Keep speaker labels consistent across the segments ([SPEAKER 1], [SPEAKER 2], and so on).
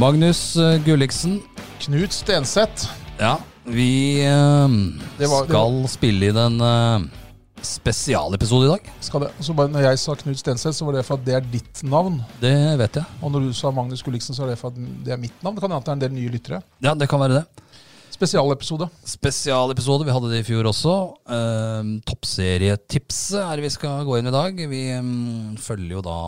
[SPEAKER 1] Magnus eh, Gulliksen,
[SPEAKER 2] Knut Stenseth.
[SPEAKER 1] ja, vi eh,
[SPEAKER 2] Det var- det
[SPEAKER 1] skal spille inn en eh, spesialepisode i dag.
[SPEAKER 2] Skal det. Og så bare når jeg sa Knut Stenseth, så var det for at det er ditt navn.
[SPEAKER 1] Det vet jeg.
[SPEAKER 2] Og når du sa Magnus Gulliksen, så er det for at det er mitt navn. Det kan hende at det er en del nye lyttere.
[SPEAKER 1] Ja, det kan være det.
[SPEAKER 2] Spesialepisode.
[SPEAKER 1] Spesialepisode, vi hadde det i fjor også. Eh, Toppserietipset er det vi skal gå inn i dag. Vi eh, følger jo da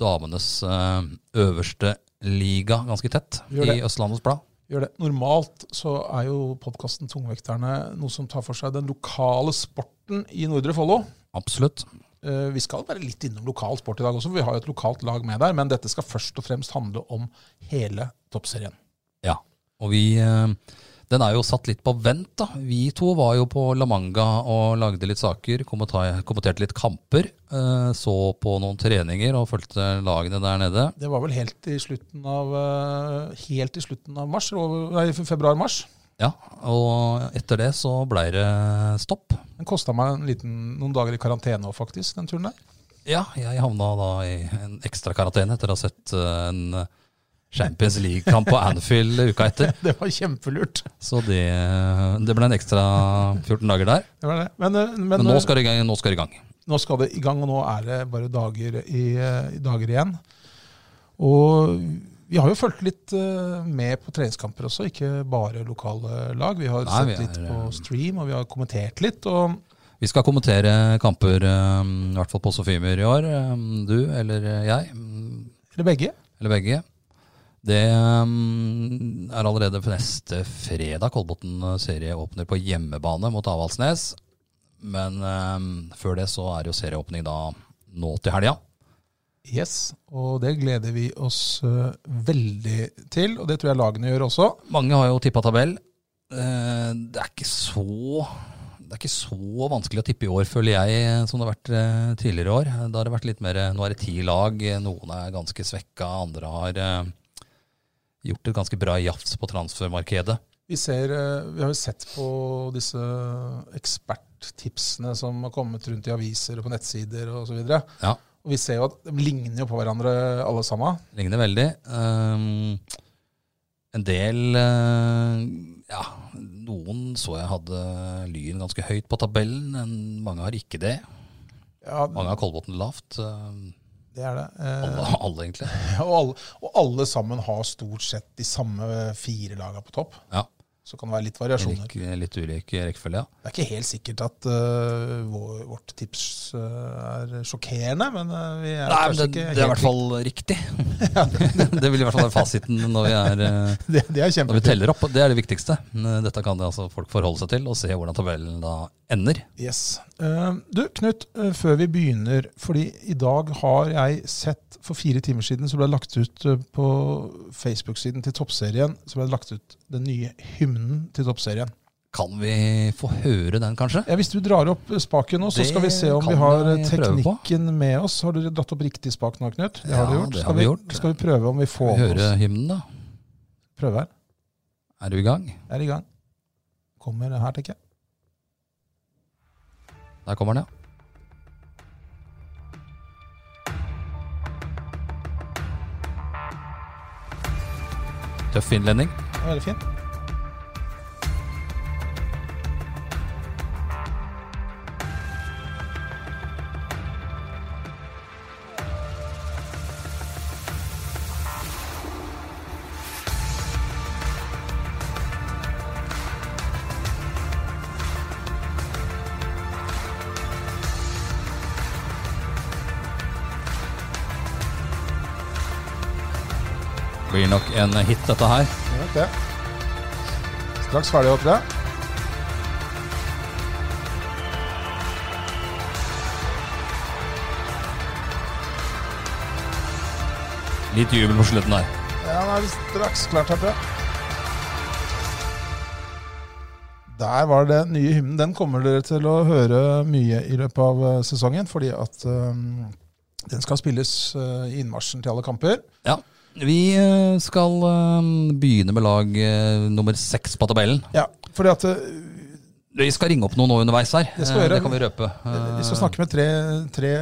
[SPEAKER 1] damenes eh, øverste liga ganske tett
[SPEAKER 2] Gjør
[SPEAKER 1] i
[SPEAKER 2] det.
[SPEAKER 1] Østlandets Blad.
[SPEAKER 2] Gjør det. Normalt så er jo podkasten Tungvekterne noe som tar for seg den lokale sporten i Nordre Follo.
[SPEAKER 1] Absolutt.
[SPEAKER 2] Eh, Vi skal være litt innom lokal sport i dag også, for vi har jo et lokalt lag med der. Men dette skal først og fremst handle om hele toppserien.
[SPEAKER 1] Ja, og vi eh, Den er jo satt litt på vent, da. Vi to var jo på La Manga og lagde litt saker, kommenta- kommenterte litt kamper. eh, Så på noen treninger og fulgte lagene der nede.
[SPEAKER 2] Det var vel helt i slutten av, eh, helt i slutten av mars, eller- nei, februar-mars.
[SPEAKER 1] Ja, og etter det så blei det stopp.
[SPEAKER 2] Den kosta meg en liten, noen dager i karantene òg, faktisk, den turen der.
[SPEAKER 1] Ja, jeg havna da i en ekstra karantene etter å ha sett eh, en Champions League-kamp på Anfield uka etter.
[SPEAKER 2] Det var kjempelurt.
[SPEAKER 1] Så det, eh, det ble en ekstra 14 dager der.
[SPEAKER 2] Det var det. Men, eh, men,
[SPEAKER 1] Men nå
[SPEAKER 2] eh,
[SPEAKER 1] skal det i gang. Nå skal det i gang.
[SPEAKER 2] nå skal det i gang, og nå er det bare dager, i, eh, dager igjen. Og vi har jo fulgt litt eh, med på treningskamper også, ikke bare lokale lag. Vi har
[SPEAKER 1] Nei, vi
[SPEAKER 2] sett litt
[SPEAKER 1] er, eh,
[SPEAKER 2] på stream, og vi har kommentert litt. Og
[SPEAKER 1] Vi skal kommentere kamper, eh, i hvert fall på Sofimer i år. eh, Du eller jeg, mm,
[SPEAKER 2] eller begge.
[SPEAKER 1] eller begge. Det eh, er allerede for neste fredag Kolbotn serie åpner på hjemmebane mot Avaldsnes. Men eh, før det så er det jo serieåpning da nå til helga.
[SPEAKER 2] Yes, og det gleder vi oss eh, veldig til, og det tror jeg lagene gjør også.
[SPEAKER 1] Mange har jo tippa tabell. Eh, Det er ikke så det er ikke så vanskelig å tippe i år, føler jeg, som det har vært eh, tidligere år. Da har det vært litt mer eh, Nå er det ti lag. Noen er ganske svekka, andre har eh, gjort et ganske bra jafs på transfermarkedet.
[SPEAKER 2] Vi, ser, eh, vi har jo sett på disse eksperttipsene som har kommet rundt i aviser og på nettsider osv. Og, så
[SPEAKER 1] Ja.
[SPEAKER 2] og vi ser jo at de ligner jo på hverandre alle sammen.
[SPEAKER 1] Ligner veldig. Ehm, en del eh, Ja, noen så jeg hadde Lyn ganske høyt på tabellen. en- Mange har ikke det.
[SPEAKER 2] Ja,
[SPEAKER 1] Mange har Kolbotn lavt. Ehm,
[SPEAKER 2] det er det. Eh,
[SPEAKER 1] Alle, alle egentlig.
[SPEAKER 2] og, alle, og alle sammen har stort sett de samme fire lagene på topp.
[SPEAKER 1] Ja.
[SPEAKER 2] Så kan det være litt variasjoner.
[SPEAKER 1] Ulik, eh, litt ulik rekkefølge, ja.
[SPEAKER 2] Det er ikke helt sikkert at eh, vår, vårt tips eh, er sjokkerende, men eh, vi er
[SPEAKER 1] Nei, men
[SPEAKER 2] kanskje
[SPEAKER 1] det,
[SPEAKER 2] ikke
[SPEAKER 1] det er i hvert fall riktig. det vil i hvert fall være fasiten når vi, er, eh,
[SPEAKER 2] Det, det er
[SPEAKER 1] når vi
[SPEAKER 2] kjempefint.
[SPEAKER 1] teller opp. og Det er det viktigste. Men Dette kan det altså folk forholde seg til, og se hvordan tabellen da ender.
[SPEAKER 2] Yes. Eh, Du, Knut, eh, før vi begynner, fordi i dag har jeg sett for fire timer siden så ble det lagt ut eh, på Facebook-siden til Toppserien så ble det lagt ut den nye hymnen til Toppserien.
[SPEAKER 1] Kan vi få høre den, kanskje?
[SPEAKER 2] Ja, hvis du drar opp eh, spaken nå, så
[SPEAKER 1] Det
[SPEAKER 2] skal vi se om
[SPEAKER 1] kan
[SPEAKER 2] vi har eh,
[SPEAKER 1] jeg prøve på.
[SPEAKER 2] teknikken med oss. Har du dratt opp riktig spak nå, Knut? Det
[SPEAKER 1] Ja,
[SPEAKER 2] har du gjort.
[SPEAKER 1] det har
[SPEAKER 2] Skal
[SPEAKER 1] vi
[SPEAKER 2] vi,
[SPEAKER 1] gjort.
[SPEAKER 2] skal vi prøve om vi får med
[SPEAKER 1] Høre
[SPEAKER 2] oss
[SPEAKER 1] hymnen, da.
[SPEAKER 2] Prøve her.
[SPEAKER 1] Er du i gang?
[SPEAKER 2] Det er i gang. Kommer her, tenker jeg.
[SPEAKER 1] Der kommer den, ja. Tøff innledning.
[SPEAKER 2] Det er veldig fint.
[SPEAKER 1] Blir nok en hit, dette her.
[SPEAKER 2] Jeg vet det. Straks ferdig, håper jeg.
[SPEAKER 1] Litt jubel på slutten der.
[SPEAKER 2] Ja, han er straks klar til å prøve. Der var det den nye hymnen. Den kommer dere til å høre mye i løpet av eh, sesongen, fordi at eh, den skal spilles eh, i innmarsjen til alle kamper.
[SPEAKER 1] Ja. Vi eh, skal eh, begynne med lag eh, nummer seks på tabellen.
[SPEAKER 2] Ja, fordi at eh,
[SPEAKER 1] Vi skal ringe opp noen nå underveis her.
[SPEAKER 2] Det skal vi
[SPEAKER 1] Eh,
[SPEAKER 2] gjøre.
[SPEAKER 1] kan vi røpe. Eh,
[SPEAKER 2] vi skal snakke med tre, tre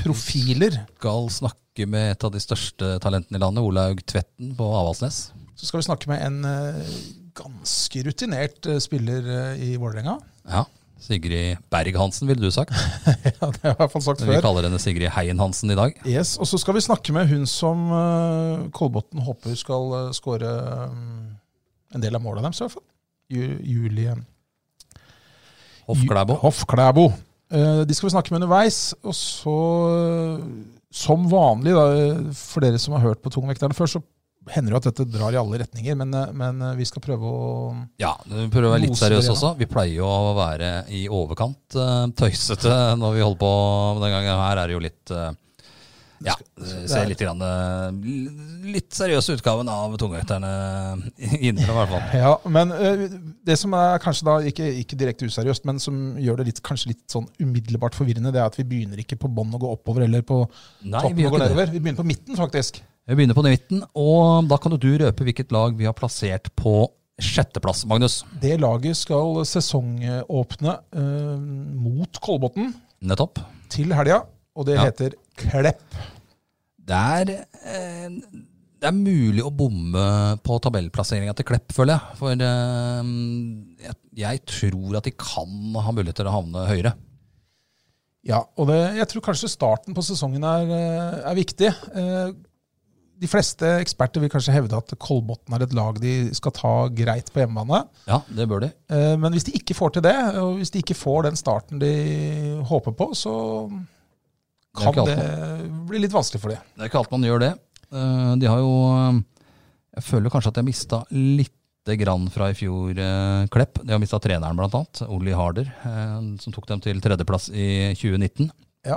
[SPEAKER 2] profiler.
[SPEAKER 1] skal snakke med et av de største talentene i landet, Olaug Tvetten på Avaldsnes.
[SPEAKER 2] Så skal vi snakke med en eh, ganske rutinert eh, spiller eh, i Vålerenga.
[SPEAKER 1] Ja. Sigrid Berg-Hansen, ville du sagt.
[SPEAKER 2] Ja, det har jeg i hvert fall sagt
[SPEAKER 1] Vi
[SPEAKER 2] før.
[SPEAKER 1] kaller henne Sigrid Heien-Hansen i dag.
[SPEAKER 2] Yes, Og så skal vi snakke med hun som uh, Kolbotn håper skal uh, skåre en del av måla deres, i hvert fall. Ju, Julie
[SPEAKER 1] Hoffklæbo.
[SPEAKER 2] Ju- Hoffklæbo. Eh, de skal vi snakke med underveis. Og så, eh, som vanlig, da, eh, for dere som har hørt på Tungvekterne før, så hender det jo at dette drar i alle retninger, men, eh, men eh, vi skal prøve å
[SPEAKER 1] Ja, vi prøver å være litt
[SPEAKER 2] Moser
[SPEAKER 1] seriøse
[SPEAKER 2] igjen,
[SPEAKER 1] også. Vi pleier jo å være i overkant eh, tøysete når vi holder på med den gangen. Her er det jo litt eh, Ja, ser litt grann, eh, Litt seriøse utgaven av tungvekterne innenfor, i hvert fall.
[SPEAKER 2] Ja, men eh, det som er kanskje da ikke, ikke direkte useriøst, men som gjør det litt, kanskje litt sånn umiddelbart forvirrende, det er at vi begynner ikke på bånn og går oppover eller på
[SPEAKER 1] Nei,
[SPEAKER 2] toppen
[SPEAKER 1] vi
[SPEAKER 2] og
[SPEAKER 1] gjør
[SPEAKER 2] går
[SPEAKER 1] ikke det.
[SPEAKER 2] nedover. Vi begynner på midten, faktisk.
[SPEAKER 1] Vi begynner på midten, og da kan jo du røpe hvilket lag vi har plassert på sjetteplass, Magnus.
[SPEAKER 2] Det laget skal sesongåpne eh, mot Kolbotn
[SPEAKER 1] Nettopp.
[SPEAKER 2] til helga, og det
[SPEAKER 1] Ja.
[SPEAKER 2] heter Klepp.
[SPEAKER 1] Det er, eh, det er mulig å bomme på tabellplasseringa til Klepp, føler jeg. For eh, jeg, jeg tror at de kan ha mulighet til å havne høyere.
[SPEAKER 2] Ja, og det, jeg tror kanskje starten på sesongen er, eh, er viktig. Eh, De fleste eksperter vil kanskje hevde at Kolbotn er et lag de skal ta greit på hjemmebane.
[SPEAKER 1] Ja, det bør de.
[SPEAKER 2] Eh, Men hvis de ikke får til det, og hvis de ikke får den starten de håper på, så
[SPEAKER 1] Det er
[SPEAKER 2] kan
[SPEAKER 1] ikke
[SPEAKER 2] det
[SPEAKER 1] alt
[SPEAKER 2] bli litt vanskelig for dem.
[SPEAKER 1] Det er ikke alt man gjør det. Eh, De har jo eh, Jeg føler kanskje at de har mista lite grann fra i fjor, eh, Klepp. De har mista treneren, blant annet. Olli Harder, eh, som tok dem til tredjeplass i 2019.
[SPEAKER 2] Ja.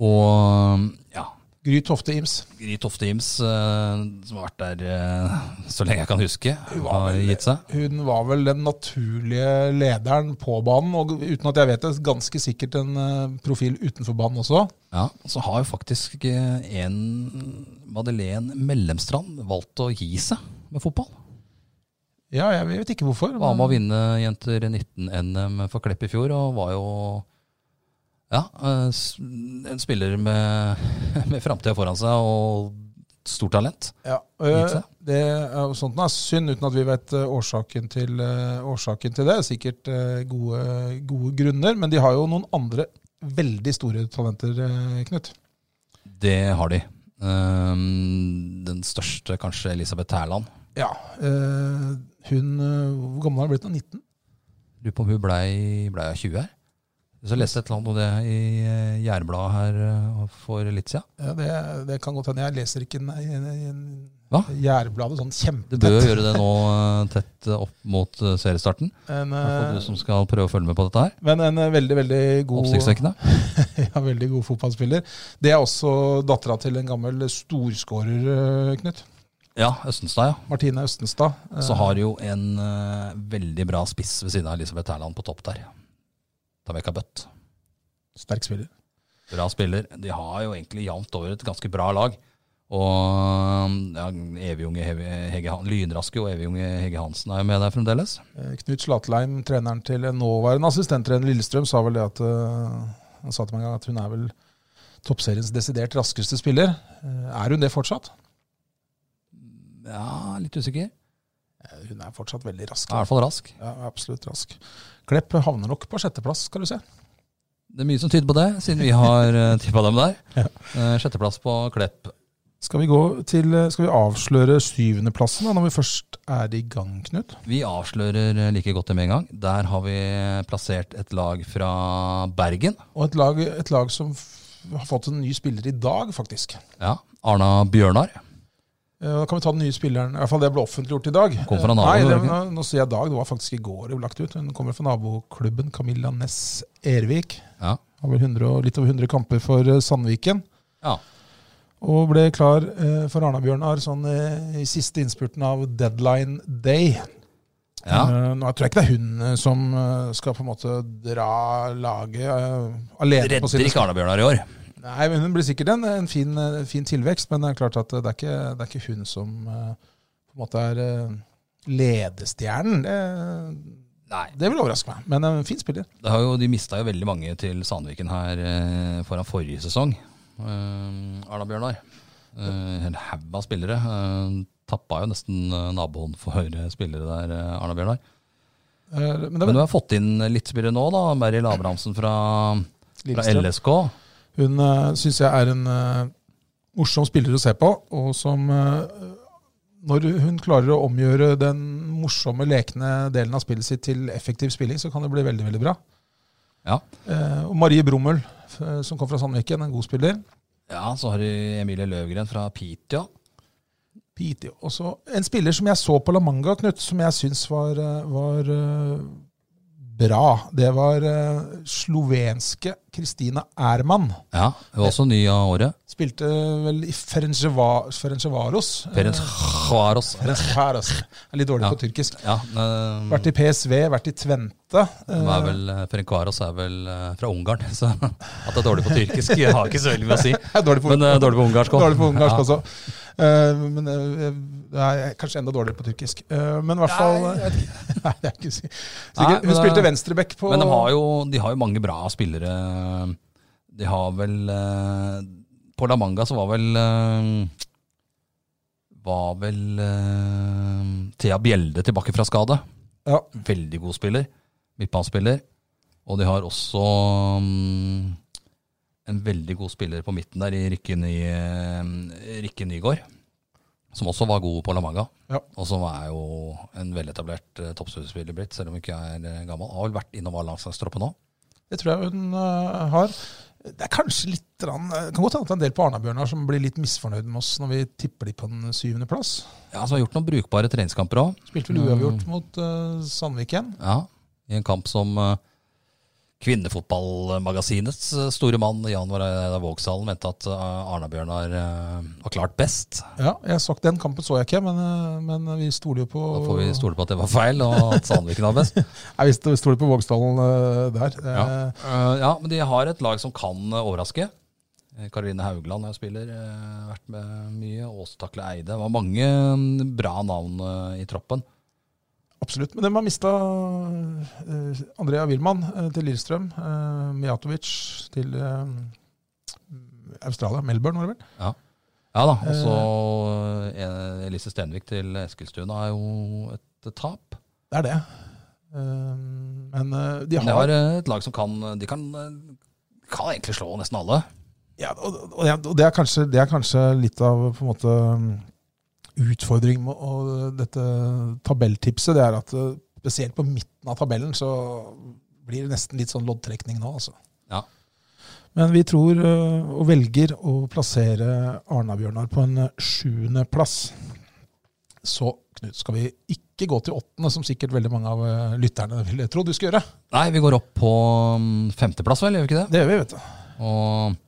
[SPEAKER 1] Og ja,
[SPEAKER 2] Gry Tofte Ims.
[SPEAKER 1] Gry Tofte Ims, eh, som har vært der eh, så lenge jeg kan huske,
[SPEAKER 2] var
[SPEAKER 1] har
[SPEAKER 2] vel-
[SPEAKER 1] gitt seg.
[SPEAKER 2] Hun var vel den naturlige lederen på banen, og uten at jeg vet det, ganske sikkert en eh, profil utenfor banen også.
[SPEAKER 1] Ja, og Så har jo faktisk eh, en Madeleine Mellemstrand valgt å gi seg med fotball.
[SPEAKER 2] Ja, jeg vet ikke hvorfor.
[SPEAKER 1] Var med å
[SPEAKER 2] men-
[SPEAKER 1] vinne Jenter 19-NM for Klepp i fjor, og var jo ja, eh, s- en spiller med, med framtida foran seg og stort talent.
[SPEAKER 2] Ja,
[SPEAKER 1] Gitt
[SPEAKER 2] øh,
[SPEAKER 1] seg.
[SPEAKER 2] det er jo sånt nå, synd, uten at vi vet øh, årsaken til, øh, årsaken til det. Sikkert øh, gode, gode grunner, men de har jo noen andre veldig store talenter, øh, Knut.
[SPEAKER 1] Det har de. Ehm, den største kanskje Elisabeth Tærland.
[SPEAKER 2] Ja, øh, hun, øh, Hvor gammel har hun blitt nå? 19?
[SPEAKER 1] Lurer på om hun blei ble 20 her. Så leste jeg et eller annet om det i eh, Jærbladet her eh, for litt siden.
[SPEAKER 2] Ja, det, det kan godt hende. Jeg leser ikke en- en-
[SPEAKER 1] Hva?
[SPEAKER 2] en- Jærbladet sånn
[SPEAKER 1] Du
[SPEAKER 2] kjempetett.
[SPEAKER 1] bør gjøre det nå eh, tett eh, opp mot eh, seriestarten.
[SPEAKER 2] En,
[SPEAKER 1] I hvert fall
[SPEAKER 2] øh,
[SPEAKER 1] Du som skal prøve å følge med på dette her.
[SPEAKER 2] men en øh, veldig, veldig god
[SPEAKER 1] Oppsiktsvekkende.
[SPEAKER 2] ja, veldig god fotballspiller. Det er også dattera til en gammel storskårer, øh, Knut.
[SPEAKER 1] Ja, Østenstad, ja.
[SPEAKER 2] Martine Østenstad. øh,
[SPEAKER 1] Så har jo en eh, veldig bra spiss ved siden av Elisabeth Tærland på topp der. Tameka Bøtt.
[SPEAKER 2] Sterk spiller.
[SPEAKER 1] Bra spiller. De har jo egentlig jevnt over et ganske bra lag. Og eh, ja, Evig-unge Hege- Hege Han- Lynraske og evig-unge Hege Hansen er jo med der fremdeles.
[SPEAKER 2] Eh, Knut Slatlheim, treneren til en nåværende assistenttrener i Lillestrøm, sa vel det at eh, Han sa til meg en gang at hun er vel toppseriens desidert raskeste spiller. Eh, Er hun det fortsatt?
[SPEAKER 1] Ja, litt usikker.
[SPEAKER 2] Eh, Hun er fortsatt veldig rask.
[SPEAKER 1] Ja, I hvert fall rask.
[SPEAKER 2] Ja, absolutt rask. Klepp havner nok på sjetteplass, skal du se.
[SPEAKER 1] Det er mye som tyder på det, siden vi har tippa dem der. Eh, Sjetteplass på Klepp.
[SPEAKER 2] Skal vi, gå til, eh, skal vi avsløre syvendeplassen da, når vi først er i gang, Knut?
[SPEAKER 1] Vi avslører eh, like godt det med en gang. Der har vi plassert et lag fra Bergen.
[SPEAKER 2] Og et lag, et lag som f har fått en ny spiller i dag, faktisk.
[SPEAKER 1] Ja, Arna Bjørnar.
[SPEAKER 2] Eh, Da kan vi ta den nye spilleren. I hvert fall det ble offentliggjort i dag.
[SPEAKER 1] Kom fra
[SPEAKER 2] Eh,
[SPEAKER 1] naboen,
[SPEAKER 2] Nei, det,
[SPEAKER 1] var det
[SPEAKER 2] nå, nå sier jeg dag. Det var faktisk i går det ble lagt ut. Hun kommer fra naboklubben Camilla Ness Ervik.
[SPEAKER 1] Ja.
[SPEAKER 2] Har vel 100 og, litt over 100 kamper for eh, Sandviken.
[SPEAKER 1] Ja.
[SPEAKER 2] Og ble klar eh, for Arna-Bjørnar sånn eh, i siste innspurten av deadline day.
[SPEAKER 1] Ja.
[SPEAKER 2] Eh, nå tror jeg ikke det er hun eh, som eh, skal på en måte dra laget eh, alene på
[SPEAKER 1] Redder
[SPEAKER 2] sine
[SPEAKER 1] ikke Arna-Bjørnar i år.
[SPEAKER 2] Nei, men Hun blir sikkert en, en fin, eh, fin tilvekst, men det er klart at eh, det er ikke, det er ikke hun som eh, på en måte er eh, ledestjernen. Det,
[SPEAKER 1] Nei.
[SPEAKER 2] det vil overraske meg, men eh, en fin spiller.
[SPEAKER 1] Det har jo, de mista jo veldig mange til Sandviken her eh, foran forrige sesong. Eh, Arna Bjørnar. Eh, en haug av spillere. Eh, tappa jo nesten eh, naboen for eh, spillere der, eh, Arna Bjørnar.
[SPEAKER 2] Eh, Men det
[SPEAKER 1] Men
[SPEAKER 2] er
[SPEAKER 1] du har fått inn litt spillere nå, da. Meryl Abrahamsen fra, fra
[SPEAKER 2] Lillestrøm.
[SPEAKER 1] LSK.
[SPEAKER 2] Hun uh, syns jeg er en eh, morsom spiller å se på, og som eh, Når hun klarer å omgjøre den morsomme, lekne delen av spillet sitt til effektiv spilling, så kan det bli veldig, veldig bra.
[SPEAKER 1] Ja.
[SPEAKER 2] Eh, og Marie Brommel, eh, som kom fra Sandviken, en god spiller.
[SPEAKER 1] ja, så har du Emilie Løvgren fra Pitya.
[SPEAKER 2] Piti. Og så en spiller som jeg så på La Manga, Knut, som jeg syns var, eh, var eh, bra. Det var eh, slovenske Kristina Erman.
[SPEAKER 1] Ja, hun er også ny av året.
[SPEAKER 2] Spilte vel i Ferenceva- Ferencvaros.
[SPEAKER 1] Ferenc
[SPEAKER 2] Eh,
[SPEAKER 1] Hvaros.
[SPEAKER 2] Ferencvaros. altså. Jeg er litt dårlig
[SPEAKER 1] Ja.
[SPEAKER 2] på tyrkisk.
[SPEAKER 1] Ja, eh,
[SPEAKER 2] Vært i PSV, vært i Tvente.
[SPEAKER 1] Hun er vel, Ferenc Varos er vel eh, fra Ungarn, så at det er dårlig på tyrkisk jeg har ikke så veldig mye å si.
[SPEAKER 2] Jeg er dårlig på,
[SPEAKER 1] Men eh, dårlig på ungarsk òg.
[SPEAKER 2] dårlig på ungarsk også. Eh, men eh, jeg er kanskje enda dårligere på tyrkisk. Eh, men i hvert fall
[SPEAKER 1] Nei, jeg
[SPEAKER 2] Nei, det er ikke si-
[SPEAKER 1] Nei, men
[SPEAKER 2] sikkert. Hun
[SPEAKER 1] det-
[SPEAKER 2] spilte venstreback på
[SPEAKER 1] Men de har, jo, de har jo mange bra spillere. De har vel eh, På La Manga så var vel eh, Var vel eh, Thea Bjelde tilbake fra skade.
[SPEAKER 2] Ja.
[SPEAKER 1] Veldig god spiller. Midtbanespiller. Og de har også mm, en veldig god spiller på midten der, i Rikke, Ny, eh, Rikke Nygaard. Som også var god på La Manga.
[SPEAKER 2] Ja.
[SPEAKER 1] Og som er jo en veletablert eh, toppspiller blitt, selv om hun ikke er eh, gammel. Har vel vært innom A-landslagstroppen òg.
[SPEAKER 2] Det tror jeg hun eh, har. Det er kanskje litt grann, det kan godt hende at det er en del på Arna-Bjørnar som blir litt misfornøyd med oss når vi tipper de på den syvende plass.
[SPEAKER 1] Ja, som har gjort noen brukbare treningskamper òg.
[SPEAKER 2] Spilte vel uavgjort mot eh, Sandviken.
[SPEAKER 1] Ja, I en kamp som eh, Kvinnefotballmagasinets eh, store mann Jan Vareide Vågsalen mente at eh, Arna-Bjørnar eh, var klart best.
[SPEAKER 2] Ja, jeg så, Den kampen så jeg ikke, men, eh, men vi stoler jo på
[SPEAKER 1] Da får vi stole på at det var feil, og at Sandviken var best.
[SPEAKER 2] Nei, vi sto- stoler på Vågsdalen eh, der. Eh,
[SPEAKER 1] Ja. Eh, ja, men de har et lag som kan eh, overraske. Eh, Karoline Haugland er spiller, eh, vært med mye. Åse Takle Eide. Det var mange mm, bra navn eh, i troppen.
[SPEAKER 2] Absolutt. Men de har mista Andrea Wilman eh, til Lillestrøm. eh, Mijatovic til eh, Australia. Melbourne, var det vel?
[SPEAKER 1] Ja da, og så eh, Elise Stenvik til Eskilstuna er jo et eh, tap.
[SPEAKER 2] Det er det. Eh, men eh, de
[SPEAKER 1] Men
[SPEAKER 2] har
[SPEAKER 1] det var eh, et lag som kan De kan, eh, kan egentlig slå nesten alle.
[SPEAKER 2] Ja, og, og, ja, og det, er kanskje, det er kanskje litt av på en måte utfordringen med å- dette tabelltipset. Det er at eh, spesielt på midten av tabellen så blir det nesten litt sånn loddtrekning nå, altså.
[SPEAKER 1] Ja.
[SPEAKER 2] Men vi tror eh, og velger å plassere Arna-Bjørnar på en eh, sjuendeplass. Så Knut, skal vi ikke gå til åttende, som sikkert veldig mange av eh, lytterne ville trodd du skulle gjøre.
[SPEAKER 1] Nei, vi går opp på mm, femteplass, vel? Gjør vi ikke det?
[SPEAKER 2] Det gjør vi, vet du.
[SPEAKER 1] Og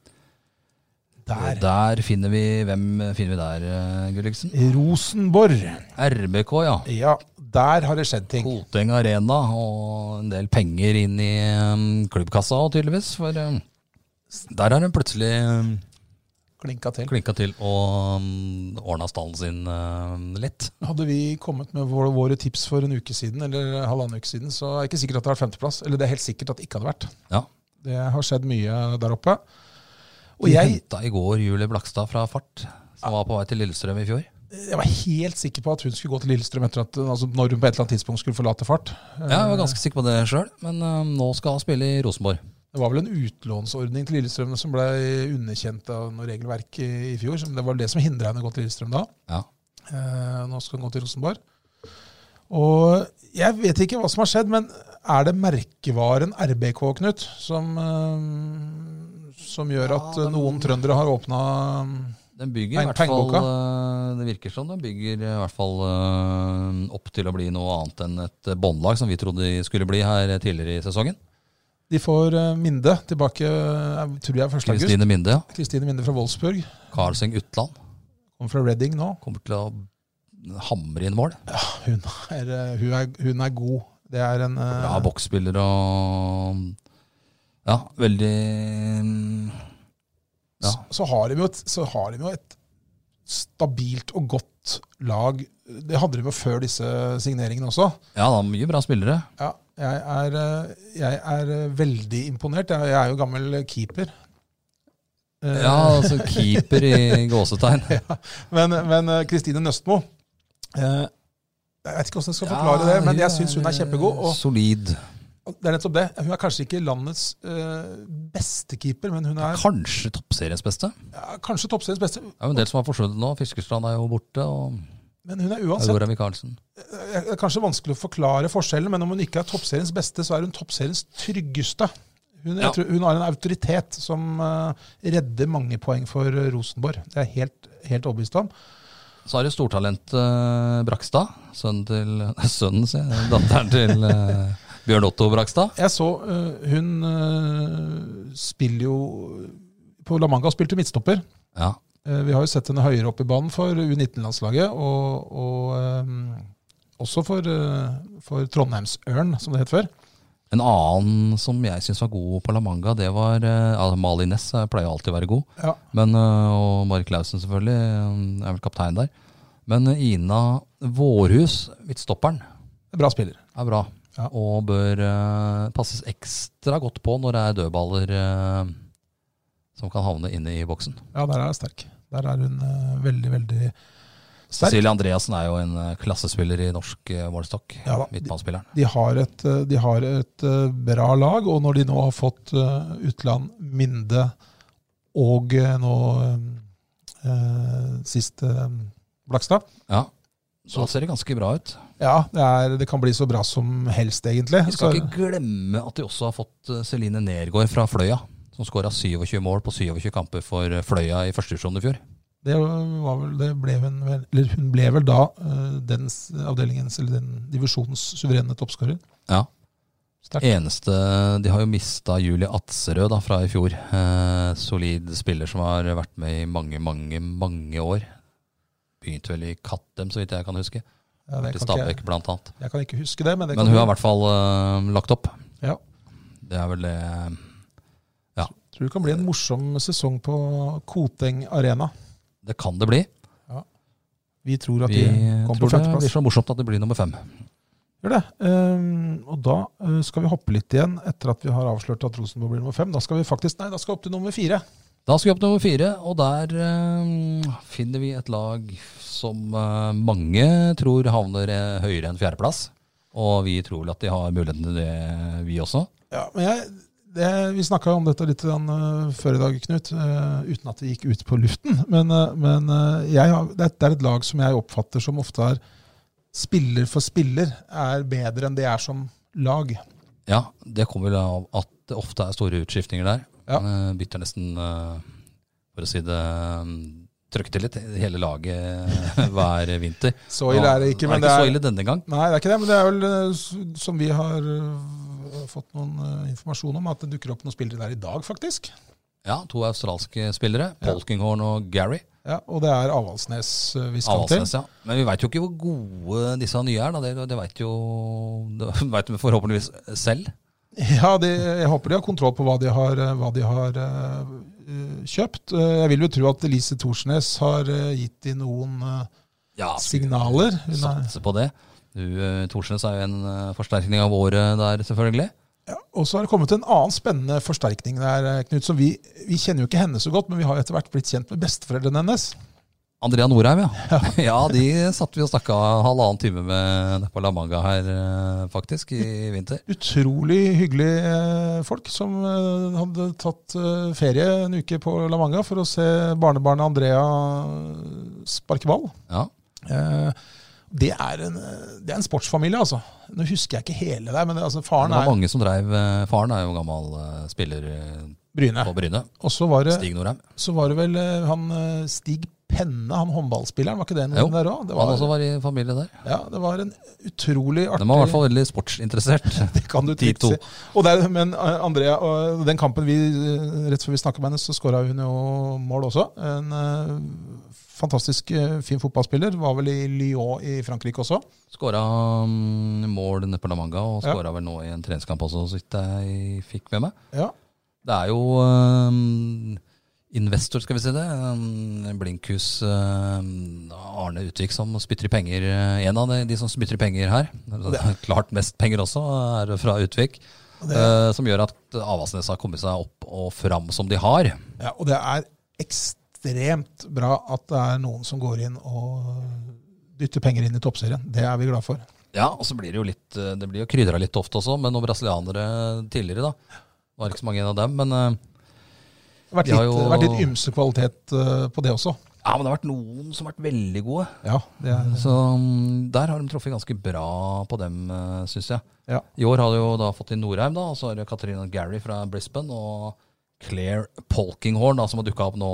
[SPEAKER 2] Der.
[SPEAKER 1] og der finner vi Hvem finner vi der, eh, Gulliksen?
[SPEAKER 2] Rosenborg.
[SPEAKER 1] RBK, ja.
[SPEAKER 2] Ja, der har det skjedd ting.
[SPEAKER 1] Koteng Arena og en del penger inn i um, klubbkassa også, tydeligvis. For um, der har hun plutselig um,
[SPEAKER 2] Klinka til.
[SPEAKER 1] klinka til og um, ordna stallen sin um, litt.
[SPEAKER 2] Hadde vi kommet med våre, våre tips for en uke siden, eller halvannen uke siden, så er det ikke sikkert at det hadde vært femteplass. Eller det er helt sikkert at det ikke hadde vært.
[SPEAKER 1] Ja.
[SPEAKER 2] Det har skjedd mye der oppe. Og
[SPEAKER 1] Vi
[SPEAKER 2] jeg,
[SPEAKER 1] henta i går Julie Blakstad fra Fart, som var på vei til Lillestrøm i fjor.
[SPEAKER 2] jeg var helt sikker på at hun skulle gå til Lillestrøm etter at, altså når hun på et eller annet tidspunkt skulle forlate fart.
[SPEAKER 1] Ja, jeg var ganske sikker på det sjøl, men um, nå skal hun spille i Rosenborg.
[SPEAKER 2] Det var vel en utlånsordning til Lillestrøm som ble underkjent av noe regelverk i, i fjor. som- Det var det som hindra henne å gå til Lillestrøm da.
[SPEAKER 1] Ja.
[SPEAKER 2] Eh, nå skal hun gå til Rosenborg. Og jeg vet ikke hva som har skjedd, men er det merkevaren RBK, Knut, som, eh, som gjør at
[SPEAKER 1] Ja, den-
[SPEAKER 2] noen trøndere har eh, åpna
[SPEAKER 1] Den bygger i
[SPEAKER 2] Peng-
[SPEAKER 1] hvert fall
[SPEAKER 2] pengeboka.
[SPEAKER 1] eh, Det virker som den bygger i hvert fall eh, opp til å bli noe annet enn et båndlag, som vi trodde de skulle bli her tidligere i eh, sesongen.
[SPEAKER 2] De får eh, Minde tilbake, eh, tror jeg, 1. august.
[SPEAKER 1] Kristine Minde. ja.
[SPEAKER 2] Kristine Minde fra Wolfsburg.
[SPEAKER 1] Karlseng Utland
[SPEAKER 2] Kommer fra Reading nå.
[SPEAKER 1] kommer til å hamre inn mål.
[SPEAKER 2] Hun er, eh, hun er, hun er god. Det er en eh,
[SPEAKER 1] Bra boksspiller og Ja, veldig mm, ja.
[SPEAKER 2] så, så, har de jo et, så har de jo et stabilt og godt lag. Det hadde de jo før disse signeringene også.
[SPEAKER 1] Ja, da, mye bra spillere.
[SPEAKER 2] Ja, jeg er, eh, jeg er eh, veldig imponert. Jeg, jeg er jo gammel keeper. Eh,
[SPEAKER 1] Ja, altså keeper i gåsetegn.
[SPEAKER 2] Men, men eh, Kristine Nøstmo eh, Jeg vet ikke hvordan jeg skal forklare
[SPEAKER 1] Ja,
[SPEAKER 2] det, men jeg syns hun er kjempegod. Og
[SPEAKER 1] Solid.
[SPEAKER 2] og det er nettopp det. Hun er kanskje ikke landets eh, beste keeper, men hun er
[SPEAKER 1] Kanskje toppseriens beste. Det
[SPEAKER 2] ja, kanskje toppseriens beste.
[SPEAKER 1] er jo en del som har forsvunnet nå. Fiskestrand er jo borte. Og
[SPEAKER 2] Men hun er uansett
[SPEAKER 1] Aurora Michaelsen.
[SPEAKER 2] Det er kanskje vanskelig å forklare forskjellen, men om hun ikke er toppseriens beste, så er hun toppseriens tryggeste. Hun,
[SPEAKER 1] Ja.
[SPEAKER 2] jeg tror, hun har en autoritet som eh, redder mange poeng for eh, Rosenborg. Det er jeg helt, helt overbevist om.
[SPEAKER 1] Så har du stortalentet eh, Brakstad. Sønnen til Sønnen, sier jeg. Datteren til eh, Bjørn Otto Brakstad.
[SPEAKER 2] Jeg så eh, hun eh, spiller jo På La Manga spilte hun midtstopper.
[SPEAKER 1] Ja.
[SPEAKER 2] Eh, vi har jo sett henne høyere opp i banen for U19-landslaget, og, og eh, også for, uh, for Trondheimsørn, som det het før.
[SPEAKER 1] En annen som jeg syns var god på La Manga, det var eh, ja, Mali Ness. eh, Pleier alltid å være god.
[SPEAKER 2] Ja.
[SPEAKER 1] Men, eh, og Mark Lausen, selvfølgelig. eh, Er vel kaptein der. Men eh, Ina Vårhus, midtstopperen,
[SPEAKER 2] Bra spiller.
[SPEAKER 1] er bra.
[SPEAKER 2] Ja.
[SPEAKER 1] Og bør eh, passes ekstra godt på når det er dødballer eh, som kan havne inne i boksen.
[SPEAKER 2] Ja, der er hun sterk. Der er hun eh, veldig, veldig sterk.
[SPEAKER 1] Cecilie Andreassen er jo en eh, klassespiller i norsk eh, målestokk.
[SPEAKER 2] Ja da.
[SPEAKER 1] Midtbanespilleren.
[SPEAKER 2] De har et, eh, de har et eh, bra lag, og når de nå har fått eh, Utland, Minde og eh, nå eh, eh, sist eh, Blakstad
[SPEAKER 1] Ja. Så ser det ganske bra ut.
[SPEAKER 2] Ja, det, er, det kan bli så bra som helst, egentlig.
[SPEAKER 1] Vi skal ikke glemme at de også har fått eh, Celine Nergård fra Fløya. Som skåra 27 mål på 27 kamper for eh, Fløya i første divisjon i fjor.
[SPEAKER 2] Det var vel, det ble hun, vel, eller hun ble vel da eh, den s- avdelingens, eller den divisjonens suverene toppskårer.
[SPEAKER 1] Ja.
[SPEAKER 2] Sterkt.
[SPEAKER 1] Eneste De har jo mista Julie Atserød da, fra i fjor. Eh, solid spiller som har vært med i mange, mange, mange år. Begynte vel i Kattem, så vidt jeg kan huske.
[SPEAKER 2] Ja, det
[SPEAKER 1] Til
[SPEAKER 2] kan ikke jeg,
[SPEAKER 1] Stabæk, blant annet.
[SPEAKER 2] jeg kan ikke huske det, men det
[SPEAKER 1] Men
[SPEAKER 2] kan
[SPEAKER 1] hun har i hvert fall eh, lagt opp.
[SPEAKER 2] Ja.
[SPEAKER 1] Det er vel det
[SPEAKER 2] tror det kan bli en morsom sesong på Koteng Arena.
[SPEAKER 1] Det kan det bli.
[SPEAKER 2] Vi tror at
[SPEAKER 1] Vi
[SPEAKER 2] de kommer
[SPEAKER 1] tror
[SPEAKER 2] på
[SPEAKER 1] det
[SPEAKER 2] femteplass.
[SPEAKER 1] blir så morsomt at det blir nummer fem.
[SPEAKER 2] Gjør det. Ehm, og da eh, skal vi hoppe litt igjen etter at vi har avslørt at Rosenborg blir nummer fem. Da skal vi faktisk, nei, da skal vi opp til nummer fire.
[SPEAKER 1] Da skal vi opp til nummer fire, og der eh, finner vi et lag som eh, mange tror havner eh, høyere enn fjerdeplass. Og vi tror vel at de har muligheten til det, vi også.
[SPEAKER 2] Ja, men jeg, det, Vi snakka om dette litt grann, eh, før i dag, Knut, eh, uten at det gikk ut på luften. Men, eh, men eh, jeg har, det, er- det er et lag som jeg oppfatter som ofte er spiller for spiller, er bedre enn det er som lag.
[SPEAKER 1] Ja, det kommer vel av at det ofte er store utskiftninger der.
[SPEAKER 2] Ja.
[SPEAKER 1] Eh, bytter nesten, eh, for å si det um, Trykker til litt hele laget eh, hver vinter.
[SPEAKER 2] Så ille er det ikke.
[SPEAKER 1] Nå
[SPEAKER 2] Men
[SPEAKER 1] er det ikke så
[SPEAKER 2] det er,
[SPEAKER 1] ille denne gang.
[SPEAKER 2] nei, det er ikke det, men det er vel eh, s- som vi har eh, fått noen eh, informasjon om, at det dukker opp noen spillere der i dag, faktisk.
[SPEAKER 1] Ja, to australske spillere. Polkinghorn og Gary.
[SPEAKER 2] Ja, Og det er Avaldsnes eh, vi skal
[SPEAKER 1] Avaldsnes, ja. Men vi veit jo ikke hvor gode disse nye er. Da. Det, det veit jo det vet vi forhåpentligvis selv.
[SPEAKER 2] til. Ja, de, Jeg håper de har kontroll på hva de har, eh, hva de har eh, eh, kjøpt. Eh, Jeg vil jo tro at Elise Thorsnes har eh, gitt de noen eh,
[SPEAKER 1] Ja,
[SPEAKER 2] signaler. Hun er,
[SPEAKER 1] Satse på det. Du, eh, Thorsnes er jo en eh, forsterkning av året der, selvfølgelig.
[SPEAKER 2] ja, og så har det kommet en annen spennende forsterkning der, eh, Knut. Som vi, vi kjenner jo ikke henne så godt, men vi har jo etter hvert blitt kjent med besteforeldrene hennes.
[SPEAKER 1] Andrea Norheim, ja. Ja, de satt vi og snakka halvannen time med på La Manga her, eh, faktisk, i vinter.
[SPEAKER 2] Utrolig hyggelige eh, folk som eh, hadde tatt eh, ferie en uke på La Manga for å se barnebarnet Andrea eh, sparke ball.
[SPEAKER 1] Ja.
[SPEAKER 2] Eh, Det er en, eh, det er en sportsfamilie, altså. Nå husker jeg ikke hele der, men det- altså,
[SPEAKER 1] Det
[SPEAKER 2] faren
[SPEAKER 1] var
[SPEAKER 2] er
[SPEAKER 1] mange som dreiv eh, Faren er jo gammel eh, spiller eh,
[SPEAKER 2] Bryne.
[SPEAKER 1] på Bryne.
[SPEAKER 2] Og så var det,
[SPEAKER 1] Stig Norheim.
[SPEAKER 2] så var det vel eh, han eh, Stig Penne, han håndballspilleren, var ikke det
[SPEAKER 1] Jo,
[SPEAKER 2] noen der òg? Det,
[SPEAKER 1] Han også
[SPEAKER 2] var-
[SPEAKER 1] var i familie der.
[SPEAKER 2] ja, det var en utrolig
[SPEAKER 1] De var i hvert
[SPEAKER 2] artig
[SPEAKER 1] fall veldig sportsinteressert.
[SPEAKER 2] det kan du
[SPEAKER 1] de
[SPEAKER 2] trygt si. Og der, men eh, Andrea, og den kampen vi eh, rett før vi snakka med henne, så skåra hun jo mål også. En eh, fantastisk eh, fin fotballspiller. Var vel i Lyon i Frankrike også.
[SPEAKER 1] Skåra mm, mål nede på La Manga, og
[SPEAKER 2] Ja.
[SPEAKER 1] skåra vel nå i en treningskamp også, så vidt jeg fikk med meg.
[SPEAKER 2] Ja,
[SPEAKER 1] Det er jo øhm, investor, skal vi si det. øhm, Blinkhus øhm, Arne Utvik som spytter i penger. øh, En av de, de som spytter i penger her. Klart mest penger også, er fra Utvik. øh, som gjør at Avaldsnes har kommet seg opp og fram som de har.
[SPEAKER 2] ja Og det er ekstremt bra at det er noen som går inn og dytter penger inn i toppserien. Det er vi glad for.
[SPEAKER 1] Ja, og så blir det jo litt øh, Det blir jo krydra litt ofte også, med noen brasilianere tidligere, da. Det var ikke så mange av dem, men øh,
[SPEAKER 2] Det har vært
[SPEAKER 1] Vi har
[SPEAKER 2] litt,
[SPEAKER 1] jo-
[SPEAKER 2] vært litt ymse kvalitet eh, på det også.
[SPEAKER 1] ja, men det har vært noen som har vært veldig gode.
[SPEAKER 2] Ja, det er,
[SPEAKER 1] Så mm, der har de truffet ganske bra på dem, syns jeg.
[SPEAKER 2] ja.
[SPEAKER 1] I år har de jo da fått inn Norheim, da, og så har de Katarina Gary fra Brisbane og Claire Polkinghorn, da, som har dukka opp nå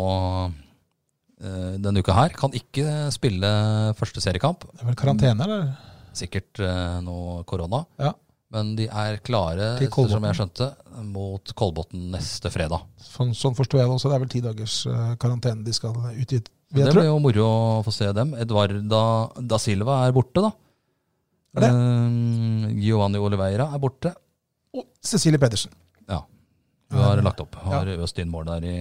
[SPEAKER 1] eh, denne uka her. Kan ikke spille første seriekamp.
[SPEAKER 2] Det er vel karantene, eller?
[SPEAKER 1] Sikkert eh, nå korona.
[SPEAKER 2] Ja.
[SPEAKER 1] Men de er klare,
[SPEAKER 2] Til Kolbotn.
[SPEAKER 1] som jeg skjønte, mot Kolbotn neste fredag.
[SPEAKER 2] Sånn, sånn forstår jeg det også. Det er vel ti dagers eh, karantene de skal ut i. vil jeg
[SPEAKER 1] Det
[SPEAKER 2] tro.
[SPEAKER 1] blir jo moro å få se dem. Edvarda da Silva er borte, da.
[SPEAKER 2] Er det?
[SPEAKER 1] Eh, Giovanni Oliveira er borte.
[SPEAKER 2] Og Cecilie Pedersen.
[SPEAKER 1] Ja. Hun har lagt opp. Har øst inn mål der i,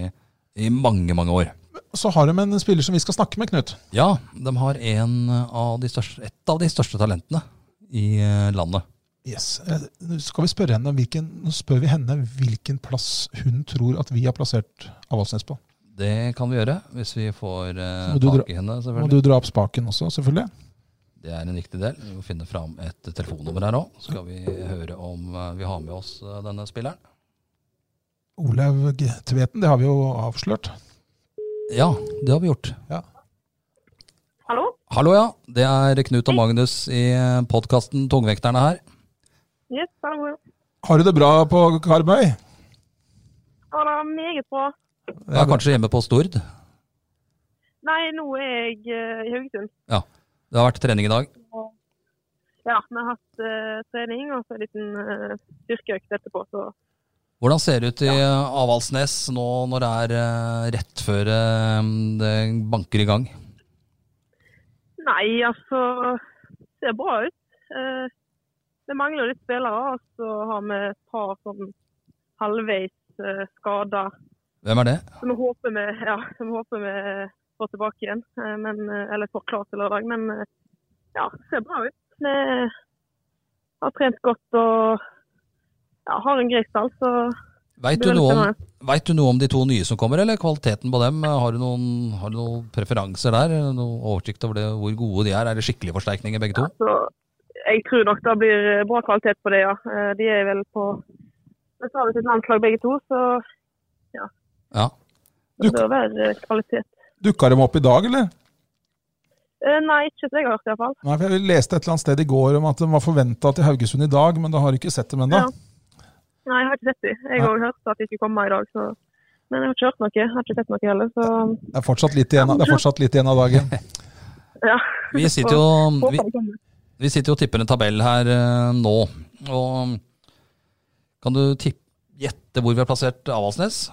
[SPEAKER 1] i mange, mange år.
[SPEAKER 2] Så har de en spiller som vi skal snakke med, Knut.
[SPEAKER 1] Ja, de har en av de største, et av de største talentene i eh, landet.
[SPEAKER 2] Yes. Eh, Nå skal vi spørre henne om hvilken, nå spør vi henne hvilken plass hun tror at vi har plassert Avaldsnes på.
[SPEAKER 1] Det kan vi gjøre, hvis vi får eh,
[SPEAKER 2] Så må du dra-
[SPEAKER 1] tak i henne,
[SPEAKER 2] Må
[SPEAKER 1] selvfølgelig.
[SPEAKER 2] du dra opp spaken også, selvfølgelig.
[SPEAKER 1] Det er en viktig del. Vi må finne fram et telefonnummer her òg. Skal vi høre om eh, vi har med oss eh, denne spilleren?
[SPEAKER 2] Olaug G. Tveten, det har vi jo avslørt.
[SPEAKER 1] Ja, det har vi gjort.
[SPEAKER 3] Hallo?
[SPEAKER 1] Hallo, ja. Det er Knut og Magnus i podkasten Tungvekterne her.
[SPEAKER 3] Yes, hallo.
[SPEAKER 2] Har du det bra på Karmøy?
[SPEAKER 3] Å, det er meget bra.
[SPEAKER 2] Det
[SPEAKER 1] Ja,
[SPEAKER 2] er bra.
[SPEAKER 1] kanskje hjemme på Stord.
[SPEAKER 3] Nei, nå er jeg eh, i Haugesund.
[SPEAKER 1] Ja. Det har vært trening i dag.
[SPEAKER 3] Ja, vi har hatt eh, trening og så en liten eh, styrkeøkt etterpå. Så.
[SPEAKER 1] Hvordan ser det ut i eh, Avaldsnes nå når det er eh, rett før eh, det banker i gang?
[SPEAKER 3] Nei, altså Det ser bra ut. Eh, det mangler litt spillere, og så har vi et par sånn halvveis eh, skader.
[SPEAKER 1] Hvem er det?
[SPEAKER 3] Så vi håper vi, ja, så vi, håper vi får tilbake igjen, eh, men, eh, eller får klart til lørdag. Men eh, ja, det ser bra ut. Vi har trent godt og ja, har en grei stall, så
[SPEAKER 1] Veit du,
[SPEAKER 3] Det er
[SPEAKER 1] noe
[SPEAKER 3] veldig
[SPEAKER 1] om- vet du noe om de to nye som kommer, eller kvaliteten på dem? Har du noen, har du noen preferanser der? Noe oversikt over det, hvor gode de er? Er det skikkelige forsterkninger, begge to?
[SPEAKER 3] så jeg tror nok det blir bra kvalitet på det, ja. Eh, De er vel på Vestlandet sitt landslag begge to, så
[SPEAKER 1] Ja.
[SPEAKER 2] Du-
[SPEAKER 3] det bør være eh, kvalitet.
[SPEAKER 2] Dukka de opp i dag, eller?
[SPEAKER 3] Eh, Nei, ikke som jeg har hørt iallfall.
[SPEAKER 2] Nei, for Jeg leste et eller annet sted i går om at de var forventa til Haugesund i dag, men da har de ikke sett dem ennå.
[SPEAKER 3] Ja. Nei, jeg har ikke sett dem. Jeg har hørt at de skulle komme i dag, så Men jeg har ikke hørt noe. Jeg har ikke sett noe heller, så
[SPEAKER 2] Det er fortsatt litt igjen, det er fortsatt litt igjen av dagen.
[SPEAKER 3] ja.
[SPEAKER 1] Vi sitter jo,
[SPEAKER 3] Håper
[SPEAKER 1] Mm, vi,
[SPEAKER 3] det kommer.
[SPEAKER 1] vi sitter jo og tipper en tabell her eh, nå. Og kan du tipp- gjette hvor vi har plassert Avaldsnes?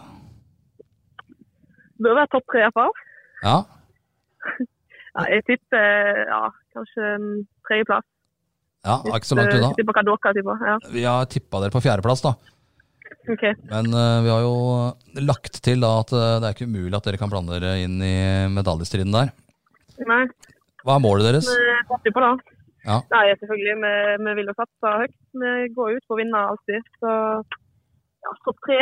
[SPEAKER 3] Bør være topp tre iallfall.
[SPEAKER 1] Ja.
[SPEAKER 3] Ja, jeg tipper ja, kanskje en tredjeplass.
[SPEAKER 1] ja, det er ikke så langt unna.
[SPEAKER 3] Jeg tipper hva dere tipper. Ja,
[SPEAKER 1] Vi har tippa dere på fjerdeplass, da.
[SPEAKER 3] ok.
[SPEAKER 1] Men eh, vi har jo lagt til da at eh, det er ikke umulig at dere kan blande dere inn i medaljestriden der.
[SPEAKER 3] Nei, eh,
[SPEAKER 1] Hva er målet deres?
[SPEAKER 3] vi satser på det.
[SPEAKER 1] Ja.
[SPEAKER 3] Nei, selvfølgelig. Vi, vi vil jo satse høyt. Vi går jo ut for å vinne alltid. Så ja, topp tre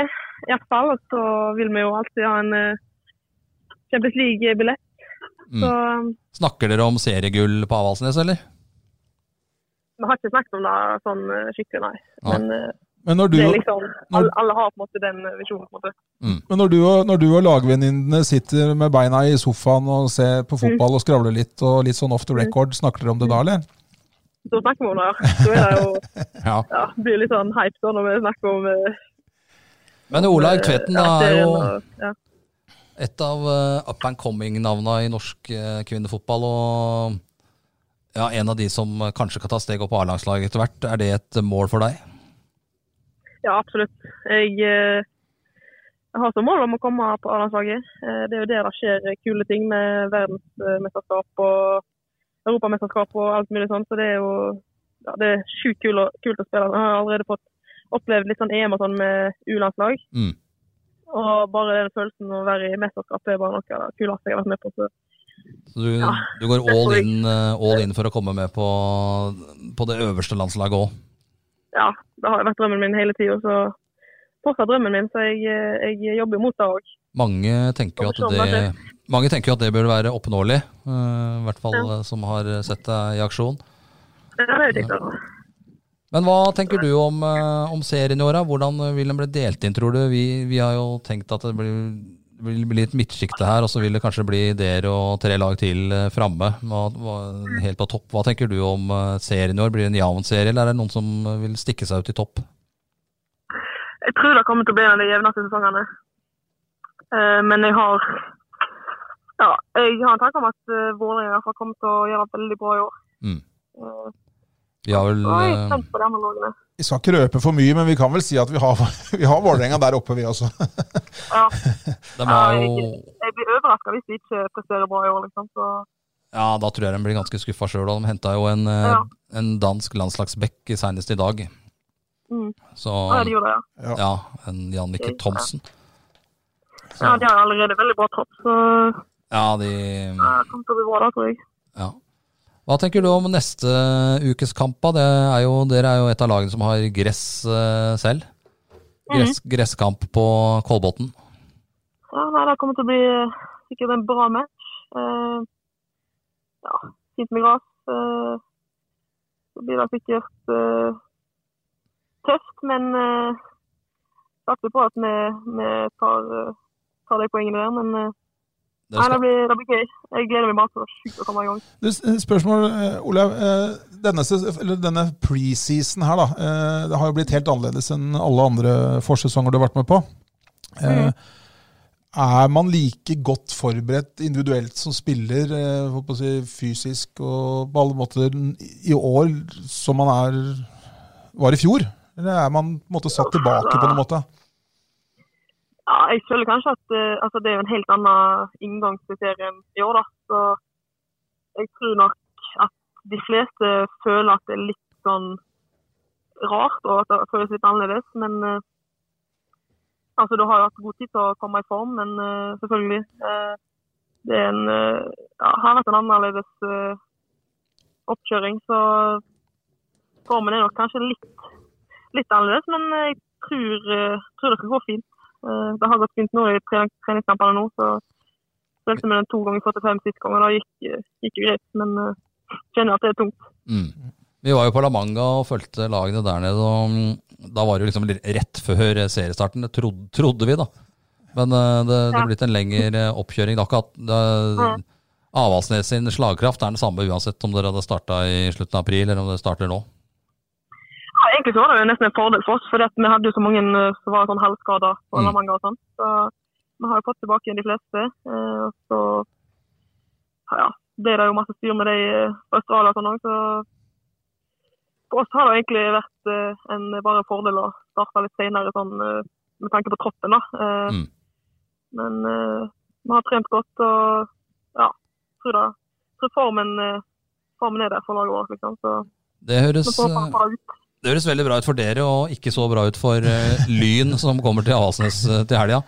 [SPEAKER 3] iallfall. Og så vil vi jo alltid ha en eh, Champions League-billett.
[SPEAKER 1] Mm.
[SPEAKER 3] Så
[SPEAKER 1] Snakker dere om seriegull på Avaldsnes, eller?
[SPEAKER 3] vi har ikke snakket om det sånn eh, skikkelig, nei.
[SPEAKER 1] Nei.
[SPEAKER 3] Men eh,
[SPEAKER 2] Men når du,
[SPEAKER 3] det er liksom
[SPEAKER 2] når-
[SPEAKER 3] alle, alle har på en måte den eh, visjonen, på en måte.
[SPEAKER 2] men når du, og, når du og lagvenninnene sitter med beina i sofaen og ser på fotball og skravler litt og litt sånn off the record, snakker dere om det da, eller?
[SPEAKER 3] Så snakker vi om det. her. Så er det jo
[SPEAKER 1] Ja.
[SPEAKER 3] ja, blir litt sånn hype da når vi snakker om eh,
[SPEAKER 1] Men Olaug Tveten da,
[SPEAKER 3] at eh, det
[SPEAKER 1] er
[SPEAKER 3] er
[SPEAKER 1] jo
[SPEAKER 3] noe- ja.
[SPEAKER 1] Et av eh, up and coming-navna i norsk eh, kvinnefotball, og ja, en av de som eh, kanskje kan ta steg opp på A-landslaget etter hvert. Er det et mål for deg?
[SPEAKER 3] Ja, absolutt. Jeg, eh, jeg har som mål om å komme på A-landslaget. Eh, det er jo der det skjer kule ting med verdensmesterskap og europamesterskap og alt mulig sånt. Så det er jo ja, det er sjukt kul å- kult å spille. Jeg har allerede fått opplevd litt sånn EM og sånn med U-landslag.
[SPEAKER 1] Mm.
[SPEAKER 3] Og bare den følelsen av å være i mesterskap det er bare noe av det kuleste jeg har vært med på. Så
[SPEAKER 1] Så du,
[SPEAKER 3] Ja,
[SPEAKER 1] du går
[SPEAKER 3] det
[SPEAKER 1] all
[SPEAKER 3] tror jeg.
[SPEAKER 1] in, eh, all in for å komme med på, på det øverste landslaget òg?
[SPEAKER 3] ja, det har vært drømmen min hele tida. Så fortsatt drømmen min, så jeg, eh, jeg jobber mot det òg.
[SPEAKER 1] Mange tenker jo at
[SPEAKER 3] Kommer
[SPEAKER 1] det,
[SPEAKER 3] sånn,
[SPEAKER 1] mange tenker jo at det bør være oppnåelig, eh, i hvert fall eh, som har sett deg i aksjon.
[SPEAKER 3] Det er jo kjekt, altså.
[SPEAKER 1] Men hva tenker du om, eh, om serien i år? da? Hvordan eh, vil den bli delt inn, tror du? Vi, vi har jo tenkt at det blir, vil bli et midtsjikte her, og så vil det kanskje bli ideer og tre lag til eh, framme. Hva- hva- Helt på topp. Hva tenker du om eh, serien i år? Blir det en jevn serie, eller er det noen som eh, vil stikke seg ut i topp?
[SPEAKER 3] Jeg tror det kommer til å bli en av de jevneste sesongene. Eh, men jeg har ja, jeg har en tanke om at uh, Vålerenga i hvert fall kommer til å gjøre det veldig bra i år.
[SPEAKER 1] Mm.
[SPEAKER 3] Eh,
[SPEAKER 1] Vi har vel
[SPEAKER 3] så er jeg
[SPEAKER 1] eh,
[SPEAKER 3] spent på de andre lagene.
[SPEAKER 2] Vi skal ikke røpe for mye, men vi kan vel si at vi har, vi har Vålerenga der oppe, vi også.
[SPEAKER 3] Ja,
[SPEAKER 1] De har jo
[SPEAKER 3] jeg blir overraska hvis de ikke presterer bra i år, liksom. Så
[SPEAKER 1] Ja, da tror jeg de blir ganske skuffa sjøl. De henta jo en, eh,
[SPEAKER 3] Ja.
[SPEAKER 1] en dansk landslagsback senest i dag.
[SPEAKER 3] Mm.
[SPEAKER 1] Så
[SPEAKER 3] ja, de gjorde det. ja.
[SPEAKER 1] ja, en Jan Mikkel Thomsen. Så,
[SPEAKER 3] Ja, de har allerede veldig bra tropp, så
[SPEAKER 1] ja, de
[SPEAKER 3] ja, det kommer til å bli bra da, tror jeg.
[SPEAKER 1] Ja. Hva tenker du om neste ukes kamp? da? Det er jo, dere er jo et av lagene som har gress eh, selv.
[SPEAKER 3] Mhm.
[SPEAKER 1] Gress, gresskamp på Kolbotn.
[SPEAKER 3] Ja, nei, det kommer til å bli eh, sikkert en bra match. Eh, ja, fint med gress. Eh, så blir det sikkert eh, tøft, men eh, satser på at vi, vi tar, eh, tar de poengene der. Men eh,
[SPEAKER 1] Dere
[SPEAKER 3] nei, det
[SPEAKER 1] skal,
[SPEAKER 3] blir, det blir gøy. Jeg gleder meg bare til det er sjukt å komme i gang.
[SPEAKER 2] Du, s- Spørsmål, eh, Olav. eh, Denne, ses- eller denne preseason her, da. eh, Det har jo blitt helt annerledes enn alle andre forsesonger du har vært med på. Eh, Er man like godt forberedt individuelt som spiller, eh, holdt på å si, fysisk og på alle måter, n- i år som man er, var i fjor? Eller er man på en måte satt tilbake på noen måte?
[SPEAKER 3] Ja, jeg føler kanskje at eh, altså, det er jo en helt annen inngang til serien i år, da. Så jeg tror nok at de fleste føler at det er litt sånn rart, og at det føles litt annerledes. Men eh, altså, du har jo hatt god tid til å komme i form, men eh, selvfølgelig eh, Det er en eh, Ja, har vært en annerledes eh, oppkjøring, så formen er nok kanskje litt, litt annerledes, men jeg tror, eh, tror det skal gå fint. Eh, Det har gått fint nå i trening- treningskampene nå, så spilte vi den to ganger 45 sist gang, og det gikk, eh, gikk jo greit. Men eh, kjenner at det er tungt.
[SPEAKER 1] mm. Vi var jo på La Manga og fulgte lagene der nede. og mm, Da var det jo liksom litt rett før seriestarten. Det trodde, trodde vi, da. Men eh, det det
[SPEAKER 3] Ja.
[SPEAKER 1] er blitt en lengre oppkjøring. Det er akkurat det,
[SPEAKER 3] Mhm.
[SPEAKER 1] Avaldsnes sin slagkraft er den samme uansett om dere hadde starta i slutten av april eller om dere starter nå.
[SPEAKER 3] Ja, egentlig så var det jo nesten en fordel for oss, for vi hadde jo så mange eh, som var sånn halvskader på
[SPEAKER 1] Mm.
[SPEAKER 3] Lamanga og sånn. Så vi har jo fått tilbake igjen de fleste. eh, og Så ja, ble det jo masse styr med de eh, fra Australia og sånn òg, så for oss har det jo egentlig vært eh, en bare fordel å starte litt senere sånn eh, med tanke på troppen, da. Eh,
[SPEAKER 1] Mm.
[SPEAKER 3] Men eh, vi har trent godt og ja, tror det. Tror formen, eh, formen er der for laget vårt, liksom. Så
[SPEAKER 1] Det høres,
[SPEAKER 3] vi får bare
[SPEAKER 1] eh,
[SPEAKER 3] ta det ut.
[SPEAKER 1] det høres veldig bra ut for dere, og ikke så bra ut for eh, Lyn, som kommer til Avaldsnes eh, til helga.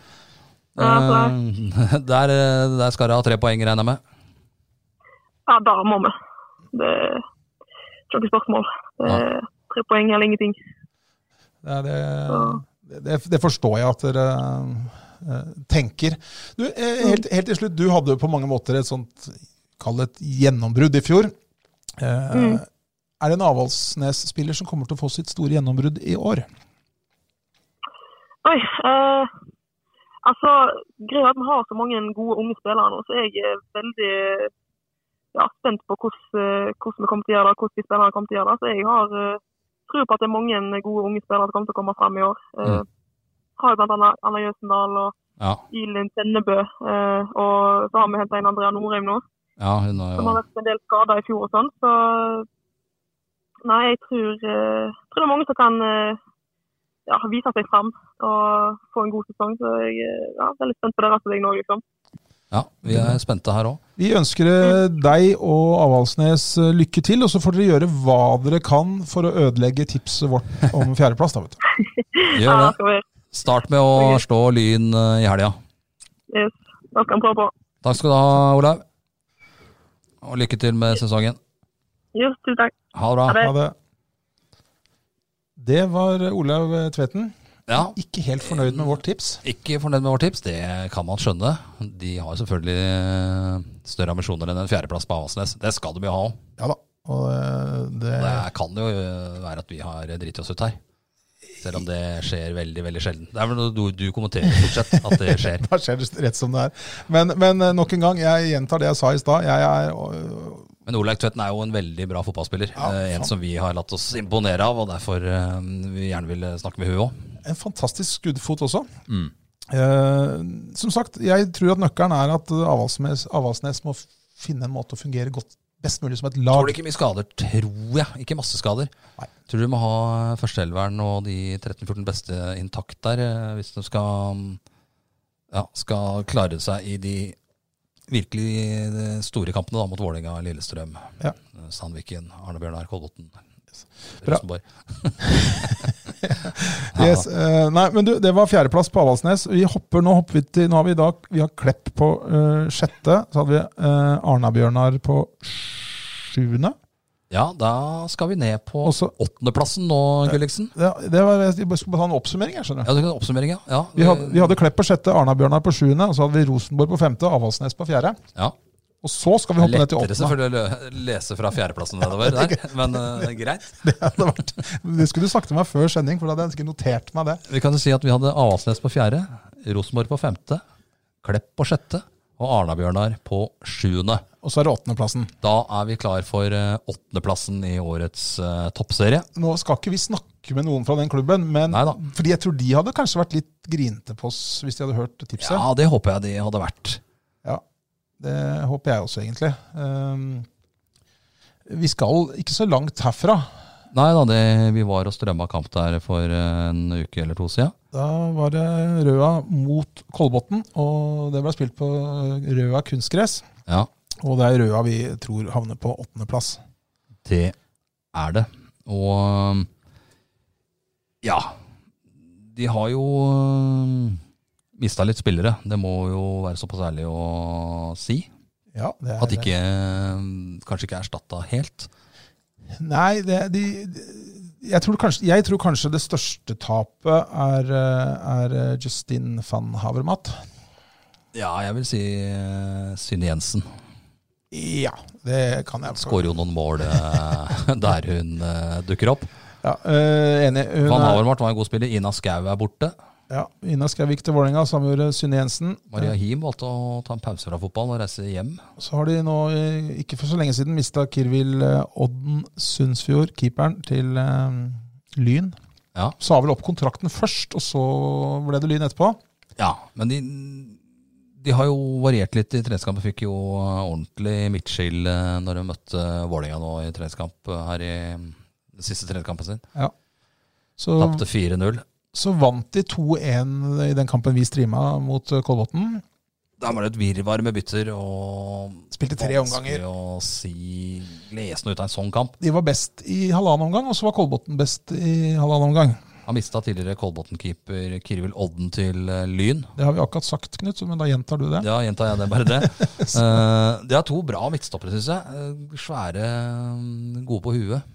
[SPEAKER 3] Ja,
[SPEAKER 1] Eh, der, eh, der skal dere ha tre poeng, regner jeg med.
[SPEAKER 3] Ja, da må vi. Det er ikke noe spørsmål. Det er tre poeng eller ingenting.
[SPEAKER 2] Det, er det, det, det forstår jeg at dere eh, tenker. Du, eh, helt, helt til slutt, du hadde jo på mange måter et sånt Kall det et gjennombrudd i fjor. Eh, Er det en Avaldsnes-spiller som kommer til å få sitt store gjennombrudd i år?
[SPEAKER 3] Oi, eh, altså, greia er at vi har så mange gode unge spillere nå, så jeg er veldig ja, spent på hvordan, eh, hvordan vi kommer til å gjøre det, hvordan de spillerne kommer til å gjøre det. Så jeg har eh, tro på at det er mange gode unge spillere som kommer til å komme frem i år. Eh,
[SPEAKER 1] Mm.
[SPEAKER 3] Har jo blant annet Anna Jøsendal og
[SPEAKER 1] Ja,
[SPEAKER 3] Ilin Tennebø. eh, Og så har vi henta inn Andrea Norheim nå,
[SPEAKER 1] ja hun har
[SPEAKER 3] som har
[SPEAKER 1] jo
[SPEAKER 3] vært en del skada i fjor og sånn. Så nei, jeg tror, eh, tror det er mange som kan eh, ja, vise seg fram og få en god sesong. Så jeg eh, ja, er litt spent på deres vei nå, liksom.
[SPEAKER 1] Ja, vi er spente her òg.
[SPEAKER 2] Vi ønsker eh, deg og Avaldsnes eh, lykke til, og så får dere gjøre hva dere kan for å ødelegge tipset vårt om fjerdeplass. da, vet du.
[SPEAKER 1] Gjør
[SPEAKER 3] Ja,
[SPEAKER 1] det.
[SPEAKER 3] skal vi,
[SPEAKER 1] Start med å slå Lyn eh, i helga.
[SPEAKER 3] yes, da skal vi prøve på.
[SPEAKER 1] Takk skal du ha, Olaug. Og lykke til med sesongen.
[SPEAKER 3] Yes, tusen takk.
[SPEAKER 1] Ha det bra.
[SPEAKER 3] Ha det.
[SPEAKER 2] Ha det. Det var Olaug Tveten.
[SPEAKER 1] Ja,
[SPEAKER 2] Ikke helt fornøyd med vårt tips.
[SPEAKER 1] ikke fornøyd med vårt tips, det kan man skjønne. De har selvfølgelig eh, større ambisjoner enn en fjerdeplass på Avaldsnes. Det skal de jo ha òg.
[SPEAKER 2] Ja da. Og eh, det,
[SPEAKER 1] Det kan jo eh, være at vi har driti oss ut her. Selv om det skjer veldig veldig sjelden. Det er vel noe du, du kommenterer stort sett, at det skjer.
[SPEAKER 2] da skjer det rett som det er. Men, men eh, nok en gang, jeg gjentar det jeg sa i stad. Jeg er øh,
[SPEAKER 1] Men Olaug Tvedten er jo en veldig bra fotballspiller.
[SPEAKER 2] Ja,
[SPEAKER 1] Eh, en
[SPEAKER 2] sant.
[SPEAKER 1] som vi har latt oss imponere av, og derfor eh, vi gjerne vil snakke med hun òg.
[SPEAKER 2] en fantastisk skuddfot også.
[SPEAKER 1] Mm.
[SPEAKER 2] Eh, som sagt, jeg tror at nøkkelen er at eh, Avaldsnes, Avaldsnes må f- finne en måte å fungere godt, best mulig som et
[SPEAKER 1] Tror
[SPEAKER 2] lag.
[SPEAKER 1] det ikke mye skader, tror jeg. Ikke masse skader.
[SPEAKER 2] Nei.
[SPEAKER 1] Tror du må ha eh, førsteelveren og de 13-14 beste intakt der, eh, hvis de skal, ja, skal klare seg i de virkelig eh, store kampene da, mot Vålerenga, Lillestrøm,
[SPEAKER 2] Ja.
[SPEAKER 1] eh, Sandviken, Arne Bjørnar, Kolbotn.
[SPEAKER 2] Bra.
[SPEAKER 1] Rosenborg.
[SPEAKER 2] Yes, eh, nei, men du, det var fjerdeplass på Avaldsnes. Vi hopper, nå hopper vi til Nå har vi i dag Vi har Klepp på eh, sjette. Så hadde vi eh, Arna-Bjørnar på sjuende.
[SPEAKER 1] Ja, da skal vi ned på
[SPEAKER 2] Og så
[SPEAKER 1] åttendeplassen nå, Gulliksen.
[SPEAKER 2] det, det var, Jeg skulle bare ta en oppsummering, jeg, skjønner du.
[SPEAKER 1] Ja, du kan oppsummeringa. Ja,
[SPEAKER 2] Vi hadde, vi hadde Klepp på sjette, Arna-Bjørnar på sjuende, og så hadde vi Rosenborg på femte, Avaldsnes på fjerde.
[SPEAKER 1] ja.
[SPEAKER 2] Og så skal vi hoppe ned til
[SPEAKER 1] Lettere
[SPEAKER 2] åttende.
[SPEAKER 1] selvfølgelig å lø- lese fra fjerdeplassen nedover der, men eh, greit.
[SPEAKER 2] Det, hadde vært, det skulle du sagt til meg før sending, for da hadde jeg ikke notert meg det.
[SPEAKER 1] Vi kan jo si at vi hadde Avaldsnes på fjerde, Rosenborg på femte, Klepp på sjette og Arna-Bjørnar på sjuende.
[SPEAKER 2] Og så er det åttendeplassen.
[SPEAKER 1] Da er vi klar for eh, åttendeplassen i årets eh, toppserie.
[SPEAKER 2] Nå skal ikke vi snakke med noen fra den klubben, men
[SPEAKER 1] Neida.
[SPEAKER 2] fordi jeg tror de hadde kanskje vært litt grinete på oss hvis de hadde hørt tipset.
[SPEAKER 1] Ja, det håper jeg de hadde vært.
[SPEAKER 2] Ja, det håper jeg også, egentlig. Ehm, vi skal ikke så langt herfra.
[SPEAKER 1] Nei da, det, vi var og strømma kamp der for eh, en uke eller to siden.
[SPEAKER 2] Da var det Røa mot Kolbotn, og det ble spilt på Røa kunstgress.
[SPEAKER 1] Ja,
[SPEAKER 2] Og det er Røa vi tror havner på åttendeplass.
[SPEAKER 1] det er det. Og eh, ja, de har jo mista litt spillere. Det må jo være såpass ærlig å si.
[SPEAKER 2] Ja, det er,
[SPEAKER 1] At de ikke, eh, kanskje ikke er erstatta helt.
[SPEAKER 2] Nei, det, de, de- jeg, tror kanskje, jeg tror kanskje det største tapet er, eh, er Justin van Havermat.
[SPEAKER 1] Ja, jeg vil si eh, Synne Jensen.
[SPEAKER 2] Ja, det kan jeg. altså.
[SPEAKER 1] Skårer jo noen mål eh, der hun eh, dukker opp.
[SPEAKER 2] Ja, eh, enig. Hun
[SPEAKER 1] Van
[SPEAKER 2] er,
[SPEAKER 1] Havermart var en god spiller. Ina Skau er borte.
[SPEAKER 2] ja, Ina Skjævik til Vålerenga, sammen med Synne Jensen.
[SPEAKER 1] Maria Him valgte å ta en pause fra fotballen og reise hjem.
[SPEAKER 2] Så har de nå, eh, ikke for så lenge siden, mista Kirvil eh, Odden Sundsfjord, keeperen, til eh, Lyn.
[SPEAKER 1] Ja.
[SPEAKER 2] Sa vel opp kontrakten først, og så ble det Lyn etterpå.
[SPEAKER 1] ja men de, de har jo variert litt i treningskampen. Fikk jo eh, ordentlig midtskill eh, når de møtte Vålerenga nå i treningskamp eh, her i den siste treningskampen sin.
[SPEAKER 2] Så,
[SPEAKER 1] Tapte 4-0.
[SPEAKER 2] så vant de 2-1 i den kampen vi streama mot eh, Kolbotn.
[SPEAKER 1] Da var det et virvar med bytter og
[SPEAKER 2] Spilte tre
[SPEAKER 1] Vanskelig å si lesende ut av en sånn kamp.
[SPEAKER 2] De var best i halvannen omgang, og så var Kolbotn best i halvannen omgang.
[SPEAKER 1] Han mista tidligere Kolbotn-keeper Kirvil Odden til eh, Lyn.
[SPEAKER 2] Det har vi akkurat sagt, Knut, så- men da gjentar du det.
[SPEAKER 1] Ja, gjentar jeg det, bare det. Eh, de har to bra midtstoppere, syns jeg. Eh, svære, mm, gode på huet.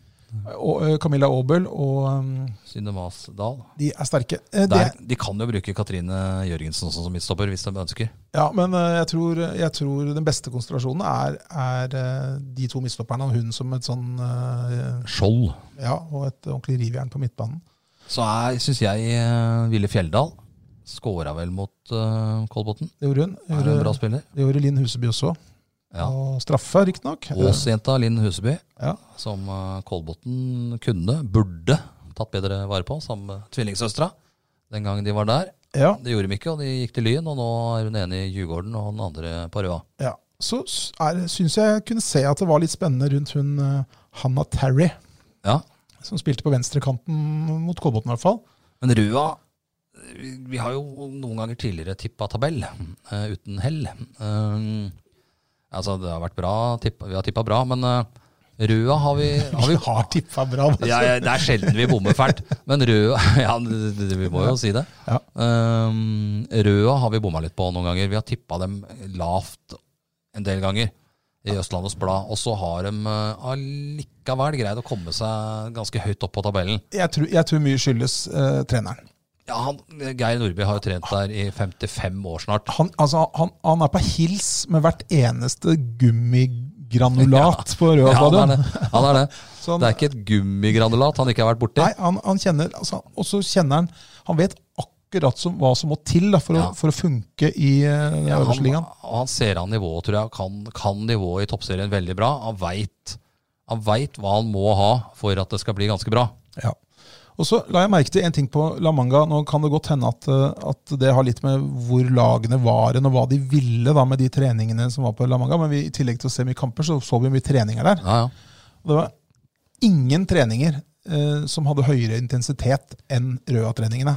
[SPEAKER 2] Og, eh, Camilla Aabel og eh,
[SPEAKER 1] Synne Masdal.
[SPEAKER 2] de er sterke. Eh, det,
[SPEAKER 1] Der, de kan jo bruke Katrine Jørgensen også som midtstopper, hvis de ønsker.
[SPEAKER 2] ja, men eh, jeg tror, jeg tror den beste konstellasjonen er, er eh, de to midtstopperne og hun som et sånn eh,
[SPEAKER 1] Skjold.
[SPEAKER 2] Ja, og et ordentlig rivjern på midtbanen.
[SPEAKER 1] Så syns jeg eh, Ville Fjelldal skåra vel mot eh, Kolbotn.
[SPEAKER 2] Det gjorde hun. Det
[SPEAKER 1] Er en bra
[SPEAKER 2] gjorde,
[SPEAKER 1] spiller.
[SPEAKER 2] det gjorde Linn Huseby også.
[SPEAKER 1] Ja.
[SPEAKER 2] Og straffa, riktignok.
[SPEAKER 1] Åsjenta Linn Huseby,
[SPEAKER 2] Ja.
[SPEAKER 1] som eh, Kolbotn kunne, burde tatt bedre vare på, som eh, tvillingsøstera. den gangen de var der.
[SPEAKER 2] Ja,
[SPEAKER 1] Det gjorde de ikke, og de gikk til Lyn, og nå er hun ene i Djurgården og den andre på Røa.
[SPEAKER 2] ja. Så s- er- syns jeg jeg kunne se at det var litt spennende rundt hun eh, Hannah Terry,
[SPEAKER 1] Ja.
[SPEAKER 2] som spilte på venstrekanten mot Kolbotn i hvert fall.
[SPEAKER 1] Men Røa vi, vi har jo noen ganger tidligere tippa tabell eh, uten hell. Eh, altså, det har vært bra, tipp, vi har tippa bra, men eh, Røa har vi, har vi
[SPEAKER 2] Vi har tippa bra. altså.
[SPEAKER 1] ja, ja, Det er sjelden vi bommer fælt, men Røa Ja, det- det- vi må jo si det.
[SPEAKER 2] Ja.
[SPEAKER 1] Um, Røa har vi bomma litt på noen ganger. Vi har tippa dem lavt en del ganger i Østlandets Blad. Og så har de eh, allikevel greid å komme seg ganske høyt opp på tabellen.
[SPEAKER 2] Jeg, tror, jeg tror mye skyldes eh, treneren.
[SPEAKER 1] Ja, han, Geir Nordby har jo trent der i 55 år snart.
[SPEAKER 2] Han, altså, han, han er på hils med hvert eneste gummigranulat på Røa Sånn.
[SPEAKER 1] Ja, han
[SPEAKER 2] stadion.
[SPEAKER 1] er det. Han er det.
[SPEAKER 2] Så han-
[SPEAKER 1] det er ikke et gummigranulat han ikke har vært borti.
[SPEAKER 2] Nei, han, han kjenner altså, Og så kjenner han Han vet akkurat som, hva som må til da, for,
[SPEAKER 1] Ja.
[SPEAKER 2] å, for å funke i uh,
[SPEAKER 1] Ja,
[SPEAKER 2] øverste
[SPEAKER 1] han,
[SPEAKER 2] ligaen.
[SPEAKER 1] og han ser an nivået, tror jeg, og kan, kan nivået i toppserien veldig bra. Han veit han vet hva han må ha for at det skal bli ganske bra.
[SPEAKER 2] Ja. Og så la jeg merke til en ting på La Manga. Nå kan det godt hende at, eh, at det har litt med hvor lagene var hen, og hva de ville da med de treningene som var på La Manga. Men vi, i tillegg til å se mye kamper, så så vi mye treninger der.
[SPEAKER 1] Ja, ja.
[SPEAKER 2] Og det var ingen treninger eh, som hadde høyere intensitet enn Røa-treningene.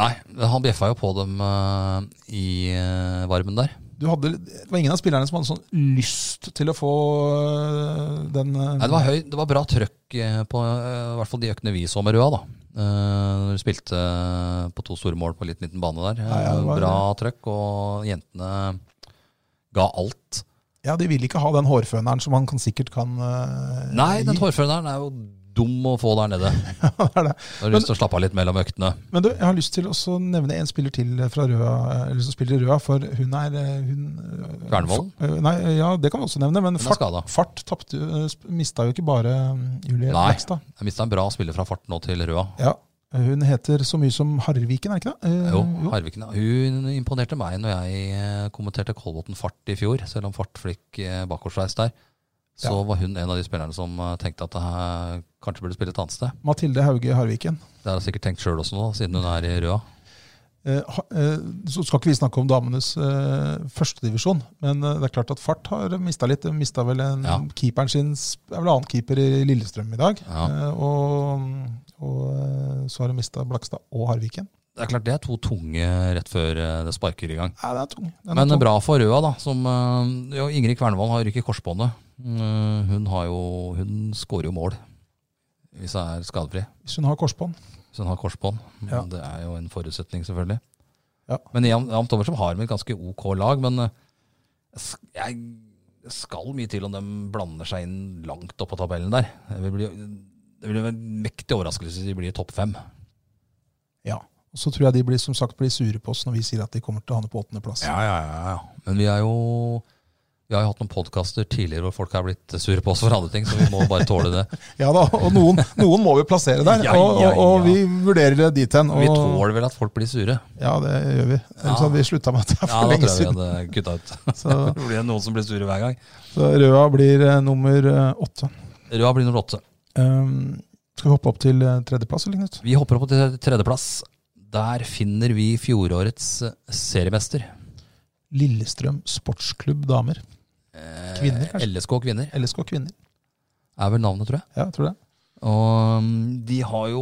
[SPEAKER 1] Nei, han bjeffa jo på dem eh, i eh, varmen der.
[SPEAKER 2] Du hadde, det var ingen av spillerne som hadde sånn lyst til å få eh, den eh,
[SPEAKER 1] Nei, det var, høy, det var bra trøkk eh, på eh, i hvert fall de øktene vi så med Røa, da. Eh, Når de spilte eh, på to store mål på litt liten bane der.
[SPEAKER 2] Ja, ja, det
[SPEAKER 1] Eh,
[SPEAKER 2] var-
[SPEAKER 1] bra trøkk, og jentene ga alt.
[SPEAKER 2] Ja, de vil ikke ha den hårføneren som han kan, sikkert kan eh,
[SPEAKER 1] Nei, den
[SPEAKER 2] gi.
[SPEAKER 1] hårføneren er jo dum å få der nede.
[SPEAKER 2] Det er det.
[SPEAKER 1] Du har lyst til å slappe av litt mellom øktene.
[SPEAKER 2] Men du, jeg har lyst til å også nevne en spiller til fra Røa, eh, eller som spiller i Røa, for hun er eh, hun, eh,
[SPEAKER 1] Kvernvoll?
[SPEAKER 2] f- eh, Nei, ja, det kan vi også nevne, men
[SPEAKER 1] er
[SPEAKER 2] fart,
[SPEAKER 1] skada.
[SPEAKER 2] fart tapte jo- eh, sp- mista jo ikke bare mm, Julie
[SPEAKER 1] Nei.
[SPEAKER 2] Blekstad.
[SPEAKER 1] Jeg mista en bra spiller fra fart nå til Røa.
[SPEAKER 2] Ja, hun heter så mye som Harviken, er det ikke det? Eh,
[SPEAKER 1] Mm, Jo, Harviken. Hun imponerte meg når jeg eh, kommenterte Kolbotn fart i fjor. Selv om fart flikk eh, bakoversveis der, så
[SPEAKER 2] Ja.
[SPEAKER 1] var hun en av de spillerne som eh, tenkte at det her kanskje burde spille et annet sted.
[SPEAKER 2] Mathilde Hauge Harviken.
[SPEAKER 1] Det har hun sikkert tenkt sjøl også nå, siden hun er i Røa.
[SPEAKER 2] Eh, ha- eh, Så skal ikke vi snakke om damenes eh, førstedivisjon, men eh, det er klart at Fart har mista litt. De mista vel en,
[SPEAKER 1] Ja.
[SPEAKER 2] keeperen sin Det er vel annen keeper i Lillestrøm i dag.
[SPEAKER 1] Ja.
[SPEAKER 2] Eh, Og, og eh, så har de mista Blakstad og Harviken.
[SPEAKER 1] Det er klart det er to tunge rett før eh, det sparker i gang.
[SPEAKER 2] Nei, den er tung. Den
[SPEAKER 1] Men eh,
[SPEAKER 2] er tung.
[SPEAKER 1] bra for Røa, da. Som, eh, jo, Ingrid Kvernvoll har rykket korsbåndet. Eh, Hun, har jo, hun skårer jo mål hvis hun er skadefri.
[SPEAKER 2] Hvis hun har korsbånd.
[SPEAKER 1] Så hun har korsbånd.
[SPEAKER 2] Ja.
[SPEAKER 1] Det er jo en forutsetning, selvfølgelig.
[SPEAKER 2] Ja.
[SPEAKER 1] Men Jan Jan Thommersen har med et ganske ok lag, men eh, s- jeg det skal mye til om de blander seg inn langt opp på tabellen der. Det vil bli, det vil bli en mektig overraskelse hvis de blir topp fem.
[SPEAKER 2] Ja. Og så tror jeg de blir som sagt blir sure på oss når vi sier at de kommer til å havne på åttendeplass.
[SPEAKER 1] ja, ja, Men vi er jo vi har jo hatt noen podkaster tidligere hvor folk har blitt sure på oss for andre ting, så vi må bare tåle det.
[SPEAKER 2] Ja da, og noen, noen må vi plassere der,
[SPEAKER 1] Ja,
[SPEAKER 2] og,
[SPEAKER 1] ja,
[SPEAKER 2] og, og
[SPEAKER 1] ja.
[SPEAKER 2] vi vurderer det dit hen.
[SPEAKER 1] Vi
[SPEAKER 2] Og,
[SPEAKER 1] tåler vel at folk blir sure.
[SPEAKER 2] ja, det gjør vi. Ellers hadde vi slutta med at det er
[SPEAKER 1] Ja,
[SPEAKER 2] for
[SPEAKER 1] da
[SPEAKER 2] lenge
[SPEAKER 1] tror jeg vi
[SPEAKER 2] siden.
[SPEAKER 1] hadde kutta ut.
[SPEAKER 2] Så,
[SPEAKER 1] Det blir noen som blir sure hver gang.
[SPEAKER 2] så Røa blir eh, nummer eh, åtte.
[SPEAKER 1] Røa blir nummer åtte.
[SPEAKER 2] Um, skal vi hoppe opp til eh, tredjeplass, eller, Knut?
[SPEAKER 1] Vi hopper opp til tredjeplass. Der finner vi fjorårets seriemester.
[SPEAKER 2] Lillestrøm sportsklubb damer. Kvinner, kanskje?
[SPEAKER 1] LSK Kvinner
[SPEAKER 2] LSK kvinner.
[SPEAKER 1] er vel navnet, tror jeg.
[SPEAKER 2] Ja, jeg tror det.
[SPEAKER 1] Og mm, de har jo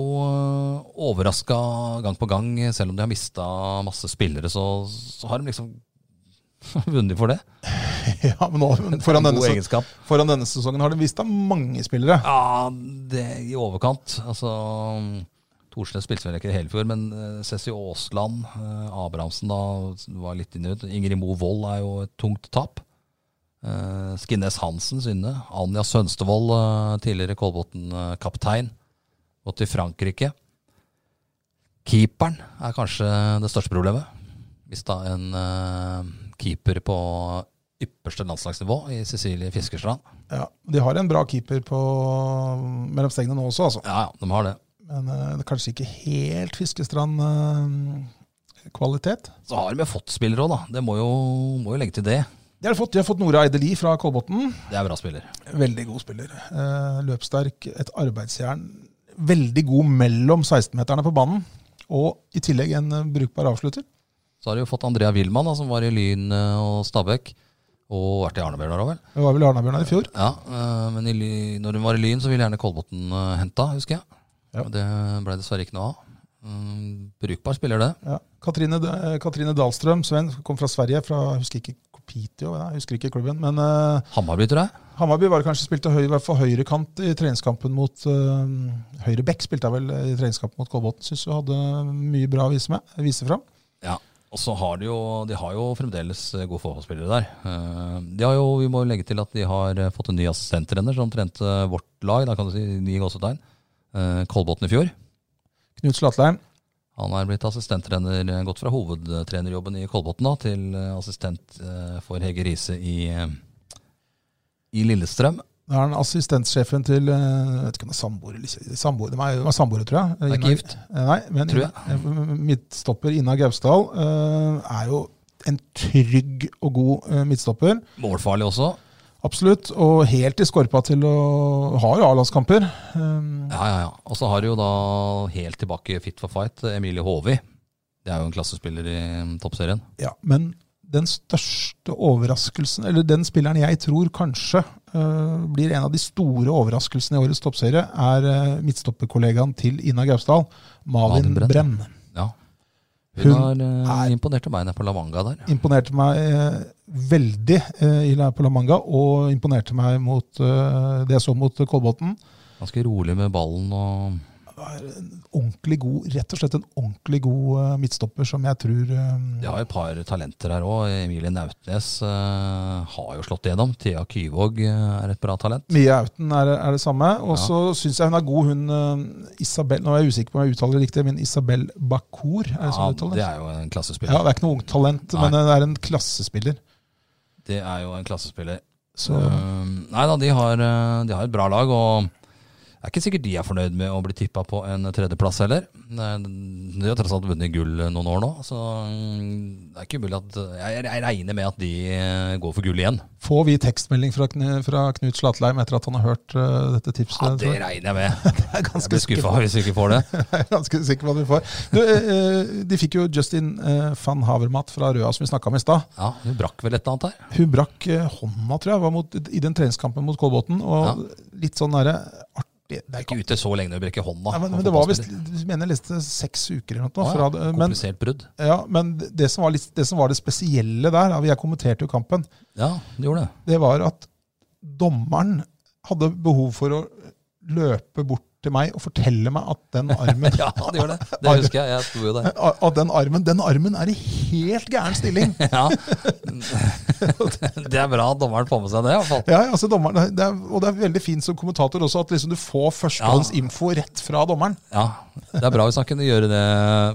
[SPEAKER 1] overraska gang på gang, selv om de har mista masse spillere, så, så har de liksom vunnet for det.
[SPEAKER 2] Ja, men nå, men foran,
[SPEAKER 1] En
[SPEAKER 2] denne,
[SPEAKER 1] god
[SPEAKER 2] se-
[SPEAKER 1] egenskap.
[SPEAKER 2] foran denne sesongen har de vist av mange spillere.
[SPEAKER 1] Ja, det er i overkant. Altså Thorsnes spilte vel ikke i hele fjor, men eh, Ceci Aasland, eh, Abrahamsen da var litt inne ut. Ingrid Mo Wold er jo et tungt tap. Eh, Skinnes Hansen, Synne. Anja Sønstevold, eh, tidligere Kolbotn-kaptein, gått til Frankrike. Keeperen er kanskje det største problemet. Hvis da en eh, keeper på ypperste landslagsnivå i Cecilie Fiskerstrand
[SPEAKER 2] Ja, De har en bra keeper på, mellom stengene nå også, altså.
[SPEAKER 1] Ja, ja, de har det.
[SPEAKER 2] Men eh, det er kanskje ikke helt eh, Fiskestrand-kvalitet.
[SPEAKER 1] Så har de jo fått spillere òg, da. Det må jo, må jo legge til det.
[SPEAKER 2] de, har fått, de har fått Nora Eideli fra Kolbotn.
[SPEAKER 1] Det er bra spiller.
[SPEAKER 2] Veldig god spiller. Eh, løpssterk, et arbeidsjern. Veldig god mellom 16-meterne på banen. Og i tillegg en eh, brukbar avslutter.
[SPEAKER 1] Så har du jo fått Andrea Wilman, da, som var i Lyn eh, og Stabæk. Og vært i Arnebjørnar òg, vel.
[SPEAKER 2] Det var vel Arna-Bjørnar i fjor.
[SPEAKER 1] Ja, eh, men i, Ly- når hun var i Lyn, så ville gjerne Kolbotn eh, henta, husker jeg.
[SPEAKER 2] Ja.
[SPEAKER 1] Og Det ble dessverre ikke noe av. Mm, brukbar spiller, det.
[SPEAKER 2] Ja. Katrine, eh, Katrine Dahlstrøm, Sven, kom fra Sverige, fra jeg husker ikke Kopitio, jeg husker ikke klubben. Men eh,
[SPEAKER 1] Hammarby, tror jeg.
[SPEAKER 2] Hammarby var det kanskje spilte høy, i hvert fall høyrekant i treningskampen mot eh, Høyre Bekk spilte jeg vel eh, i treningskampen mot Kolbotn. Syns hun hadde mye bra å vise, med, vise fram.
[SPEAKER 1] Ja. Og så har de jo De har jo fremdeles eh, gode fotballspillere der. Eh, De har jo, vi må jo legge til at de har eh, fått en ny assistenttrener som trente vårt lag, da kan du si ni gåsetegn. Eh, Kolbotn i fjor.
[SPEAKER 2] Knut Slatleim.
[SPEAKER 1] Han er blitt assistenttrener, eh, gått fra hovedtrenerjobben i Kolbotn da, til eh, assistent eh, for Hege Riise i, eh, i Lillestrøm.
[SPEAKER 2] Da er han assistentsjefen til eh, Jeg vet ikke om det er samboer eller ikke. Samboer, de er, de er samboere, tror jeg.
[SPEAKER 1] Er
[SPEAKER 2] Ina-
[SPEAKER 1] ikke gift.
[SPEAKER 2] Eh, Nei, men
[SPEAKER 1] Tror
[SPEAKER 2] eh, midtstopper Ina Gausdal eh, er jo en trygg og god eh, midtstopper.
[SPEAKER 1] Målfarlig også.
[SPEAKER 2] Absolutt. Og helt i skorpa til å ha jo A-landskamper. Eh,
[SPEAKER 1] Ja, ja, ja. Og så har du jo da helt tilbake i fit for fight eh, Emilie Håvi. Det er jo en klassespiller i mm, toppserien.
[SPEAKER 2] Ja, men den største overraskelsen, eller den spilleren jeg tror kanskje eh, blir en av de store overraskelsene i årets toppserie, er eh, midtstopperkollegaen til Ina Gausdal, Malin,
[SPEAKER 1] Malin Brenn.
[SPEAKER 2] Brenn.
[SPEAKER 1] Ja. Hun,
[SPEAKER 2] Hun
[SPEAKER 1] har
[SPEAKER 2] er-
[SPEAKER 1] eh, imponert meg nede på La Manga der.
[SPEAKER 2] Imponerte meg eh, veldig eh, i La Manga, og imponerte meg mot eh, det jeg så mot Kolbotn.
[SPEAKER 1] Ganske rolig med ballen og
[SPEAKER 2] Ordentlig god, rett og slett en ordentlig god eh, midtstopper som jeg tror eh,
[SPEAKER 1] De har jo et par talenter her òg. Emilie Nautnes eh, har jo slått igjennom. Thea Kyvåg eh, er et bra talent.
[SPEAKER 2] Mia Auten er, er det samme. Og så syns jeg hun er god, hun eh, Isabel Nå er jeg usikker på om jeg uttaler det riktig, men Isabel Bakour. Er det
[SPEAKER 1] Ja,
[SPEAKER 2] sånn uttaler?
[SPEAKER 1] det er jo en
[SPEAKER 2] ja,
[SPEAKER 1] klassespiller.
[SPEAKER 2] det er ikke noe ungt talent, men det er en klassespiller.
[SPEAKER 1] Det er jo en klassespiller.
[SPEAKER 2] Så
[SPEAKER 1] Um, nei da, de har, eh, de har et bra lag, og det er ikke sikkert de er fornøyd med å bli tippa på en tredjeplass heller. Nei, De har tross alt vunnet gull øh, noen år nå, så mm, det er ikke umulig at Jeg jeg regner med at de eh, går for gull igjen.
[SPEAKER 2] får vi tekstmelding fra, Kn- fra Knut Slatleim etter at han har hørt eh, dette tipset.
[SPEAKER 1] Ja,
[SPEAKER 2] tror
[SPEAKER 1] det
[SPEAKER 2] jeg.
[SPEAKER 1] regner jeg med.
[SPEAKER 2] Jeg er
[SPEAKER 1] Jeg
[SPEAKER 2] ganske
[SPEAKER 1] blir
[SPEAKER 2] sikker
[SPEAKER 1] skuffa
[SPEAKER 2] på-
[SPEAKER 1] hvis vi ikke får det.
[SPEAKER 2] jeg er ganske sikker på at vi får. Du, eh, eh, de fikk jo Justin eh, van Havermat fra Røa, som vi snakka om i stad.
[SPEAKER 1] Ja, Hun brakk vel et eller annet her.
[SPEAKER 2] Hun brakk eh, hånda, tror jeg, var mot, i den treningskampen mot Kolbotn. Og litt sånn derre artig Det er ikke
[SPEAKER 1] Ikke ute så lenge når hun brekker hånda.
[SPEAKER 2] Nei, men,
[SPEAKER 1] på
[SPEAKER 2] men det var visst,
[SPEAKER 1] fotballspiller.
[SPEAKER 2] du mener jeg leste seks uker eller noe.
[SPEAKER 1] Å,
[SPEAKER 2] Fra,
[SPEAKER 1] ja.
[SPEAKER 2] det, men
[SPEAKER 1] Komplisert brudd.
[SPEAKER 2] ja, men det, som var litt, det som var det spesielle der, da, jeg kommenterte jo kampen,
[SPEAKER 1] Ja, det gjorde det.
[SPEAKER 2] det var at dommeren hadde behov for å løpe bort til meg og fortelle meg at den armen
[SPEAKER 1] Ja, det gjorde det. Det husker jeg. Jeg sto jo der.
[SPEAKER 2] At Eh, den armen, den armen er i helt gæren stilling!
[SPEAKER 1] Ja. Det er bra at dommeren får med seg det, i hvert fall.
[SPEAKER 2] Ja, altså dommeren, det er, Og det er veldig fint som kommentator også at liksom du får førstehåndsinfo rett fra dommeren.
[SPEAKER 1] Ja, Det er bra hvis han kunne gjøre det,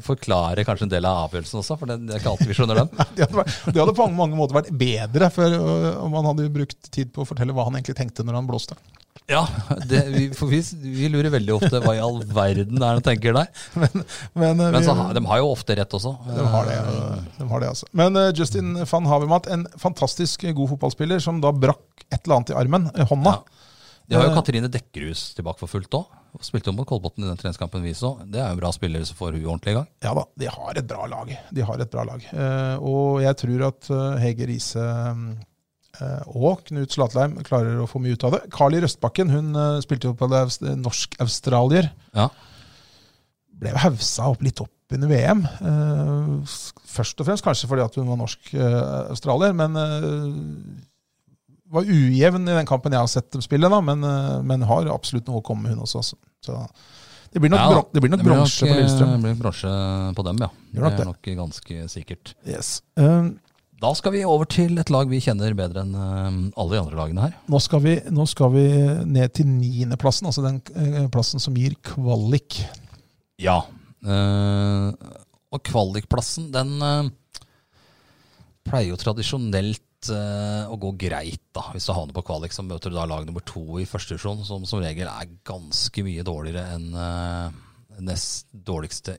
[SPEAKER 1] forklare kanskje en del av avgjørelsen også, for det, det er ikke alltid vi skjønner den.
[SPEAKER 2] Det hadde, vært, det hadde på mange måter vært bedre for, øh, om han hadde brukt tid på å fortelle hva han egentlig tenkte når han blåste.
[SPEAKER 1] Ja, det, vi, for vi, vi lurer veldig ofte hva i all verden er det han tenker der.
[SPEAKER 2] Men, øh,
[SPEAKER 1] Men
[SPEAKER 2] vi-
[SPEAKER 1] så, har- de har jo ofte rett også.
[SPEAKER 2] de har det, øh, de har det altså. Men øh, Justin van Havermat, en fantastisk øh, god fotballspiller som da brakk et eller annet i armen, øh, hånda.
[SPEAKER 1] Ja. De har jo Katrine Dekkerhus tilbake for fullt òg. Spilte jo mot Kolbotn i den treningskampen vi så. Det er jo en bra spiller som får hun ordentlig i gang.
[SPEAKER 2] Ja da, de har et bra lag. De har et bra lag. Eh, og jeg tror at eh, Hege Riise eh, og Knut Slatleim klarer å få mye ut av det. Carly Røstbakken hun eh, spilte jo på det aus- norsk-australier.
[SPEAKER 1] Ja.
[SPEAKER 2] ble jo hausa opp litt opp under VM. Eh, s- Først og fremst kanskje fordi at hun var norsk eh, australier, men eh, var ujevn i den kampen jeg har sett dem spille, da, men, eh, men har absolutt noe å komme med, hun også. altså. Så det blir nok,
[SPEAKER 1] Ja,
[SPEAKER 2] bron det blir nok bronse på
[SPEAKER 1] eh,
[SPEAKER 2] Lillestrøm.
[SPEAKER 1] Det blir bronse på dem, ja.
[SPEAKER 2] Gjør nok
[SPEAKER 1] Det er nok ganske sikkert.
[SPEAKER 2] Yes. Eh,
[SPEAKER 1] Da skal vi over til et lag vi kjenner bedre enn eh, alle de andre lagene her.
[SPEAKER 2] nå, skal vi, nå skal vi ned til niendeplassen, altså den eh, plassen som gir kvalik.
[SPEAKER 1] Ja. eh, og kvalikplassen, den eh, pleier jo tradisjonelt eh, å gå greit, da. Hvis du havner på kvalik, så møter du da lag nummer to i første divisjon, som som regel er ganske mye dårligere enn eh, nest dårligste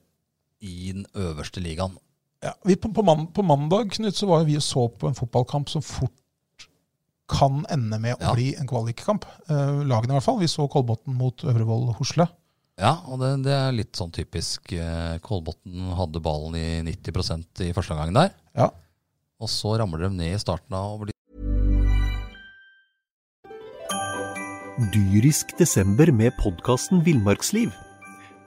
[SPEAKER 1] i den øverste ligaen.
[SPEAKER 2] Ja, vi på, på, man, på mandag Knut, så var jo vi og så på en fotballkamp som fort kan ende med å
[SPEAKER 1] Ja.
[SPEAKER 2] Ehm, bli en kvalikkamp. Eh, lagene i hvert fall. Vi så Kolbotn mot Øvrevoll Hosle.
[SPEAKER 1] Ja, og det, det er litt sånn typisk. eh, Kolbotn hadde ballen i 90 i første omgang der.
[SPEAKER 2] Ja.
[SPEAKER 1] Og så ramler de ned i starten av og blir
[SPEAKER 4] Dyrisk desember med podkasten Villmarksliv.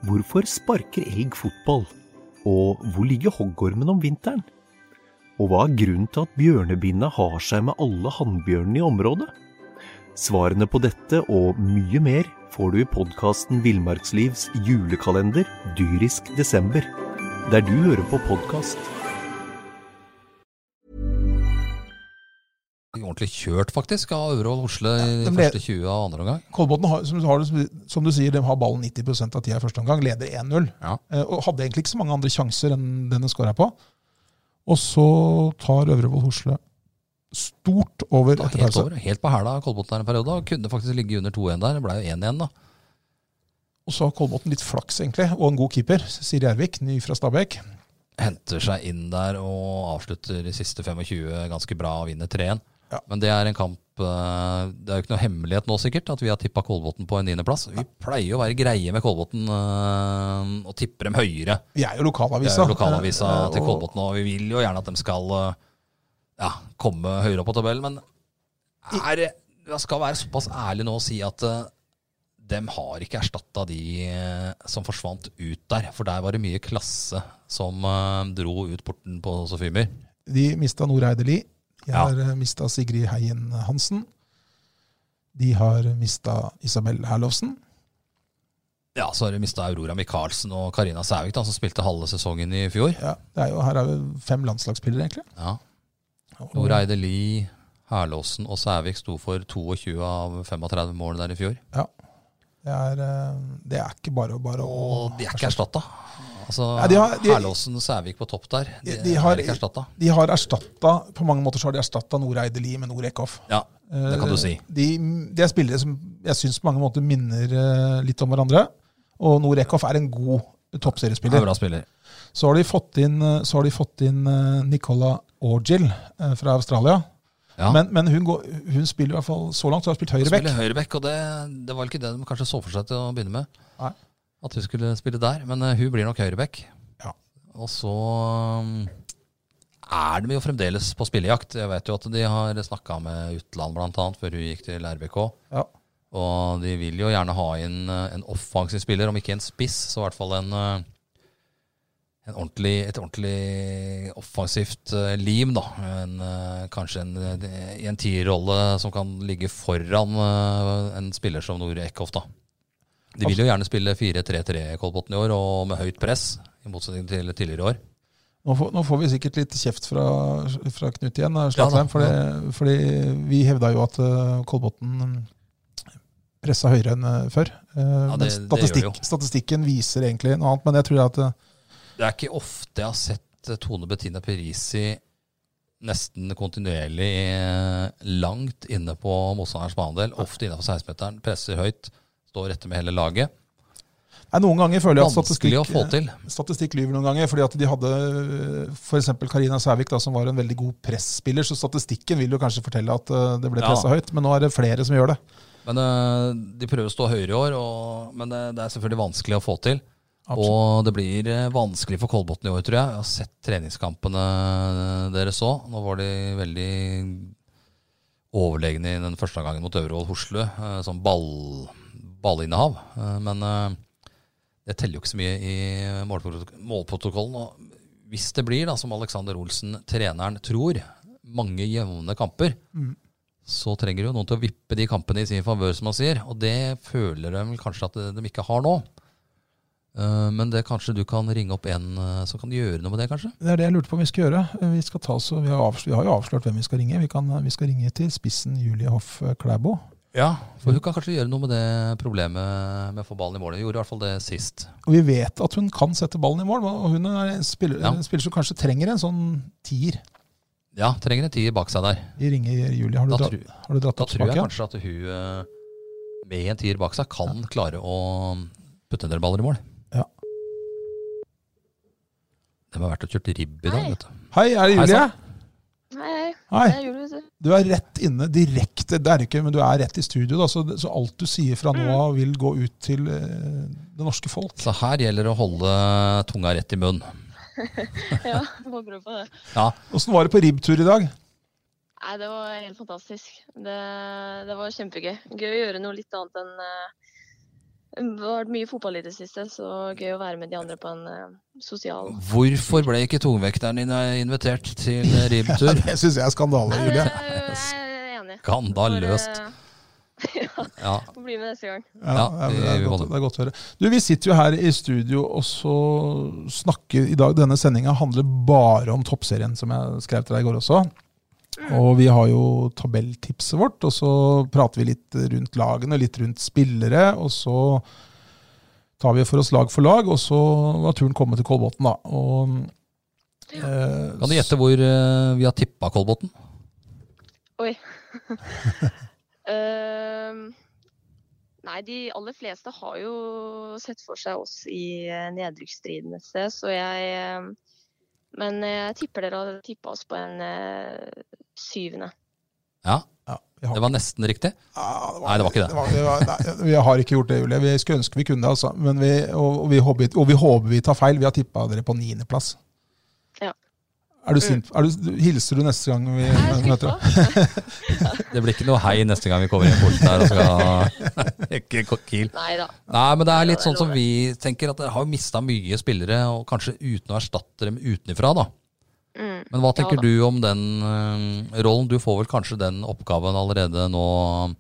[SPEAKER 4] Hvorfor sparker elg fotball? Og hvor ligger hoggormen om vinteren? Og hva er grunnen til at bjørnebinna har seg med alle hannbjørnene i området? Svarene på dette og mye mer får du i podkasten Villmarkslivs julekalender Dyrisk desember, der du hører på podkast.
[SPEAKER 1] ordentlig kjørt, faktisk, av Øvre Osle i
[SPEAKER 2] de ble-
[SPEAKER 1] første 20 av andre omgang.
[SPEAKER 2] Kolbotn har, som, har, det- som du sier, de har ballen 90 av tida i første omgang, leder 1-0.
[SPEAKER 1] Ja.
[SPEAKER 2] Eh, Og hadde egentlig ikke så mange andre sjanser enn den de skåra på. Og så tar Øvrevoll Hosle stort over
[SPEAKER 1] Da,
[SPEAKER 2] etter
[SPEAKER 1] helt
[SPEAKER 2] pause.
[SPEAKER 1] over. Helt på hæla av Kolbotn her en periode. og Kunne faktisk ligge under 2-1 der. Det ble jo 1-1, da.
[SPEAKER 2] Og så har Kolbotn litt flaks, egentlig, og en god keeper. Siri Gjervik, ny fra Stabæk.
[SPEAKER 1] Henter seg inn der og avslutter de siste 25 ganske bra og vinner 3-1.
[SPEAKER 2] Ja.
[SPEAKER 1] Men det er en kamp eh, Det er jo ikke noe hemmelighet nå, sikkert, at vi har tippa Kolbotn på en niendeplass. Vi pleier jo å være greie med Kolbotn eh, og tipper dem høyere.
[SPEAKER 2] Vi er jo
[SPEAKER 1] Det
[SPEAKER 2] lokalavisa.
[SPEAKER 1] er jo lokalavisa
[SPEAKER 2] Eh, eh,
[SPEAKER 1] til
[SPEAKER 2] og-
[SPEAKER 1] Kolbotn, og vi vil jo gjerne at de skal eh, ja, komme høyere opp på tabellen. Men er, jeg skal være såpass ærlig nå og si at eh, dem har ikke erstatta de eh, som forsvant ut der. For der var det mye klasse som eh, dro ut porten på Sofimer.
[SPEAKER 2] De mista Noreide Li. De
[SPEAKER 1] Ja.
[SPEAKER 2] har mista Sigrid Heien Hansen. De har mista Isabel Herlovsen.
[SPEAKER 1] Ja, så har de mista Aurora Michaelsen og Karina Sævik, da, som spilte halve sesongen i fjor.
[SPEAKER 2] Ja, det er jo, her er jo fem landslagsspillere, egentlig.
[SPEAKER 1] Ja.
[SPEAKER 2] Og-
[SPEAKER 1] Noreide Lie, Herlåsen og Sævik sto for 22 av 35 mål der i fjor.
[SPEAKER 2] Det er, eh, det er ikke bare, bare å
[SPEAKER 1] Og de er ikke erstatta. Altså,
[SPEAKER 2] Nei, de har- de-
[SPEAKER 1] Herlåsen Sævik på topp der, de,
[SPEAKER 2] De- de har-
[SPEAKER 1] er ikke erstatta.
[SPEAKER 2] De har erstatta På mange måter så har de erstatta Noreide Li med Nore Eckhoff.
[SPEAKER 1] Ja, det kan du si.
[SPEAKER 2] Eh, De, de er spillere som jeg syns på mange måter minner eh, litt om hverandre. Og Nore Eckhoff er en god
[SPEAKER 1] Han er
[SPEAKER 2] toppseriespiller.
[SPEAKER 1] bra spiller.
[SPEAKER 2] Så har de fått inn, eh, så har de fått inn eh, Nicola Orgil eh, fra Australia.
[SPEAKER 1] Ja.
[SPEAKER 2] Men, men hun, går, hun spiller i hvert fall så langt, så har hun spilt
[SPEAKER 1] Han
[SPEAKER 2] høyreback.
[SPEAKER 1] spiller høyreback, og det, det var vel ikke det de kanskje så for seg til å begynne med.
[SPEAKER 2] Nei.
[SPEAKER 1] At hun skulle spille der, men eh, hun blir nok høyreback.
[SPEAKER 2] Ja.
[SPEAKER 1] Og så um, er de jo fremdeles på spillejakt. Jeg vet jo at de har snakka med utland bl.a. før hun gikk til RBK.
[SPEAKER 2] Ja.
[SPEAKER 1] Og de vil jo gjerne ha inn eh, en offensiv spiller, om ikke en spiss, så i hvert fall en, eh, en ordentlig, et ordentlig offensivt eh, lim, da. En, eh, kanskje en, eh, i en tierrolle som kan ligge foran eh, en spiller som Nore Eckhoff, da. De vil jo gjerne spille 4-3-3 Kolbotn i år, og med høyt press, i motsetning til tidligere år.
[SPEAKER 2] Nå får, nå får vi sikkert litt kjeft fra, fra Knut igjen, eh,
[SPEAKER 1] Ja
[SPEAKER 2] Slatheim,
[SPEAKER 1] da,
[SPEAKER 2] fordi, fordi vi hevda jo at eh, Kolbotn pressa høyere enn eh, før. Eh,
[SPEAKER 1] det-
[SPEAKER 2] men
[SPEAKER 1] det gjør
[SPEAKER 2] statistikk,
[SPEAKER 1] jo.
[SPEAKER 2] statistikken viser egentlig noe annet. Men jeg tror at eh,
[SPEAKER 1] Det er ikke ofte jeg har sett eh, Tone Bettina Perisi nesten kontinuerlig eh, langt inne på motstanderens banedel. Ofte innafor 16-meteren. Presser høyt. Står rette med hele laget.
[SPEAKER 2] nei, noen ganger føler jeg at
[SPEAKER 1] Vanskelig å
[SPEAKER 2] statistikk, eh,
[SPEAKER 1] få til.
[SPEAKER 2] statistikk lyver noen ganger. fordi at de hadde f.eks. Karina Sævik, da, som var en veldig god presspiller. Så statistikken vil jo kanskje fortelle at eh, det ble
[SPEAKER 1] Ja.
[SPEAKER 2] pressa høyt, men nå er det flere som gjør det.
[SPEAKER 1] Men eh, de prøver å stå høyere i år, og, men eh, det er selvfølgelig vanskelig å få til.
[SPEAKER 2] Absolutt.
[SPEAKER 1] Og det blir eh, vanskelig for Kolbotn i år, tror jeg. Jeg har sett treningskampene eh, deres òg. Nå var de veldig overlegne i den første gangen mot Øvrevoll Horsle, eh, som ball, ballinnehav. Eh, Men eh, det teller jo ikke så mye i målprotok- målprotokollen. Og hvis det blir, da, som Alexander Olsen, treneren, tror, mange jevne kamper,
[SPEAKER 2] Mm.
[SPEAKER 1] så trenger jo noen til å vippe de kampene i sin favør, som han sier. Og det føler de vel kanskje at de ikke har nå. Eh, Men det kanskje du kan ringe opp en eh, som kan gjøre noe med det, kanskje?
[SPEAKER 2] Det er det jeg lurte på om vi skal gjøre. Eh, Vi, skal ta oss, og- vi, har, avslørt, vi har jo avslørt hvem vi skal ringe. Vi, kan, vi skal ringe til spissen Julie Hoff eh, Klæbo.
[SPEAKER 1] Ja. For hun kan kanskje gjøre noe med det problemet med å få ballen i målet. Hun Gjorde i hvert fall det sist.
[SPEAKER 2] Og vi vet at hun kan sette ballen i mål, og hun er en spiller,
[SPEAKER 1] Ja.
[SPEAKER 2] en spiller som kanskje trenger en sånn tier.
[SPEAKER 1] Ja, trenger en tier bak seg der.
[SPEAKER 2] Vi ringer Julie. Har du,
[SPEAKER 1] Da,
[SPEAKER 2] dra,
[SPEAKER 1] tru,
[SPEAKER 2] har du dratt
[SPEAKER 1] da
[SPEAKER 2] opp
[SPEAKER 1] tror jeg
[SPEAKER 2] tilbake?
[SPEAKER 1] kanskje at hun eh, med en tier bak seg kan klare å putte en del baller i mål.
[SPEAKER 2] Ja.
[SPEAKER 1] De har vært og kjørt ribb i dag,
[SPEAKER 5] Hei.
[SPEAKER 1] vet du.
[SPEAKER 2] Hei, er det
[SPEAKER 1] Hei,
[SPEAKER 2] Julie?
[SPEAKER 1] sann.
[SPEAKER 5] Hei, hei.
[SPEAKER 2] Hei.
[SPEAKER 5] hei. Det er jul, vet du.
[SPEAKER 2] Du er rett inne direkte, det er det ikke, men du er rett i studio. Da, så, så alt du sier fra nå av vil gå ut til eh, det norske folk.
[SPEAKER 1] Så her gjelder det å holde tunga rett i munnen.
[SPEAKER 5] Ja, må prøve på det.
[SPEAKER 2] Åssen var det på ribbtur i dag?
[SPEAKER 5] Nei, det var helt fantastisk. Det, det var kjempegøy. Gøy å gjøre noe litt annet enn eh, Det har vært mye fotball i det siste, så gøy å være med de andre på en eh, sosial
[SPEAKER 1] Hvorfor ble ikke tungvekteren din invitert til
[SPEAKER 2] Ja,
[SPEAKER 1] ribbtur?
[SPEAKER 2] det syns jeg er skandale,
[SPEAKER 5] Nei, det
[SPEAKER 2] Julie.
[SPEAKER 5] er jo- Eh, Jeg er enig.
[SPEAKER 1] Skandaløst.
[SPEAKER 5] Får, eh, Ja,
[SPEAKER 1] Ja.
[SPEAKER 5] får bli med neste gang.
[SPEAKER 2] Ja,
[SPEAKER 1] Ja,
[SPEAKER 2] det, er
[SPEAKER 1] vi
[SPEAKER 2] godt,
[SPEAKER 1] holder.
[SPEAKER 2] det er godt å høre. Du, Vi sitter jo her i studio og så snakker i dag Denne sendinga handler bare om toppserien, som jeg skrev til deg i går også. Og vi har jo tabelltipset vårt, og så prater vi litt rundt lagene, litt rundt spillere. Og så tar vi for oss lag for lag, og så var turen kommet til Kolbotn, da. Og, eh,
[SPEAKER 1] Kan du gjette hvor eh, vi har tippa Kolbotn?
[SPEAKER 5] Oi. Ehm, nei, de aller fleste har jo sett for seg oss i eh, nedrykksstriden et sted, så jeg ehm, Men jeg tipper dere har tippa oss på en eh, syvende.
[SPEAKER 1] Ja,
[SPEAKER 2] ja, vi har
[SPEAKER 1] det var nesten riktig.
[SPEAKER 2] Ja,
[SPEAKER 1] Nei, det var ikke det.
[SPEAKER 2] det var, nei, vi har ikke gjort det, Julie. Vi skulle ønske vi kunne det, altså. Men vi, og, og, vi håper, og vi håper vi tar feil. Vi har tippa dere på niendeplass.
[SPEAKER 5] Ja. Mm.
[SPEAKER 2] Er du sint? Er du, hilser du neste gang vi møter deg?
[SPEAKER 1] Det blir ikke noe hei neste gang vi kommer inn porten her og skal rekke Kiel.
[SPEAKER 5] Nei da.
[SPEAKER 1] Nei, men det er litt
[SPEAKER 5] Ja, det
[SPEAKER 1] sånn
[SPEAKER 5] er
[SPEAKER 1] som vi tenker, at dere har mista mye spillere, og kanskje uten å erstatte dem utenfra, da.
[SPEAKER 5] Mm.
[SPEAKER 1] Men hva
[SPEAKER 5] Ja
[SPEAKER 1] tenker
[SPEAKER 5] da.
[SPEAKER 1] du om den eh, rollen? Du får vel kanskje den oppgaven allerede nå eh,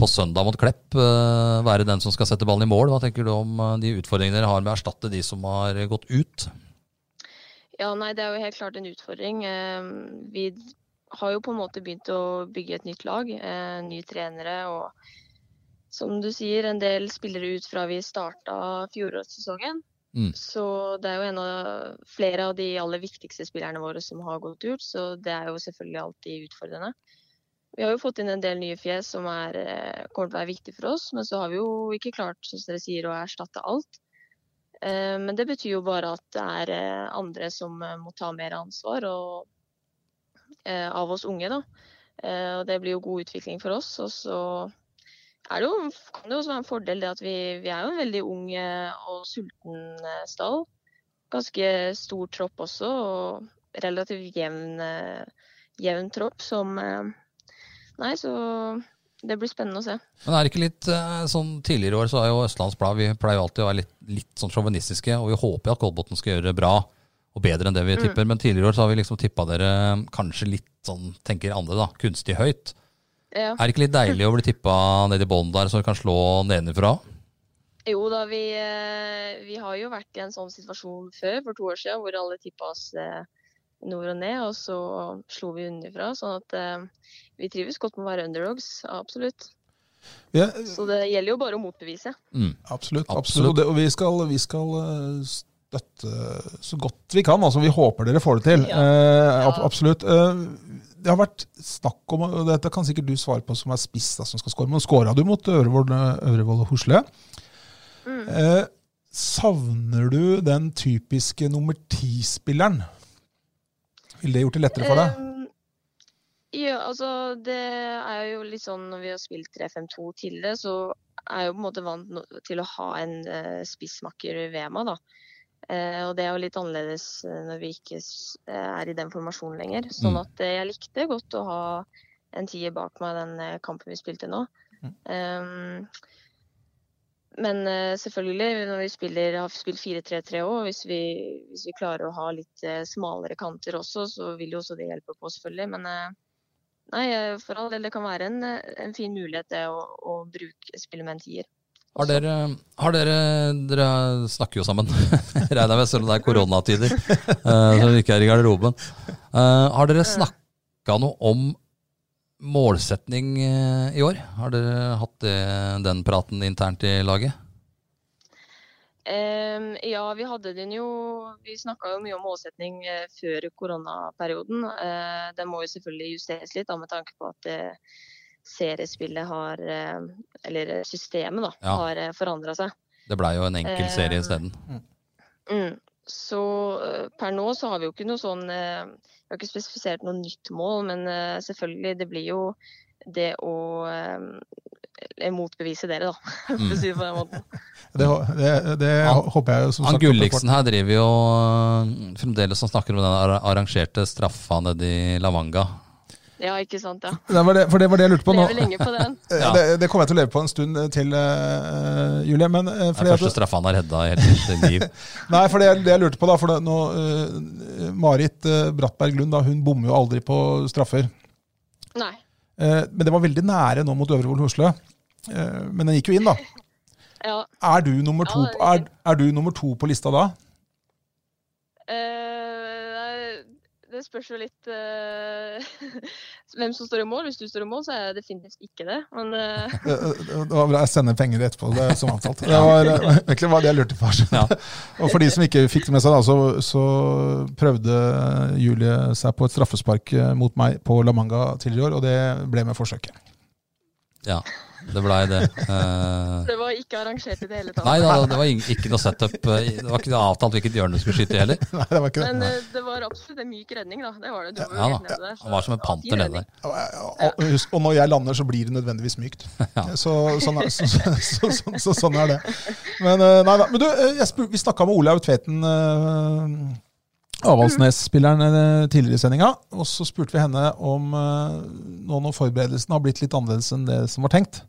[SPEAKER 1] på søndag mot Klepp. eh, være den som skal sette ballen i mål. Hva tenker du om eh, de utfordringene dere har med å erstatte de som har gått ut?
[SPEAKER 5] Ja, nei, det er jo helt klart en utfordring. Eh, Vi har jo på en måte begynt å bygge et nytt lag, eh, nye trenere og som du sier, en del spillere ut fra vi starta fjorårssesongen.
[SPEAKER 1] Mm.
[SPEAKER 5] Så det er jo en av flere av de aller viktigste spillerne våre som har gått ut, så det er jo selvfølgelig alltid utfordrende. Vi har jo fått inn en del nye fjes som er, eh, kommer til å være viktig for oss, men så har vi jo ikke klart, som dere sier, å erstatte alt. Eh, Men det betyr jo bare at det er eh, andre som eh, må ta mer ansvar og, eh, av oss unge. Da. Eh, Og det blir jo god utvikling for oss. Og så er det jo, kan det jo også være en fordel det at vi, vi er jo en veldig ung eh, og sulten eh, stall. Ganske stor tropp også, og relativt jevn, eh, jevn tropp som eh, Nei, så det blir spennende å se.
[SPEAKER 1] Men er det ikke litt eh, sånn Tidligere år så er jo Østlands Blad Vi pleier jo alltid å være litt, litt sånn sjåvinistiske, og vi håper jo at Kolbotn skal gjøre det bra og bedre enn det vi tipper. Men tidligere år så har vi liksom tippa dere eh, kanskje litt sånn, tenker andre, da, kunstig høyt.
[SPEAKER 5] Ja.
[SPEAKER 1] Er det ikke litt deilig å bli tippa ned i bånn der, så dere kan slå nedenfra?
[SPEAKER 5] Jo da, vi, eh, vi har jo vært i en sånn situasjon før, for to år siden, hvor alle tippa oss eh, nord og ned, og så slo vi underfra. Sånn at eh, vi trives godt med å være underdogs, absolutt.
[SPEAKER 2] Ja,
[SPEAKER 5] Så det gjelder jo bare å motbevise.
[SPEAKER 1] Mm.
[SPEAKER 2] absolutt. absolutt.
[SPEAKER 1] Absolutt.
[SPEAKER 2] Og, det, og vi skal, vi skal eh, støtte så godt vi kan. Altså, vi håper dere får det til.
[SPEAKER 5] Ja.
[SPEAKER 2] Eh, ab
[SPEAKER 5] Ja.
[SPEAKER 2] absolutt. Eh, det har vært snakk om, og dette kan sikkert du svare på som er spiss da, som skal score, men skåra du mot Ørevold, Ørevold og Hosle?
[SPEAKER 5] Mm.
[SPEAKER 2] Eh, savner du den typiske nummer ti-spilleren? Ville det gjort det lettere for deg?
[SPEAKER 5] Ehm, Ja, altså det er jo litt sånn når vi har spilt 3-5-2 tidligere, så er jeg jo på en måte vant no- til å ha en eh, spissmakker ved meg, da. Eh, og det er jo litt annerledes eh, når vi ikke s- eh, er i den formasjonen lenger. Sånn
[SPEAKER 1] Mm.
[SPEAKER 5] at eh, jeg likte godt å ha en tier bak meg den eh, kampen vi spilte nå.
[SPEAKER 2] Mm.
[SPEAKER 5] Ehm, men eh, selvfølgelig, når vi spiller, har spilt 4-3-3 òg, hvis, vi- hvis vi klarer å ha litt eh, smalere kanter også, så vil jo også det hjelpe på, selvfølgelig. Men eh, nei, eh, for all del, det kan være en, eh, en fin mulighet det å, å bruke spille med en tier.
[SPEAKER 1] Har dere, har dere Dere snakker jo sammen, regner jeg med, selv om det er koronatider. eh, Så vi ikke er i garderoben. Eh, Har dere snakka noe om målsetning eh, i år? Har dere hatt det, den praten internt i laget?
[SPEAKER 5] Ehm, ja, vi hadde den jo Vi snakka jo mye om målsetning eh, før koronaperioden. Eh, den må jo selvfølgelig justeres litt da, med tanke på at eh, seriespillet har eh, Eller systemet, da.
[SPEAKER 1] Ja.
[SPEAKER 5] Har eh, forandra seg.
[SPEAKER 1] Det blei jo en enkel
[SPEAKER 5] Eh,
[SPEAKER 1] serie isteden.
[SPEAKER 5] Mm. Så eh, per nå så har vi jo ikke noe sånn eh, Vi har ikke spesifisert noe nytt mål, men eh, selvfølgelig, det blir jo det å eh, motbevise dere, da.
[SPEAKER 1] Mm.
[SPEAKER 5] For å si det på den måten.
[SPEAKER 2] Det, det, det
[SPEAKER 1] Han-
[SPEAKER 2] håper jeg jo som
[SPEAKER 1] Han
[SPEAKER 2] sagt. at det
[SPEAKER 1] Gulliksen her driver jo øh, fremdeles og snakker om den ar- arrangerte straffa nede i Lavanga. Mm.
[SPEAKER 5] Ja, ikke sant. Ja.
[SPEAKER 2] får- Det var det, for det var det jeg lurte på nå. Eh,
[SPEAKER 5] Lever lenge på den.
[SPEAKER 1] Ja.
[SPEAKER 2] Det, det kommer jeg til å leve på en stund til, eh, Julie. Men, eh,
[SPEAKER 1] Det
[SPEAKER 2] fordi
[SPEAKER 1] er
[SPEAKER 2] at,
[SPEAKER 1] første straffa han har hedda i hele sitt liv.
[SPEAKER 2] nei, for det, det jeg lurte på da, for det, nå, eh, Marit eh, Brattberg Lund da, hun bommer jo aldri på straffer.
[SPEAKER 5] Nei.
[SPEAKER 2] Eh, men det var veldig nære nå mot Øvrevoll Hosle. Eh, men den gikk jo inn, da.
[SPEAKER 5] Ja.
[SPEAKER 2] Er du nummer to,
[SPEAKER 5] Ja,
[SPEAKER 2] er, er du nummer to på lista da?
[SPEAKER 5] Eh, det spørs jo litt eh, hvem som står i mål. Hvis du står i mål, så er jeg definitivt ikke det. Men eh,
[SPEAKER 2] Eh, eh, Det var bra, Jeg sender penger etterpå, det er som avtalt. Det var eh, egentlig var det jeg lurte på. altså.
[SPEAKER 1] Ja.
[SPEAKER 2] Og for de som ikke fikk det med seg, da, så, så prøvde Julie seg på et straffespark eh, mot meg på La Manga tidligere i år, og det ble med forsøket.
[SPEAKER 1] Ja, det blei det. Eh,
[SPEAKER 5] det var ikke arrangert i det hele tatt.
[SPEAKER 1] Nei da, det var ing- ikke noe setup. eh, Det var ikke noe avtalt hvilket hjørne du skulle skyte i heller.
[SPEAKER 2] Nei, det var ikke
[SPEAKER 5] Men
[SPEAKER 2] det.
[SPEAKER 5] eh, det var absolutt en myk redning, da. Det var det. Du var jo
[SPEAKER 1] Ja
[SPEAKER 5] helt
[SPEAKER 1] da,
[SPEAKER 5] nede der. så
[SPEAKER 1] Han var som en
[SPEAKER 5] det var fin
[SPEAKER 1] panter nede
[SPEAKER 5] redning.
[SPEAKER 1] der.
[SPEAKER 2] Og, husk- og når jeg lander, så blir det nødvendigvis mykt. Så, sånn, er, så, så, så, så, så sånn er det. Men, eh, nei, da. Men du, eh, jeg spur, vi snakka med Olaug Tveten, eh, Avaldsnes-spilleren, eh, tidligere i sendinga. Og så spurte vi henne om eh, nå når forberedelsen har blitt litt annerledes enn det som var tenkt.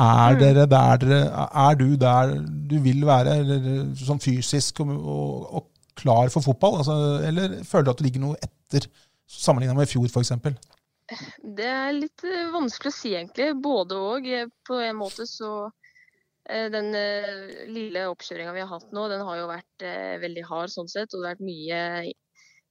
[SPEAKER 2] Er, dere der, dere- er du der du vil være, eller sånn fysisk og, og, og klar for fotball? Altså, eller føler du at du ligger noe etter sammenligna med i fjor, f.eks.?
[SPEAKER 5] Det er litt eh, vanskelig å si, egentlig. Både og. Eh, På en måte så eh, Den eh, lille oppkjøringa vi har hatt nå, den har jo vært eh, veldig hard sånn sett. Og det har vært mye,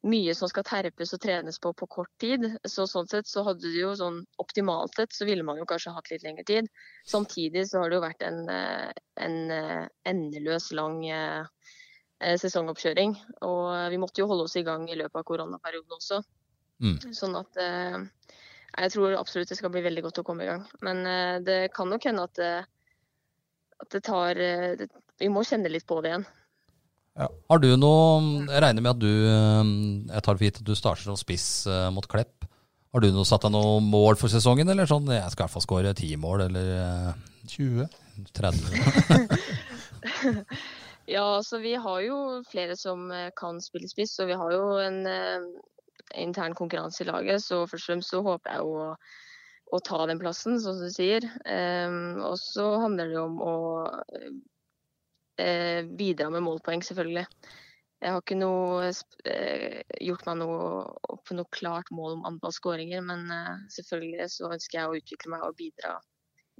[SPEAKER 5] mye som skal terpes og trenes på på kort tid. Så sånn sett så hadde det jo sånn optimalt sett så ville man jo kanskje hatt litt lengre tid. Samtidig så har det jo vært en, eh, en eh, endeløs lang eh, eh, sesongoppkjøring. Og vi måtte jo holde oss i gang i løpet av koronaperioden også.
[SPEAKER 1] Mm.
[SPEAKER 5] Sånn at eh, jeg tror absolutt det skal bli veldig godt å komme i gang. Men eh, det kan nok hende at, eh, at det tar eh, det, Vi må kjenne litt på det igjen.
[SPEAKER 1] Har du noe mm, Jeg regner med at du eh, Jeg tar for gitt at du starter som spiss eh, mot Klepp. Har du noe, satt deg noe mål for sesongen, eller sånn? Jeg skal i hvert fall skåre ti mål, eller eh,
[SPEAKER 2] 20.
[SPEAKER 1] 30.
[SPEAKER 5] Ja, altså vi har jo flere som eh, kan spille spiss, og vi har jo en eh, intern konkurranse i laget. Så først og fremst så håper jeg jo å, å ta den plassen, sånn som du sier. Ehm, og så handler det jo om å eh, bidra med målpoeng, selvfølgelig. Jeg har ikke noe, sp- eh, gjort meg noe opp noe klart mål om antall skåringer, men eh, selvfølgelig så ønsker jeg å utvikle meg og bidra,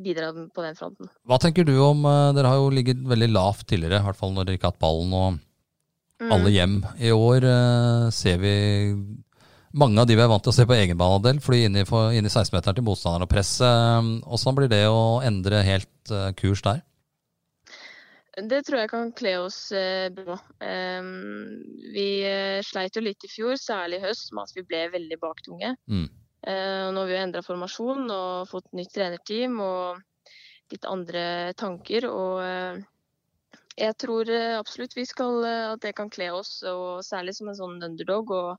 [SPEAKER 5] bidra på den fronten.
[SPEAKER 1] Hva tenker du om eh, Dere har jo ligget veldig lavt tidligere, i hvert fall når dere ikke har hatt ballen. og
[SPEAKER 5] Mm.
[SPEAKER 1] alle hjem. I år eh, ser vi mange av de vi er vant til å se på egenbanehalvdel, fly inn i, for- inn i 16-meteren til motstanderen og presse. Hvordan sånn blir det å endre helt eh, kurs der?
[SPEAKER 5] Det tror jeg kan kle oss eh, bra. Ehm, vi eh, sleit jo litt i fjor, særlig i høst, med at vi ble veldig baktunge.
[SPEAKER 1] Mm.
[SPEAKER 5] Eh, og nå har vi jo endra formasjon og fått nytt trenerteam og litt andre tanker. Og eh, jeg tror eh, absolutt vi skal, eh, at det kan kle oss, og særlig som en sånn underdog. og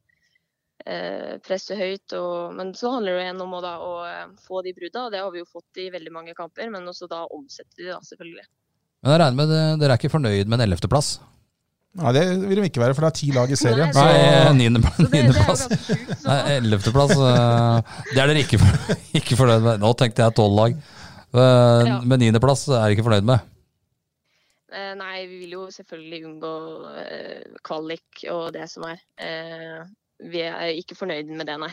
[SPEAKER 5] eh, presse høyt. Og, men så handler det igjen om å, da, å eh, få de brudda, og det har vi jo fått i veldig mange kamper. Men også da omsette de, da, selvfølgelig.
[SPEAKER 1] Men jeg regner med det- dere er ikke fornøyd med en 11.-plass?
[SPEAKER 2] Nei, det vil de ikke være, for det er ti lag i serien.
[SPEAKER 5] Nei,
[SPEAKER 2] så-
[SPEAKER 1] Nei, eh,
[SPEAKER 5] Så det, det er jo
[SPEAKER 1] 9.-plass.
[SPEAKER 5] ganske sjukt. så-
[SPEAKER 1] Nei, 11.-plass. eh, Det er dere ikke, for, ikke fornøyd med. Nå tenkte jeg 12 lag. Eh,
[SPEAKER 5] Ja.
[SPEAKER 1] Men 9.-plass er dere ikke fornøyd med.
[SPEAKER 5] Eh, Nei, vi vil jo selvfølgelig unngå eh, kvalik og det som er. Eh, Vi er ikke fornøyd med det, nei.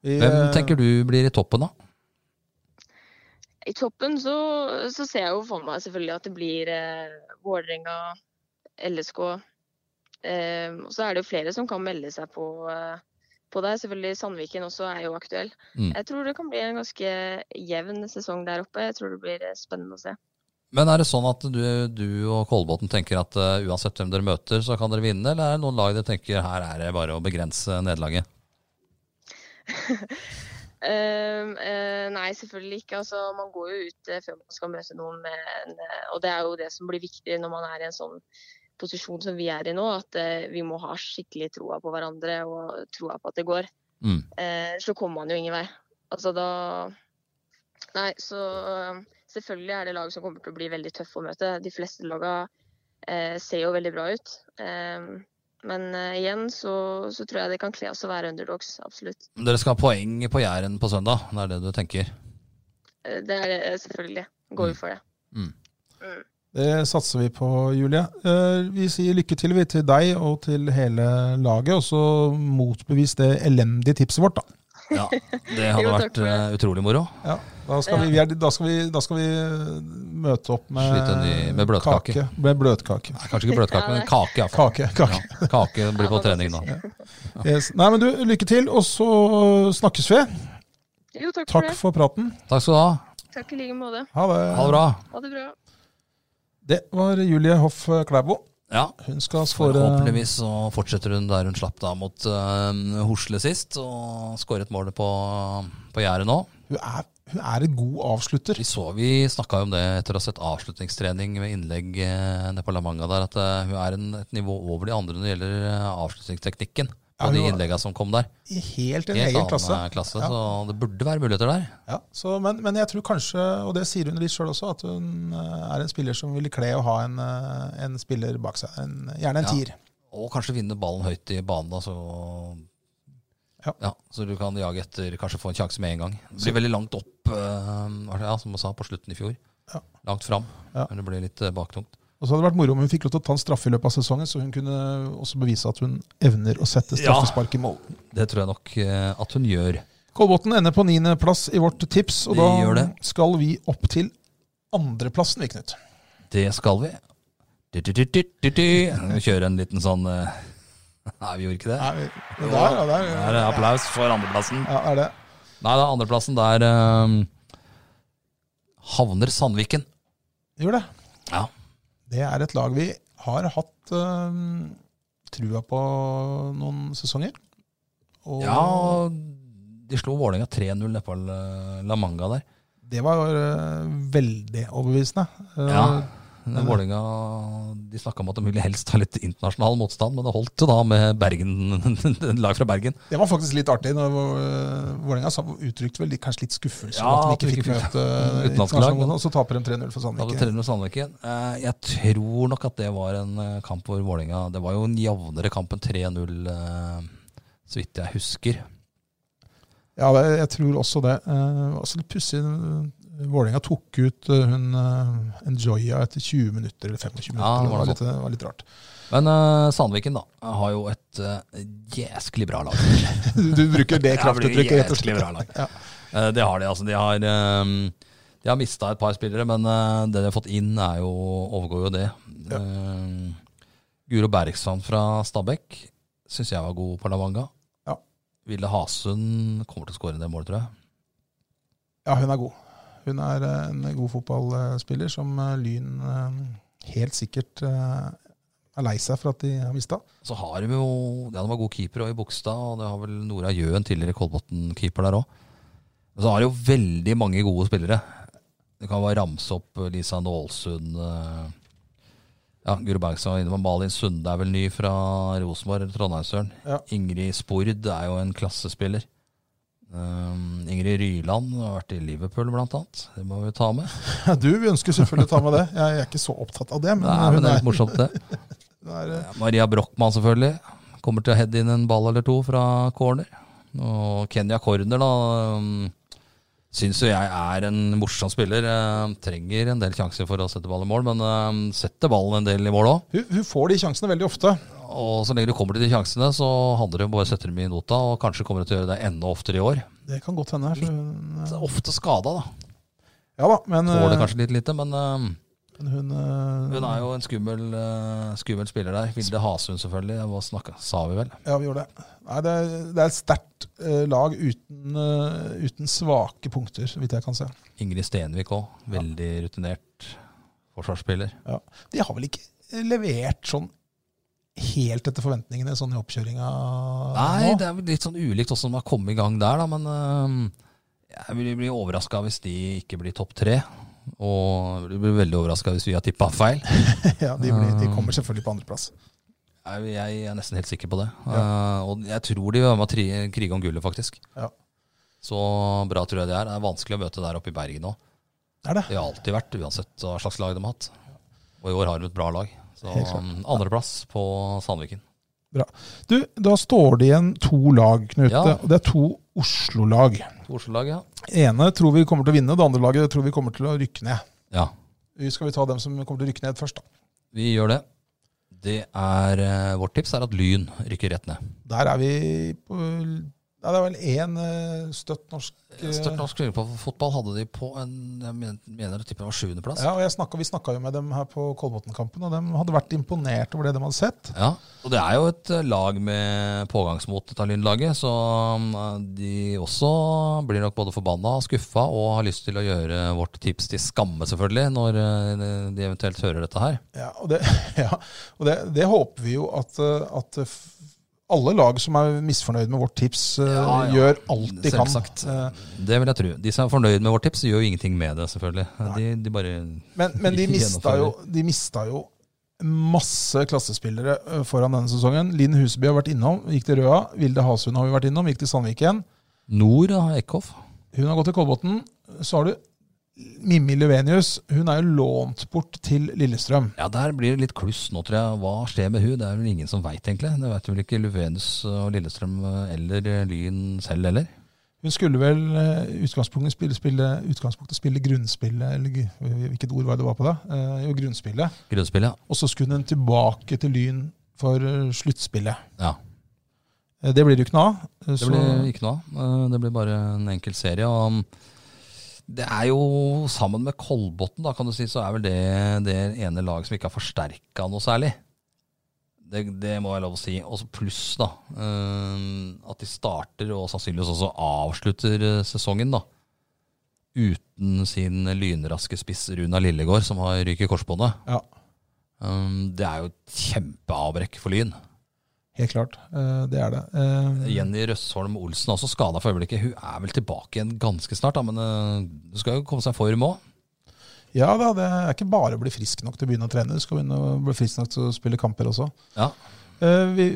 [SPEAKER 2] Vi, eh,
[SPEAKER 1] Hvem tenker du blir i toppen, da?
[SPEAKER 5] I toppen så, så ser jeg jo for meg selvfølgelig at det blir eh, Vålerenga, LSK. Eh, og så er det jo flere som kan melde seg på, eh, på der. Selvfølgelig Sandviken også er jo aktuell.
[SPEAKER 1] Mm.
[SPEAKER 5] Jeg tror det kan bli en ganske jevn sesong der oppe. Jeg tror det blir eh, spennende å se.
[SPEAKER 1] Men er det sånn at du, du og Kolbotn tenker at eh, uansett hvem dere møter, så kan dere vinne, eller er det noen lag dere tenker her er det bare å begrense nederlaget?
[SPEAKER 5] Ehm, eh, nei, selvfølgelig ikke. Altså, man går jo ut eh, før man skal møte noen. Med en, eh, og det er jo det som blir viktig når man er i en sånn posisjon som vi er i nå, at eh, vi må ha skikkelig troa på hverandre og troa på at det går.
[SPEAKER 1] Mm.
[SPEAKER 5] Eh, så kommer man jo ingen vei. Altså da Nei, så eh, selvfølgelig er det lag som kommer til å bli veldig tøffe å møte. De fleste laga eh, ser jo veldig bra ut. Eh, men eh, igjen så, så tror jeg det kan kle oss å være underdogs, absolutt.
[SPEAKER 1] Dere skal ha poeng på Jæren på søndag, det er det du tenker?
[SPEAKER 5] Eh, det er det selvfølgelig. Går jo for det.
[SPEAKER 2] Det satser vi på, Julie. Eh, Vi sier lykke til vi, til deg og til hele laget, og så motbevis det elendige tipset vårt. Da,
[SPEAKER 1] Ja, det hadde
[SPEAKER 5] Jo, takk
[SPEAKER 1] vært
[SPEAKER 5] for det.
[SPEAKER 1] eh, utrolig moro.
[SPEAKER 2] ja, da, skal, vi, vi er, da, skal, vi, da skal vi eh, møte opp med,
[SPEAKER 1] Slite ny- med bløtkake.
[SPEAKER 2] Kake, med bløtkake.
[SPEAKER 1] Nei, kanskje ikke bløtkake,
[SPEAKER 5] Ja,
[SPEAKER 1] men
[SPEAKER 5] det-
[SPEAKER 1] kake iallfall.
[SPEAKER 2] Kake, kake.
[SPEAKER 1] Ja, kake blir på trening nå.
[SPEAKER 2] Yes. Nei, men du, lykke til, og så snakkes vi.
[SPEAKER 5] Jo, takk, for
[SPEAKER 2] Takk
[SPEAKER 5] det.
[SPEAKER 2] for praten.
[SPEAKER 1] Takk skal du ha.
[SPEAKER 5] Takk i like måte.
[SPEAKER 2] Ha det.
[SPEAKER 1] Ha det bra.
[SPEAKER 5] Ha det bra.
[SPEAKER 2] Det var Julie Hoff Klæbo.
[SPEAKER 1] Ja, eh,
[SPEAKER 2] Hun skal skåre
[SPEAKER 1] Forhåpentligvis så fortsetter hun der hun slapp da mot eh, Hosle sist, og skåret målet på, på Jæren nå.
[SPEAKER 2] hun er, hun er en god avslutter.
[SPEAKER 1] Vi, så- vi snakka jo om det etter å ha sett avslutningstrening med innlegg eh, nede på La Manga der, at eh, hun er en, et nivå over de andre når det gjelder eh, avslutningsteknikken
[SPEAKER 2] Ja,
[SPEAKER 1] på de
[SPEAKER 2] hun-
[SPEAKER 1] innlegga som kom der.
[SPEAKER 2] I helt en
[SPEAKER 1] Helt
[SPEAKER 2] egen
[SPEAKER 1] annen
[SPEAKER 2] klasse.
[SPEAKER 1] klasse, klasse
[SPEAKER 2] Ja.
[SPEAKER 1] så det burde være muligheter der.
[SPEAKER 2] Ja, så, men, men jeg tror kanskje, og det sier hun litt sjøl også, at hun eh, er en spiller som ville kle å ha en, eh, en spiller bak seg. En, gjerne en
[SPEAKER 1] Ja.
[SPEAKER 2] tier.
[SPEAKER 1] Og kanskje vinne ballen høyt i banen, da, så
[SPEAKER 2] Ja.
[SPEAKER 1] Så du kan jage etter, kanskje få en sjanse med en gang. Det blir veldig langt opp, eh, ja, som jeg sa, på slutten i fjor.
[SPEAKER 2] Ja.
[SPEAKER 1] Langt fram.
[SPEAKER 2] Ja.
[SPEAKER 1] Men det blir litt eh, baktungt.
[SPEAKER 2] Og så hadde det vært moro om hun fikk lov til å ta en straffe i løpet av sesongen, så hun kunne også bevise at hun evner å sette straffespark i mål.
[SPEAKER 1] Det tror jeg nok eh, at hun gjør.
[SPEAKER 2] Kolbotn ender på niendeplass i vårt tips, og
[SPEAKER 1] Vi gjør
[SPEAKER 2] da
[SPEAKER 1] det.
[SPEAKER 2] skal vi opp til andreplassen, vi, Knut.
[SPEAKER 1] Det skal vi. Du-du-du-du-du-du. Skal vi kjøre en liten sånn eh, Nei, vi gjorde ikke det.
[SPEAKER 2] Nei, vi- det der, ja, der,
[SPEAKER 1] Det er applaus for andreplassen.
[SPEAKER 2] ja, er det.
[SPEAKER 1] Nei, da, andreplassen der eh, havner Sandviken.
[SPEAKER 2] Gjør det.
[SPEAKER 1] Ja.
[SPEAKER 2] Det er et lag vi har hatt eh, trua på noen sesonger. Og
[SPEAKER 1] Ja, de slo Vålerenga 3-0 nede på La- La Manga der.
[SPEAKER 2] Det var eh, veldig overbevisende. Eh,
[SPEAKER 1] Ja. Men Vålerenga de snakka om at de ville helst ha litt internasjonal motstand, men det holdt jo da med Bergen, lag fra Bergen.
[SPEAKER 2] Det var faktisk litt artig. når eh, Vålerenga sa- uttrykte vel de kanskje litt skuffelse
[SPEAKER 1] Ja,
[SPEAKER 2] over at
[SPEAKER 1] at
[SPEAKER 2] de
[SPEAKER 1] vi
[SPEAKER 2] ikke fikk
[SPEAKER 1] ikke fikk
[SPEAKER 2] møte eh,
[SPEAKER 1] utenlandske lag,
[SPEAKER 2] internasjonale, og så taper de 3-0 for
[SPEAKER 1] Da hadde
[SPEAKER 2] Sandviken.
[SPEAKER 1] Trellum og Sandviken. Eh, Jeg tror nok at det var en eh, kamp hvor Vålerenga Det var jo en jevnere kamp enn 3-0, eh, så vidt jeg husker.
[SPEAKER 2] Ja, det, jeg tror også det. Eh, altså litt pussig. eh, Vålerenga tok ut eh, hun eh, Enjoya etter 20 minutter eller 25 minutter.
[SPEAKER 1] Ja, det
[SPEAKER 2] det,
[SPEAKER 1] var
[SPEAKER 2] var
[SPEAKER 1] noe
[SPEAKER 2] litt, det var litt rart.
[SPEAKER 1] Men eh, Sandviken, da, har jo et eh, jæsklig bra lag.
[SPEAKER 2] Du bruker
[SPEAKER 1] Ja,
[SPEAKER 2] det
[SPEAKER 1] blir
[SPEAKER 2] kraftuttrykket, rett og
[SPEAKER 1] jæsklig
[SPEAKER 2] slett.
[SPEAKER 1] bra lag.
[SPEAKER 2] Ja.
[SPEAKER 1] Eh, Det har de, altså. De har, eh, de har mista et par spillere, men eh, det de har fått inn, er jo, overgår jo det.
[SPEAKER 2] Ja.
[SPEAKER 1] Eh, Guro Bergsand fra Stabæk syns jeg var god på Lavanga.
[SPEAKER 2] Ja.
[SPEAKER 1] Ville Hasund kommer til å skåre det målet, tror jeg.
[SPEAKER 2] Ja, hun er god. Hun er eh, en god fotballspiller som eh, Lyn eh, helt sikkert eh, er lei seg for at de har mista.
[SPEAKER 1] Så har de jo ja, De var gode keepere også i Bogstad, og det har vel Nora Jøen, tidligere Kolbotn-keeper der òg. Men så har de jo veldig mange gode spillere. Du kan bare ramse opp eh, Lisa Nålsund eh, Ja, Guro Bergstad var inne på Malin Sunde er vel ny fra Rosenborg, eller Trondheimsøren.
[SPEAKER 2] Ja.
[SPEAKER 1] Ingrid Spord er jo en klassespiller. Um, Ingrid Ryland har vært i Liverpool, blant annet. Det må vi ta med.
[SPEAKER 2] Du vi ønsker selvfølgelig å ta med det. Jeg er ikke så opptatt av det, men,
[SPEAKER 1] Nei, men det
[SPEAKER 2] hun
[SPEAKER 1] er
[SPEAKER 2] er,
[SPEAKER 1] litt morsomt, det.
[SPEAKER 2] hun er, eh,
[SPEAKER 1] Maria Brochmann selvfølgelig. Kommer til å heade inn en ball eller to fra corner. Og Kenya Corner, da, um, syns jo jeg er en morsom spiller. Eh, Trenger en del sjanser for å sette ball i mål, men eh, setter ballen en del i mål òg.
[SPEAKER 2] hun, hun får de sjansene veldig ofte.
[SPEAKER 1] Og så lenge du kommer til de sjansene, så handler det om å bare sette dem i nota, og kanskje kommer du til å gjøre det enda oftere i år.
[SPEAKER 2] Det kan godt hende. for hun, eh,
[SPEAKER 1] Så Ofte skada, da.
[SPEAKER 2] Ja da, men
[SPEAKER 1] Tåler
[SPEAKER 2] eh,
[SPEAKER 1] kanskje litt lite, men eh,
[SPEAKER 2] men hun, eh,
[SPEAKER 1] hun er jo en skummel, eh, skummel spiller der. Vilde Hasund, selvfølgelig. Det var snakka, sa vi vel.
[SPEAKER 2] Ja, vi gjør det. Nei, det, er, det er et sterkt eh, lag uten, eh, uten svake punkter, så vidt jeg kan se.
[SPEAKER 1] Ingrid Stenvik òg. Veldig rutinert forsvarsspiller.
[SPEAKER 2] Ja. De har vel ikke levert sånn helt etter forventningene sånn i oppkjøringa
[SPEAKER 1] Nei,
[SPEAKER 2] nå?
[SPEAKER 1] det er vel litt sånn ulikt hvordan de har eh, kommet i gang der, da, men øhm, jeg vil bli overraska hvis de ikke blir topp tre. Og du blir veldig overraska hvis vi har tippa feil.
[SPEAKER 2] Ja, de, blir, de kommer selvfølgelig på andreplass.
[SPEAKER 1] Jeg jeg er nesten helt sikker på det.
[SPEAKER 2] Ja.
[SPEAKER 1] Eh, og jeg tror de var med å tri- krige om gullet, faktisk.
[SPEAKER 2] Ja.
[SPEAKER 1] Så bra tror jeg det er. Det er vanskelig å møte der oppe i Bergen òg.
[SPEAKER 2] Det er det.
[SPEAKER 1] Det har alltid vært, uansett hva slags lag de har hatt. Og i år har de et bra lag. Så
[SPEAKER 2] Helt klart.
[SPEAKER 1] um, andreplass på Sandviken.
[SPEAKER 2] Du, da står det igjen to lag, Knut.
[SPEAKER 1] Ja.
[SPEAKER 2] Og det er to Oslo-lag.
[SPEAKER 1] Oslo-laget, ja.
[SPEAKER 2] ene tror vi kommer til å vinne, det andre laget tror vi kommer til å rykke ned.
[SPEAKER 1] ja.
[SPEAKER 2] Vi Skal vi ta dem som kommer til å rykke ned først, da?
[SPEAKER 1] Vi gjør det. Det er eh, Vårt tips er at Lyn rykker rett ned.
[SPEAKER 2] Der er vi på ja, Det er vel én eh, støtt norsk eh,
[SPEAKER 1] Størt norsk klubb på fotball hadde de på en Jeg men- mener å tippe det var sjuendeplass. Ja.
[SPEAKER 2] Ja, og jeg snakket, Vi snakka jo med dem her på Kolbotn-kampen, og de hadde vært imponert over det de hadde sett.
[SPEAKER 1] ja. Og det er jo et eh, lag med pågangsmot, dette Lyn-laget. Så mm, de også blir nok både forbanna og skuffa og har lyst til å gjøre vårt tips til skamme, selvfølgelig, når eh, de eventuelt hører dette her.
[SPEAKER 2] Ja, og det, ja, og det, det håper vi jo at, eh, at eh, f- alle lag som er misfornøyd med vårt tips, eh,
[SPEAKER 1] Ja, ja.
[SPEAKER 2] gjør alt de kan.
[SPEAKER 1] Selvsagt.
[SPEAKER 2] Eh,
[SPEAKER 1] Det vil jeg tro. De som er fornøyd med vårt tips, gjør jo ingenting med det, selvfølgelig. De, de bare
[SPEAKER 2] Men, men de,
[SPEAKER 1] Ikke
[SPEAKER 2] mista jo, de mista jo masse klassespillere ø, foran denne sesongen. Linn Huseby har vært innom, gikk til Røa. Vilde Hasund har vi vært innom, gikk til Sandviken.
[SPEAKER 1] Nord av Eckhoff.
[SPEAKER 2] Hun har gått til Kolbotn. Så har du Mimmi Løvenius. Hun er jo lånt bort til Lillestrøm.
[SPEAKER 1] Ja, der blir det litt kluss nå, tror jeg. Hva skjer med hun? Det er vel ingen som veit, egentlig. Det veit vel ikke Luvenus og Lillestrøm eller Lyn selv heller.
[SPEAKER 2] Hun skulle vel i utgangspunktet spille, spille, utgangspunktet spille grunnspillet, eller g- hvilket ord var det det var på det? Eh, jo, grunnspillet.
[SPEAKER 1] Grunnspillet,
[SPEAKER 2] Og så skulle hun tilbake til Lyn for eh, sluttspillet.
[SPEAKER 1] ja.
[SPEAKER 2] Eh, Det blir det jo ikke noe av. eh,
[SPEAKER 1] Det
[SPEAKER 2] så-
[SPEAKER 1] blir ikke noe av. Eh, Det blir bare en enkel serie. og um, det er jo sammen med Kolbotn, da, kan du si, så er vel det det ene laget som ikke har forsterka noe særlig. Det, det må jeg lov å si. Og så pluss da, eh, at de starter og sannsynligvis også avslutter eh, sesongen da, uten sin lynraske spiss Runa Lillegård, som har ryket korsbåndet.
[SPEAKER 2] Ja.
[SPEAKER 1] Eh, det er jo et kjempeavbrekk for Lyn.
[SPEAKER 2] Helt klart, eh, det er det. Eh,
[SPEAKER 1] Jenny Røsholm Olsen er også skada for øyeblikket. Hun er vel tilbake igjen ganske snart, da, men eh, hun skal jo komme seg i form òg.
[SPEAKER 2] Ja da, det er ikke bare å bli frisk nok til å begynne å trene. Du skal begynne å bli frisk nok til å spille kamper også.
[SPEAKER 1] Ja.
[SPEAKER 2] Eh, vi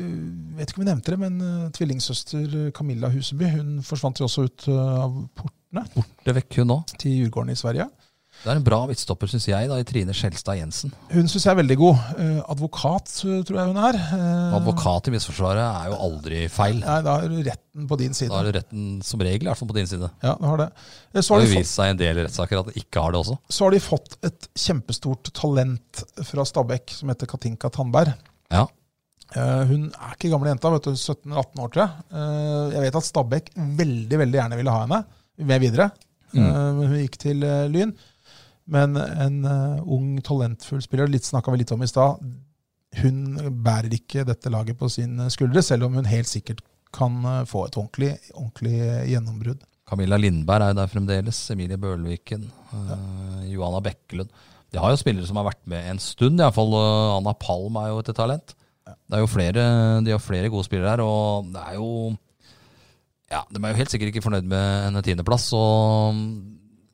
[SPEAKER 2] vet ikke om vi nevnte det, men eh, tvillingsøster Camilla Huseby hun forsvant jo også ut eh, av portene
[SPEAKER 1] Det vekker hun nå.
[SPEAKER 2] til Djurgården i Sverige.
[SPEAKER 1] Det er en bra midtstopper, syns jeg, da, i Trine Skjelstad Jensen.
[SPEAKER 2] Hun syns jeg er veldig god. Eh, advokat, eh, tror jeg hun er. Eh,
[SPEAKER 1] Advokat i Midtforsvaret er jo aldri feil.
[SPEAKER 2] Nei, da er retten på din side.
[SPEAKER 1] Da er det retten som regel, i hvert fall på din side.
[SPEAKER 2] Ja, da har det. Eh,
[SPEAKER 1] Det
[SPEAKER 2] Så har
[SPEAKER 1] har
[SPEAKER 2] de
[SPEAKER 1] jo
[SPEAKER 2] fått
[SPEAKER 1] vist seg i en del rettssaker at det ikke har det også.
[SPEAKER 2] så har de fått et kjempestort talent fra Stabæk som heter Katinka Tandberg.
[SPEAKER 1] Ja.
[SPEAKER 2] Eh, hun er ikke gamle jenta, vet du, 17-18 år, tror jeg. Eh, jeg vet at Stabæk veldig veldig gjerne ville ha henne med videre. Eh, men hun gikk til eh, Lyn. Men en eh, ung, talentfull spiller, litt snakka vi litt om i stad, hun bærer ikke dette laget på sine skuldre, selv om hun helt sikkert kan eh, få et ordentlig, ordentlig gjennombrudd.
[SPEAKER 1] Camilla Lindberg er jo der fremdeles. Emilie Bølviken. eh, Johanna Bekkelund. De har jo spillere som har vært med en stund, iallfall. Anna Palm er jo et talent. Det er jo flere, de har flere gode spillere her, og det er jo Ja, de er jo helt sikkert ikke fornøyd med en tiendeplass, og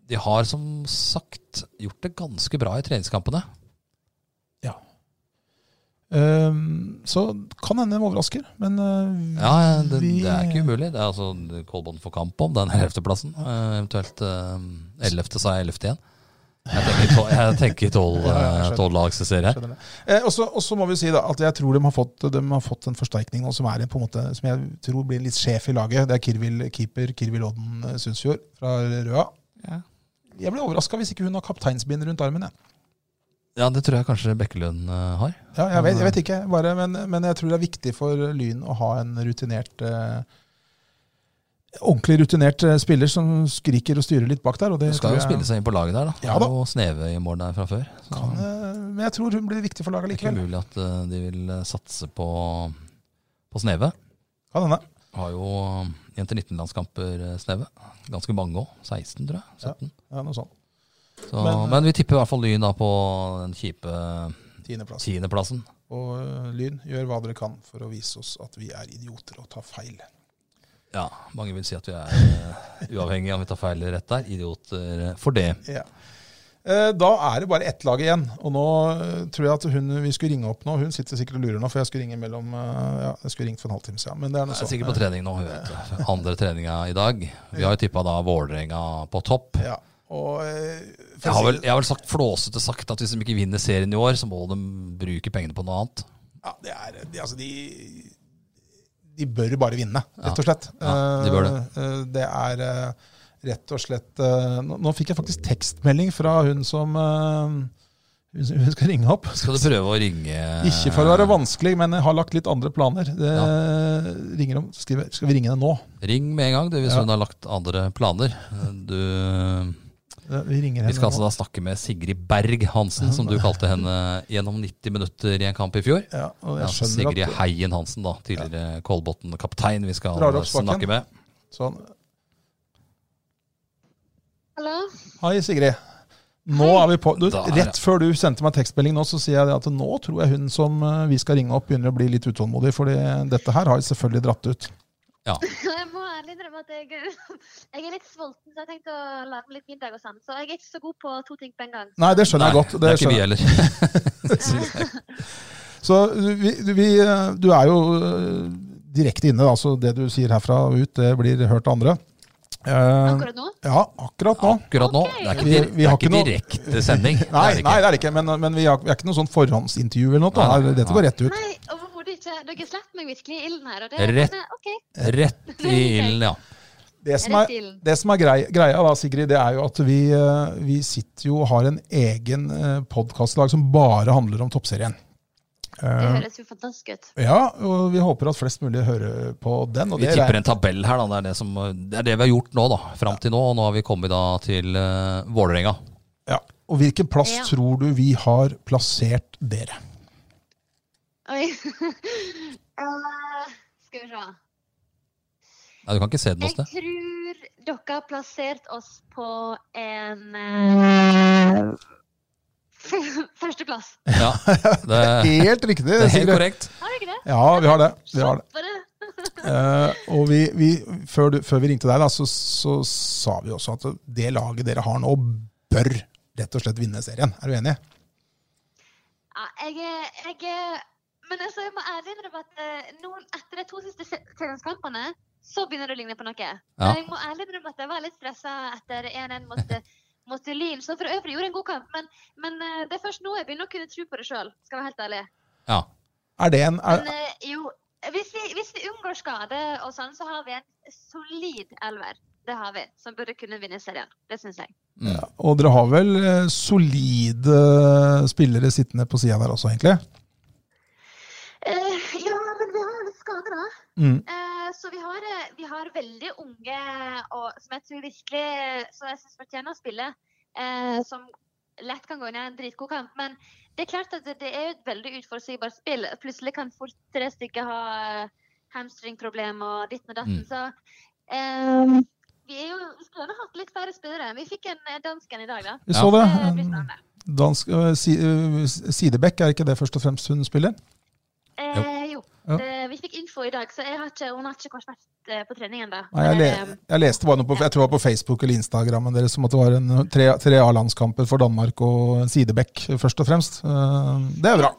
[SPEAKER 1] de har som sagt gjort det ganske bra i treningskampene.
[SPEAKER 2] Ja. Ehm, så kan hende de overrasker, men eh,
[SPEAKER 1] Ja, det,
[SPEAKER 2] vi-
[SPEAKER 1] det er ikke umulig. Det er altså Kolbotn får kamp om den 11.-plassen. eh, Eventuelt eh, 11., sa jeg 11. igjen. Jeg tenker tol- Jeg tenker tolv
[SPEAKER 2] Ja, ja, jeg skjønner.
[SPEAKER 1] tolvlagsserie her.
[SPEAKER 2] skjønner det. Eh, og så- og så må vi si da, at jeg tror de har fått, de har fått en forsterkning nå som, er en, på en måte, som jeg tror blir litt sjef i laget. Det er Kirvil, keeper Kirvil Odden eh, Sundsfjord fra Røa.
[SPEAKER 1] Ja.
[SPEAKER 2] Jeg blir overraska hvis ikke hun har kapteinsbind rundt armen. Jeg.
[SPEAKER 1] Ja, det tror jeg kanskje Bekkelund eh, har.
[SPEAKER 2] Ja, jeg, vet, jeg vet ikke, bare, men, men jeg tror det er viktig for Lyn å ha en rutinert eh, Ordentlig rutinert eh, spiller som skriker og styrer litt bak der. Og
[SPEAKER 1] Hun
[SPEAKER 2] det
[SPEAKER 1] skal
[SPEAKER 2] tror
[SPEAKER 1] jo
[SPEAKER 2] jeg-
[SPEAKER 1] spille seg inn på laget der, da.
[SPEAKER 2] Ja da.
[SPEAKER 1] Det er jo sneve i mål der fra før. Så
[SPEAKER 2] Kan, eh, men jeg tror hun blir viktig for laget
[SPEAKER 1] det er ikke
[SPEAKER 2] likevel.
[SPEAKER 1] umulig at eh, de vil eh, satse på, på sneve.
[SPEAKER 2] Kan hende.
[SPEAKER 1] Har jo eh, jenter 19-landskamper eh, sneve. Ganske mange òg. 16, tror jeg. 17.
[SPEAKER 2] Ja, noe sånt.
[SPEAKER 1] Så, men,
[SPEAKER 2] Men, eh,
[SPEAKER 1] vi tipper i hvert fall Lyn da på den kjipe eh,
[SPEAKER 2] Tiendeplass.
[SPEAKER 1] tiendeplassen.
[SPEAKER 2] Og eh, Lyn, gjør hva dere kan for å vise oss at vi er idioter og tar feil.
[SPEAKER 1] Ja, mange vil si at vi er eh, uavhengige om vi tar feil eller rett der. Idioter eh, for det.
[SPEAKER 2] Ja. Eh, Da er det bare ett lag igjen. Og nå eh, tror jeg at hun vi skulle ringe opp nå, hun sitter sikkert og lurer nå, for jeg skulle ringe mellom eh, Ja, jeg skulle ringt for en halvtime siden. Men det er
[SPEAKER 1] Jeg
[SPEAKER 2] noe
[SPEAKER 1] er
[SPEAKER 2] sånt.
[SPEAKER 1] sikkert på trening nå. hun Vet. du. Andre treninga i dag. Vi har jo tippa da Vålerenga på topp.
[SPEAKER 2] Ja. Og, eh, for
[SPEAKER 1] Jeg
[SPEAKER 2] å
[SPEAKER 1] har
[SPEAKER 2] si
[SPEAKER 1] vel,
[SPEAKER 2] det-
[SPEAKER 1] jeg har vel sagt flåsete sagt at hvis de ikke vinner serien i år, så må de bruke pengene på noe annet.
[SPEAKER 2] Ja, det er de, Altså, de De bør bare vinne, rett og slett.
[SPEAKER 1] Ja, de bør det.
[SPEAKER 2] Eh, eh, Det er eh, rett og slett eh, Nå, nå fikk jeg faktisk tekstmelding fra hun som eh, Hun som- hun skal ringe opp.
[SPEAKER 1] Skal du prøve å ringe
[SPEAKER 2] Ikke for å være vanskelig, men jeg har lagt litt andre planer. Det ringer om, skriver, Skal vi ringe henne nå?
[SPEAKER 1] Ring med en gang du, hvis
[SPEAKER 2] Ja.
[SPEAKER 1] hun har lagt andre planer. Du,
[SPEAKER 2] Eh, Vi ringer henne
[SPEAKER 1] vi skal
[SPEAKER 2] nå.
[SPEAKER 1] altså da snakke med Sigrid Berg Hansen, som du kalte henne gjennom 90 minutter i en kamp i fjor.
[SPEAKER 2] Ja, og
[SPEAKER 1] Ja,
[SPEAKER 2] jeg skjønner
[SPEAKER 1] Sigrid
[SPEAKER 2] at
[SPEAKER 1] Heien Hansen, da, tidligere Kolbotn-kaptein, vi skal
[SPEAKER 2] Drar opp spaken.
[SPEAKER 1] snakke med.
[SPEAKER 2] sånn.
[SPEAKER 5] Hallo?
[SPEAKER 2] Hei, Sigrid. Nå er vi på. Du,
[SPEAKER 1] Da er
[SPEAKER 2] rett før du sendte meg tekstmelding nå, så sier jeg det at nå tror jeg hun som eh, vi skal ringe opp, begynner å bli litt utålmodig, for dette her har selvfølgelig dratt ut.
[SPEAKER 6] Jeg må ærlig innrømme at jeg, jeg er litt sulten, så jeg tenkte å lage litt middag og sånn. Så jeg er ikke så god på to ting på en gang.
[SPEAKER 2] Nei, det skjønner jeg godt.
[SPEAKER 1] det
[SPEAKER 2] Det
[SPEAKER 1] er ikke vi
[SPEAKER 2] skjønner. jeg.
[SPEAKER 1] heller.
[SPEAKER 2] Så du, vi, du- vi, eh, du er jo eh, direkte inne, altså det du sier herfra og ut, det blir hørt av andre. Eh,
[SPEAKER 6] Akkurat nå.
[SPEAKER 2] ja, akkurat nå.
[SPEAKER 1] Akkurat nå. Det er ikke,
[SPEAKER 2] Vi-
[SPEAKER 1] dir-
[SPEAKER 2] vi
[SPEAKER 1] det
[SPEAKER 2] har
[SPEAKER 1] er ikke
[SPEAKER 2] ikke noe-
[SPEAKER 1] direkte sending. Det er
[SPEAKER 2] Nei,
[SPEAKER 1] det
[SPEAKER 2] nei,
[SPEAKER 1] ikke.
[SPEAKER 2] det er det ikke, men, men vi, har, vi er ikke noe sånn forhåndsintervju eller noe. Da.
[SPEAKER 1] Nei,
[SPEAKER 2] Dette går rett ut.
[SPEAKER 6] Nei, overhodet ikke. Dere slipper meg virkelig i ilden her. Og det,
[SPEAKER 1] Rett.
[SPEAKER 6] men, eh, OK,
[SPEAKER 1] Rett i ilden, ja.
[SPEAKER 2] Det
[SPEAKER 6] jeg
[SPEAKER 2] som
[SPEAKER 6] er
[SPEAKER 2] er,
[SPEAKER 6] rett i ilden.
[SPEAKER 2] Det som er grei, greia da, Sigrid, det er jo at vi, eh, vi sitter jo og har en egen podkastlag som bare handler om toppserien.
[SPEAKER 6] Det
[SPEAKER 2] Eh,
[SPEAKER 6] høres jo fantastisk ut.
[SPEAKER 2] ja, og vi håper at flest mulig hører på den. Og
[SPEAKER 1] Vi
[SPEAKER 2] det er-
[SPEAKER 1] tipper en tabell her, da. Det er det, som, det er det vi har gjort nå, da. Fram til nå. Og nå har vi kommet da til uh, Vålerenga.
[SPEAKER 2] ja. Og hvilken plass
[SPEAKER 6] Ja.
[SPEAKER 2] tror du vi har plassert dere?
[SPEAKER 6] Oi. Eh, skal vi se.
[SPEAKER 1] Nei, du kan ikke se den noe
[SPEAKER 6] Jeg
[SPEAKER 1] sted.
[SPEAKER 6] tror dere har plassert oss på en eh, Førsteplass.
[SPEAKER 1] Ja, det,
[SPEAKER 2] Helt riktig,
[SPEAKER 1] det er helt
[SPEAKER 2] Sigrid.
[SPEAKER 1] korrekt.
[SPEAKER 6] Har dere det?
[SPEAKER 2] Ja, vi har det. Vi har det.
[SPEAKER 6] Var det?
[SPEAKER 2] Eh, og vi, vi, før, du, før vi ringte deg, da, så, så sa vi også at det laget dere har nå, bør rett og slett vinne serien. Er du enig?
[SPEAKER 6] Ja, jeg, er- jeg er- Men altså, jeg må ærlig innrømme at eh, noen, etter de to siste se- treningskampene, så begynner det å ligne på noe.
[SPEAKER 1] Ja.
[SPEAKER 6] Jeg må ærlig innrømme at jeg var litt stressa etter 1-1 mot, eh, mot Lyn, som for øvrig gjorde en god kamp. Men, men eh, det er først nå jeg begynner å kunne tro på det sjøl, skal jeg være helt ærlig.
[SPEAKER 1] Ja.
[SPEAKER 2] Er det en, er,
[SPEAKER 6] Men eh, jo, hvis vi, hvis vi unngår skade og sånn, så har vi en solid elver. Det har vi. Som burde kunne vinne serien. Det syns jeg.
[SPEAKER 1] Mm.
[SPEAKER 2] Og dere har vel eh, solide spillere sittende på sida der også, egentlig?
[SPEAKER 6] Eh, ja, men vi har litt skade, da.
[SPEAKER 2] Mm.
[SPEAKER 6] Eh, Så vi har, eh, vi har veldig unge og, som jeg tror virkelig som jeg synes fortjener å spille. eh, Som lett kan gå inn i en dritgod kamp. Men det er klart at det det er jo et veldig uforutsigbart spill. Plutselig kan fort tre stykker ha eh, hamstringproblemer og ditten og datten.
[SPEAKER 1] Mm.
[SPEAKER 6] Så eh, vi, er jo, vi skulle gjerne hatt litt flere spillere. Vi fikk en eh, dansk en i dag, da.
[SPEAKER 2] Eh, Vi
[SPEAKER 1] Ja.
[SPEAKER 2] så det.
[SPEAKER 6] Det blir spennende.
[SPEAKER 2] Dansk eh, si, eh, Sidebekk, er ikke det først og fremst hun spiller?
[SPEAKER 6] Eh, jo.
[SPEAKER 2] Ja.
[SPEAKER 6] Det, vi fikk info i dag, så jeg har ikke, hun har ikke kommet eh, på trening ennå.
[SPEAKER 2] Nei, jeg,
[SPEAKER 6] eh,
[SPEAKER 2] le, jeg leste bare noe på, jeg tror det var på Facebook eller Instagram deres om at det var en tre, tre A-landskamper for Danmark og en Sidebekk, først og fremst. Eh, Det er bra.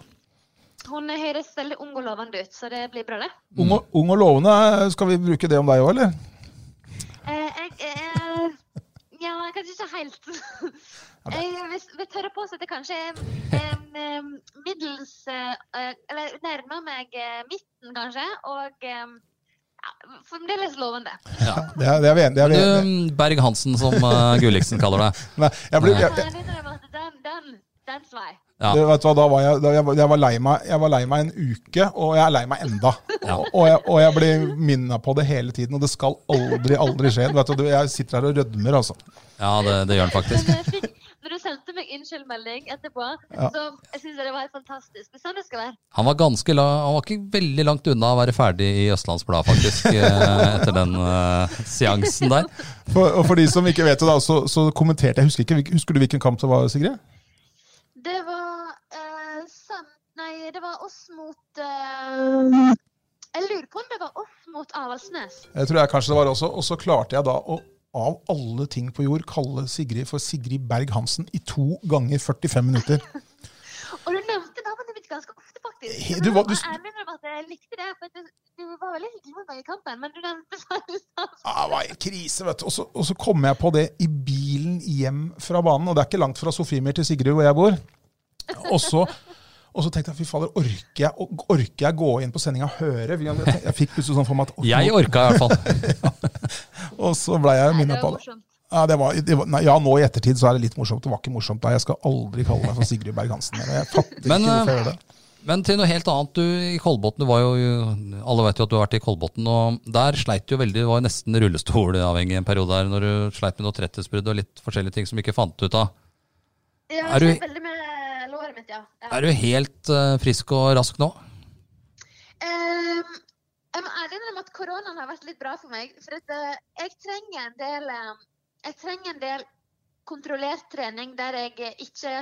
[SPEAKER 6] Hun høres veldig ung og lovende ut, så det blir bra, det.
[SPEAKER 2] Ung og, ung og lovende, skal vi bruke det om deg òg, eller?
[SPEAKER 6] Eh, jeg eh, Ja, kanskje ikke helt. Jeg vil, vil tørre på å sette kanskje em, em, middels eh, eh, Eller nærmer meg eh, midten, kanskje, og em, ja, fremdeles lovende.
[SPEAKER 2] Det er, det er vi enige det er vi enige.
[SPEAKER 1] Du, Berg Hansen, som eh, Gulliksen kaller deg.
[SPEAKER 2] Nei, jeg blir, jeg,
[SPEAKER 6] Jeg er enig med at den, den, den svei.
[SPEAKER 1] Ja.
[SPEAKER 2] Du, vet du hva, da var jeg, da jeg, var- jeg, var lei meg, jeg var lei meg en uke, og jeg er lei meg enda.
[SPEAKER 1] Ja.
[SPEAKER 2] Og, og, jeg, og jeg blir minnet på det hele tiden, og det skal aldri, aldri skje. Vet du, jeg sitter her og rødmer, altså.
[SPEAKER 1] Ja, det, det gjør han faktisk.
[SPEAKER 6] Men jeg fikk, når du sendte meg unnskyldmelding etterpå,
[SPEAKER 2] Ja.
[SPEAKER 6] så jeg syns jeg det var helt fantastisk. Det er sånn det skal være.
[SPEAKER 1] Han var, ganske la, han var ikke veldig langt unna å være ferdig i Østlandsbladet, faktisk, eh, etter den eh, seansen der.
[SPEAKER 2] For, og for de som ikke vet det, da, så, så kommenterte jeg husker, ikke, hvil- husker du hvilken kamp det var, Sigrid?
[SPEAKER 6] Det var eh, sam... Nei, det var oss mot eh, Jeg lurer på om det var oss mot Avaldsnes.
[SPEAKER 2] Jeg tror jeg kanskje det var også. Og så klarte jeg da å av alle ting på jord kalle Sigrid for Sigrid Berg-Hansen i to ganger 45 minutter.
[SPEAKER 6] Og du nevnte navnet mitt ganske ofte, faktisk.
[SPEAKER 2] He-
[SPEAKER 6] Men
[SPEAKER 2] du
[SPEAKER 6] jeg
[SPEAKER 2] var-
[SPEAKER 6] må
[SPEAKER 2] du-
[SPEAKER 6] ærlig innrømme at jeg likte det. For at du, du var veldig hyggelig mot meg i kampen, men du nevnte Sarpsborg.
[SPEAKER 2] Ja, det var en krise, vet du. Og så, og så kom jeg på det i bilen hjem fra banen, og det er ikke langt fra Sofiemyr til Sigrid hvor jeg bor. Og så, og så tenkte jeg fy fader, orker jeg, orker jeg gå inn på sendinga og høre? Jeg fikk plutselig sånn for meg at ok,
[SPEAKER 1] Jeg orka i hvert fall.
[SPEAKER 2] Og så ble jeg
[SPEAKER 6] Nei,
[SPEAKER 2] minnet
[SPEAKER 6] det
[SPEAKER 2] på
[SPEAKER 6] var
[SPEAKER 2] det.
[SPEAKER 6] morsomt.
[SPEAKER 2] Ja, det var, det var, nei, ja, nå i ettertid så er det litt morsomt. Det var ikke morsomt da. Jeg skal aldri kalle meg for Sigrid Berg-Hansen. mer. Jeg fatter
[SPEAKER 1] Men,
[SPEAKER 2] ikke hvorfor
[SPEAKER 1] eh,
[SPEAKER 2] jeg gjør det.
[SPEAKER 1] Men til noe helt annet. Du, I Kolbotn, du var jo Alle vet jo at du har vært i Kolbotn, og der sleit du jo veldig. Du var nesten rullestolavhengig en periode der når du sleit med noe tretthetsbrudd og litt forskjellige ting som du ikke fant ut av.
[SPEAKER 6] Ja,
[SPEAKER 1] Er
[SPEAKER 6] er
[SPEAKER 1] du-
[SPEAKER 6] du... Veldig med låret mitt, ja. ja.
[SPEAKER 1] Er du helt eh, frisk og rask nå?
[SPEAKER 6] Ehm, jeg må ærlig innrømme at koronaen har vært litt bra for meg. For at eh, jeg trenger en del eh, Jeg trenger en del kontrollert trening der jeg eh, ikke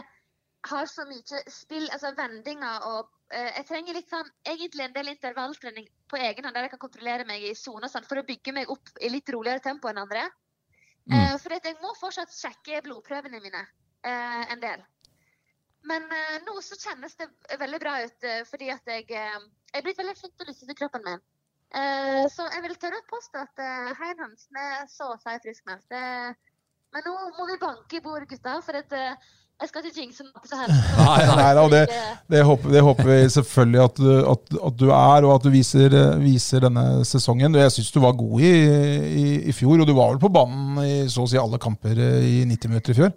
[SPEAKER 6] har så mye spill, altså vendinger og eh, Jeg trenger litt sånn egentlig en del intervalltrening på egen hånd der jeg kan kontrollere meg i sone og sånn, for å bygge meg opp i litt roligere tempo enn andre.
[SPEAKER 1] Mm.
[SPEAKER 6] Eh, for at jeg må fortsatt sjekke blodprøvene mine eh, en del. Men eh, nå så kjennes det veldig bra ut, eh, fordi at jeg, eh, jeg er blitt veldig flink til å lytte til kroppen min. Eh, så jeg vil tørre å påstå at uh, Hein Hansen er så å si friskmeldt. Det- Men nå må vi banke i bordet, gutta, for at, eh, jeg skal ikke jinxe noe så helst.
[SPEAKER 1] Nei, nei.
[SPEAKER 2] Nei, da, og det,
[SPEAKER 6] Eh,
[SPEAKER 2] det, håper, det håper vi selvfølgelig at du, at, at du er, og at du viser, viser denne sesongen. Jeg syns du var god i, i, i fjor, og du var vel på banen i så å si alle kamper i 90 minutter i fjor.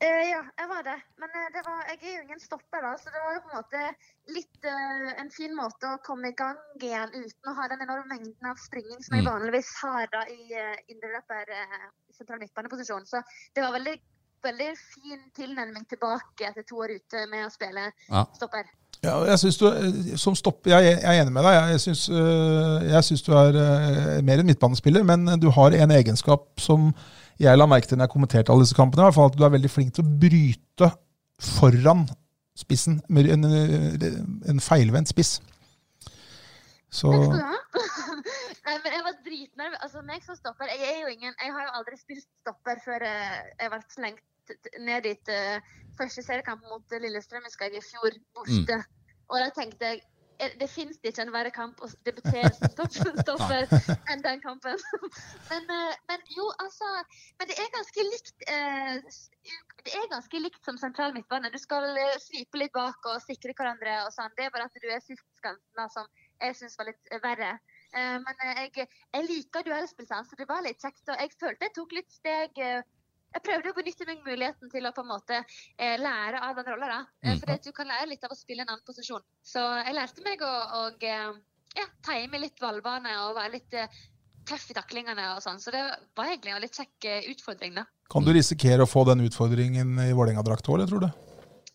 [SPEAKER 6] Eh, ja, jeg var det. Men eh, det var, jeg er jo ingen stopper, da, så det var jo på en måte litt eh, en fin måte å komme i gang igjen uten å ha den enorme mengden av springing som jeg
[SPEAKER 1] Mm.
[SPEAKER 6] vanligvis har da i uh, indreløper eh, sentral midtbaneposisjon. Så det var veldig, veldig fin tilnærming tilbake etter to år ute med å spille
[SPEAKER 1] Ja.
[SPEAKER 6] stopper.
[SPEAKER 2] Ja, og jeg synes du, eh, som stopper, jeg, jeg er enig med deg. Jeg- Jeg syns, øh, jeg syns du er øh, mer en midtbanespiller, men du har en egenskap som jeg la merke til når jeg kommenterte alle disse kampene, i hvert fall at du er veldig flink til å bryte foran spissen. med En, øh, en feilvendt spiss. Så
[SPEAKER 6] Takk skal du ha. Nei, men jeg var dritnervøs. Altså, meg som stopper Jeg er jo ingen Jeg har jo aldri spilt stopper før eh, jeg ble slengt t- t- ned dit eh, første seriekamp mot eh, Lillestrøm husker jeg i fjor, borte. Og da tenkte jeg eh, det fins ikke en verre kamp å s- debutere som stopp- stopper enn den kampen. men, eh, men jo, altså Men det er ganske likt eh, s- Det er ganske likt som sentral midtbane. Du skal eh, slipe litt bak og sikre hverandre og sånn. Det er bare at du er syltskanten da, som jeg syns var litt verre. Eh, men eh, jeg, jeg liker duellspill, sant, så det var litt kjekt. Og jeg følte jeg tok litt steg eh, Jeg prøvde å benytte meg muligheten til å på en måte eh, lære av den rolla. Eh,
[SPEAKER 1] Mm.
[SPEAKER 6] For du kan lære litt av å spille en annen posisjon. Så jeg lærte meg å, å eh, ja, time litt ballbane og være litt eh, tøff i taklingene og sånn. Så det var egentlig en litt kjekk eh, utfordring, da.
[SPEAKER 2] kan du risikere å få den utfordringen i Vålerenga-drakt òg, eller tror du?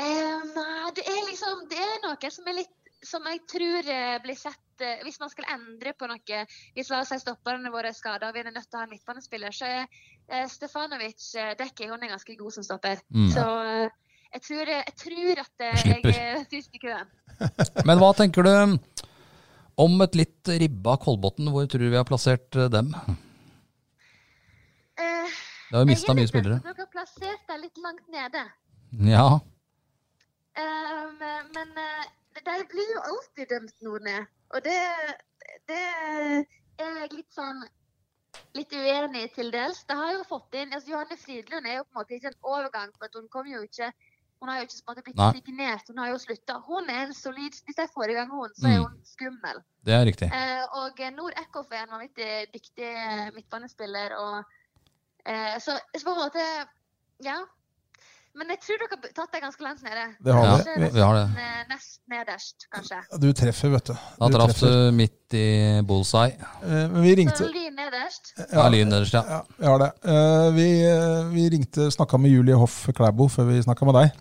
[SPEAKER 6] Eh, Nei, det er liksom Det er noe som er litt Som jeg tror eh, blir sett eh, Hvis man skal endre på noe Hvis la oss si stopperne våre er skada og vi er nødt til å ha en midtbanespiller, så er eh, Stefanovic eh, Dekki hun er ganske god som stopper.
[SPEAKER 1] Mm.
[SPEAKER 6] Så eh, jeg tror, jeg tror at eh,
[SPEAKER 1] Slipper.
[SPEAKER 6] jeg er sist i køen.
[SPEAKER 1] Men hva tenker du om et litt ribba Kolbotn? Hvor tror du vi har plassert eh, dem?
[SPEAKER 6] Eh,
[SPEAKER 1] Det har jo
[SPEAKER 6] jeg
[SPEAKER 1] mista
[SPEAKER 6] er
[SPEAKER 1] mye
[SPEAKER 6] litt redd
[SPEAKER 1] spillere.
[SPEAKER 6] for Dere har plassert deg litt langt nede.
[SPEAKER 1] Ja.
[SPEAKER 6] Um, men eh, de blir jo alltid dømt noen ned. Og det, det er jeg litt sånn litt uenig i til dels. Det har jo fått inn altså Johanne Fridlund er jo på en måte ikke en overgang, for at hun kom jo ikke hun har jo ikke på en måte blitt
[SPEAKER 1] Nei.
[SPEAKER 6] signert, hun har jo slutta. Hun er en solid Hvis jeg får i gang hun, så er
[SPEAKER 1] Mm.
[SPEAKER 6] hun skummel.
[SPEAKER 1] Det er riktig.
[SPEAKER 6] Eh, og Nord Eckhoff er en vanvittig dyktig eh, midtbanespiller. Og, eh, så, så på en måte Ja. Men jeg tror dere har tatt deg ganske langt nede.
[SPEAKER 2] Det har
[SPEAKER 1] Ja,
[SPEAKER 2] vi.
[SPEAKER 6] Kanskje
[SPEAKER 1] vi- vi har det.
[SPEAKER 6] nesten, eh, Nest nederst, kanskje.
[SPEAKER 2] Du treffer, vet du.
[SPEAKER 1] Da
[SPEAKER 2] du
[SPEAKER 1] traff du
[SPEAKER 2] treffer.
[SPEAKER 1] midt i bullseye.
[SPEAKER 2] Eh, Men vi ringte
[SPEAKER 6] Så lyn nederst.
[SPEAKER 1] Ja, lyn nederst, ja.
[SPEAKER 2] Ja, vi har det. Eh, vi, eh, vi ringte snakka med Julie Hoff Klæbo før vi snakka med deg.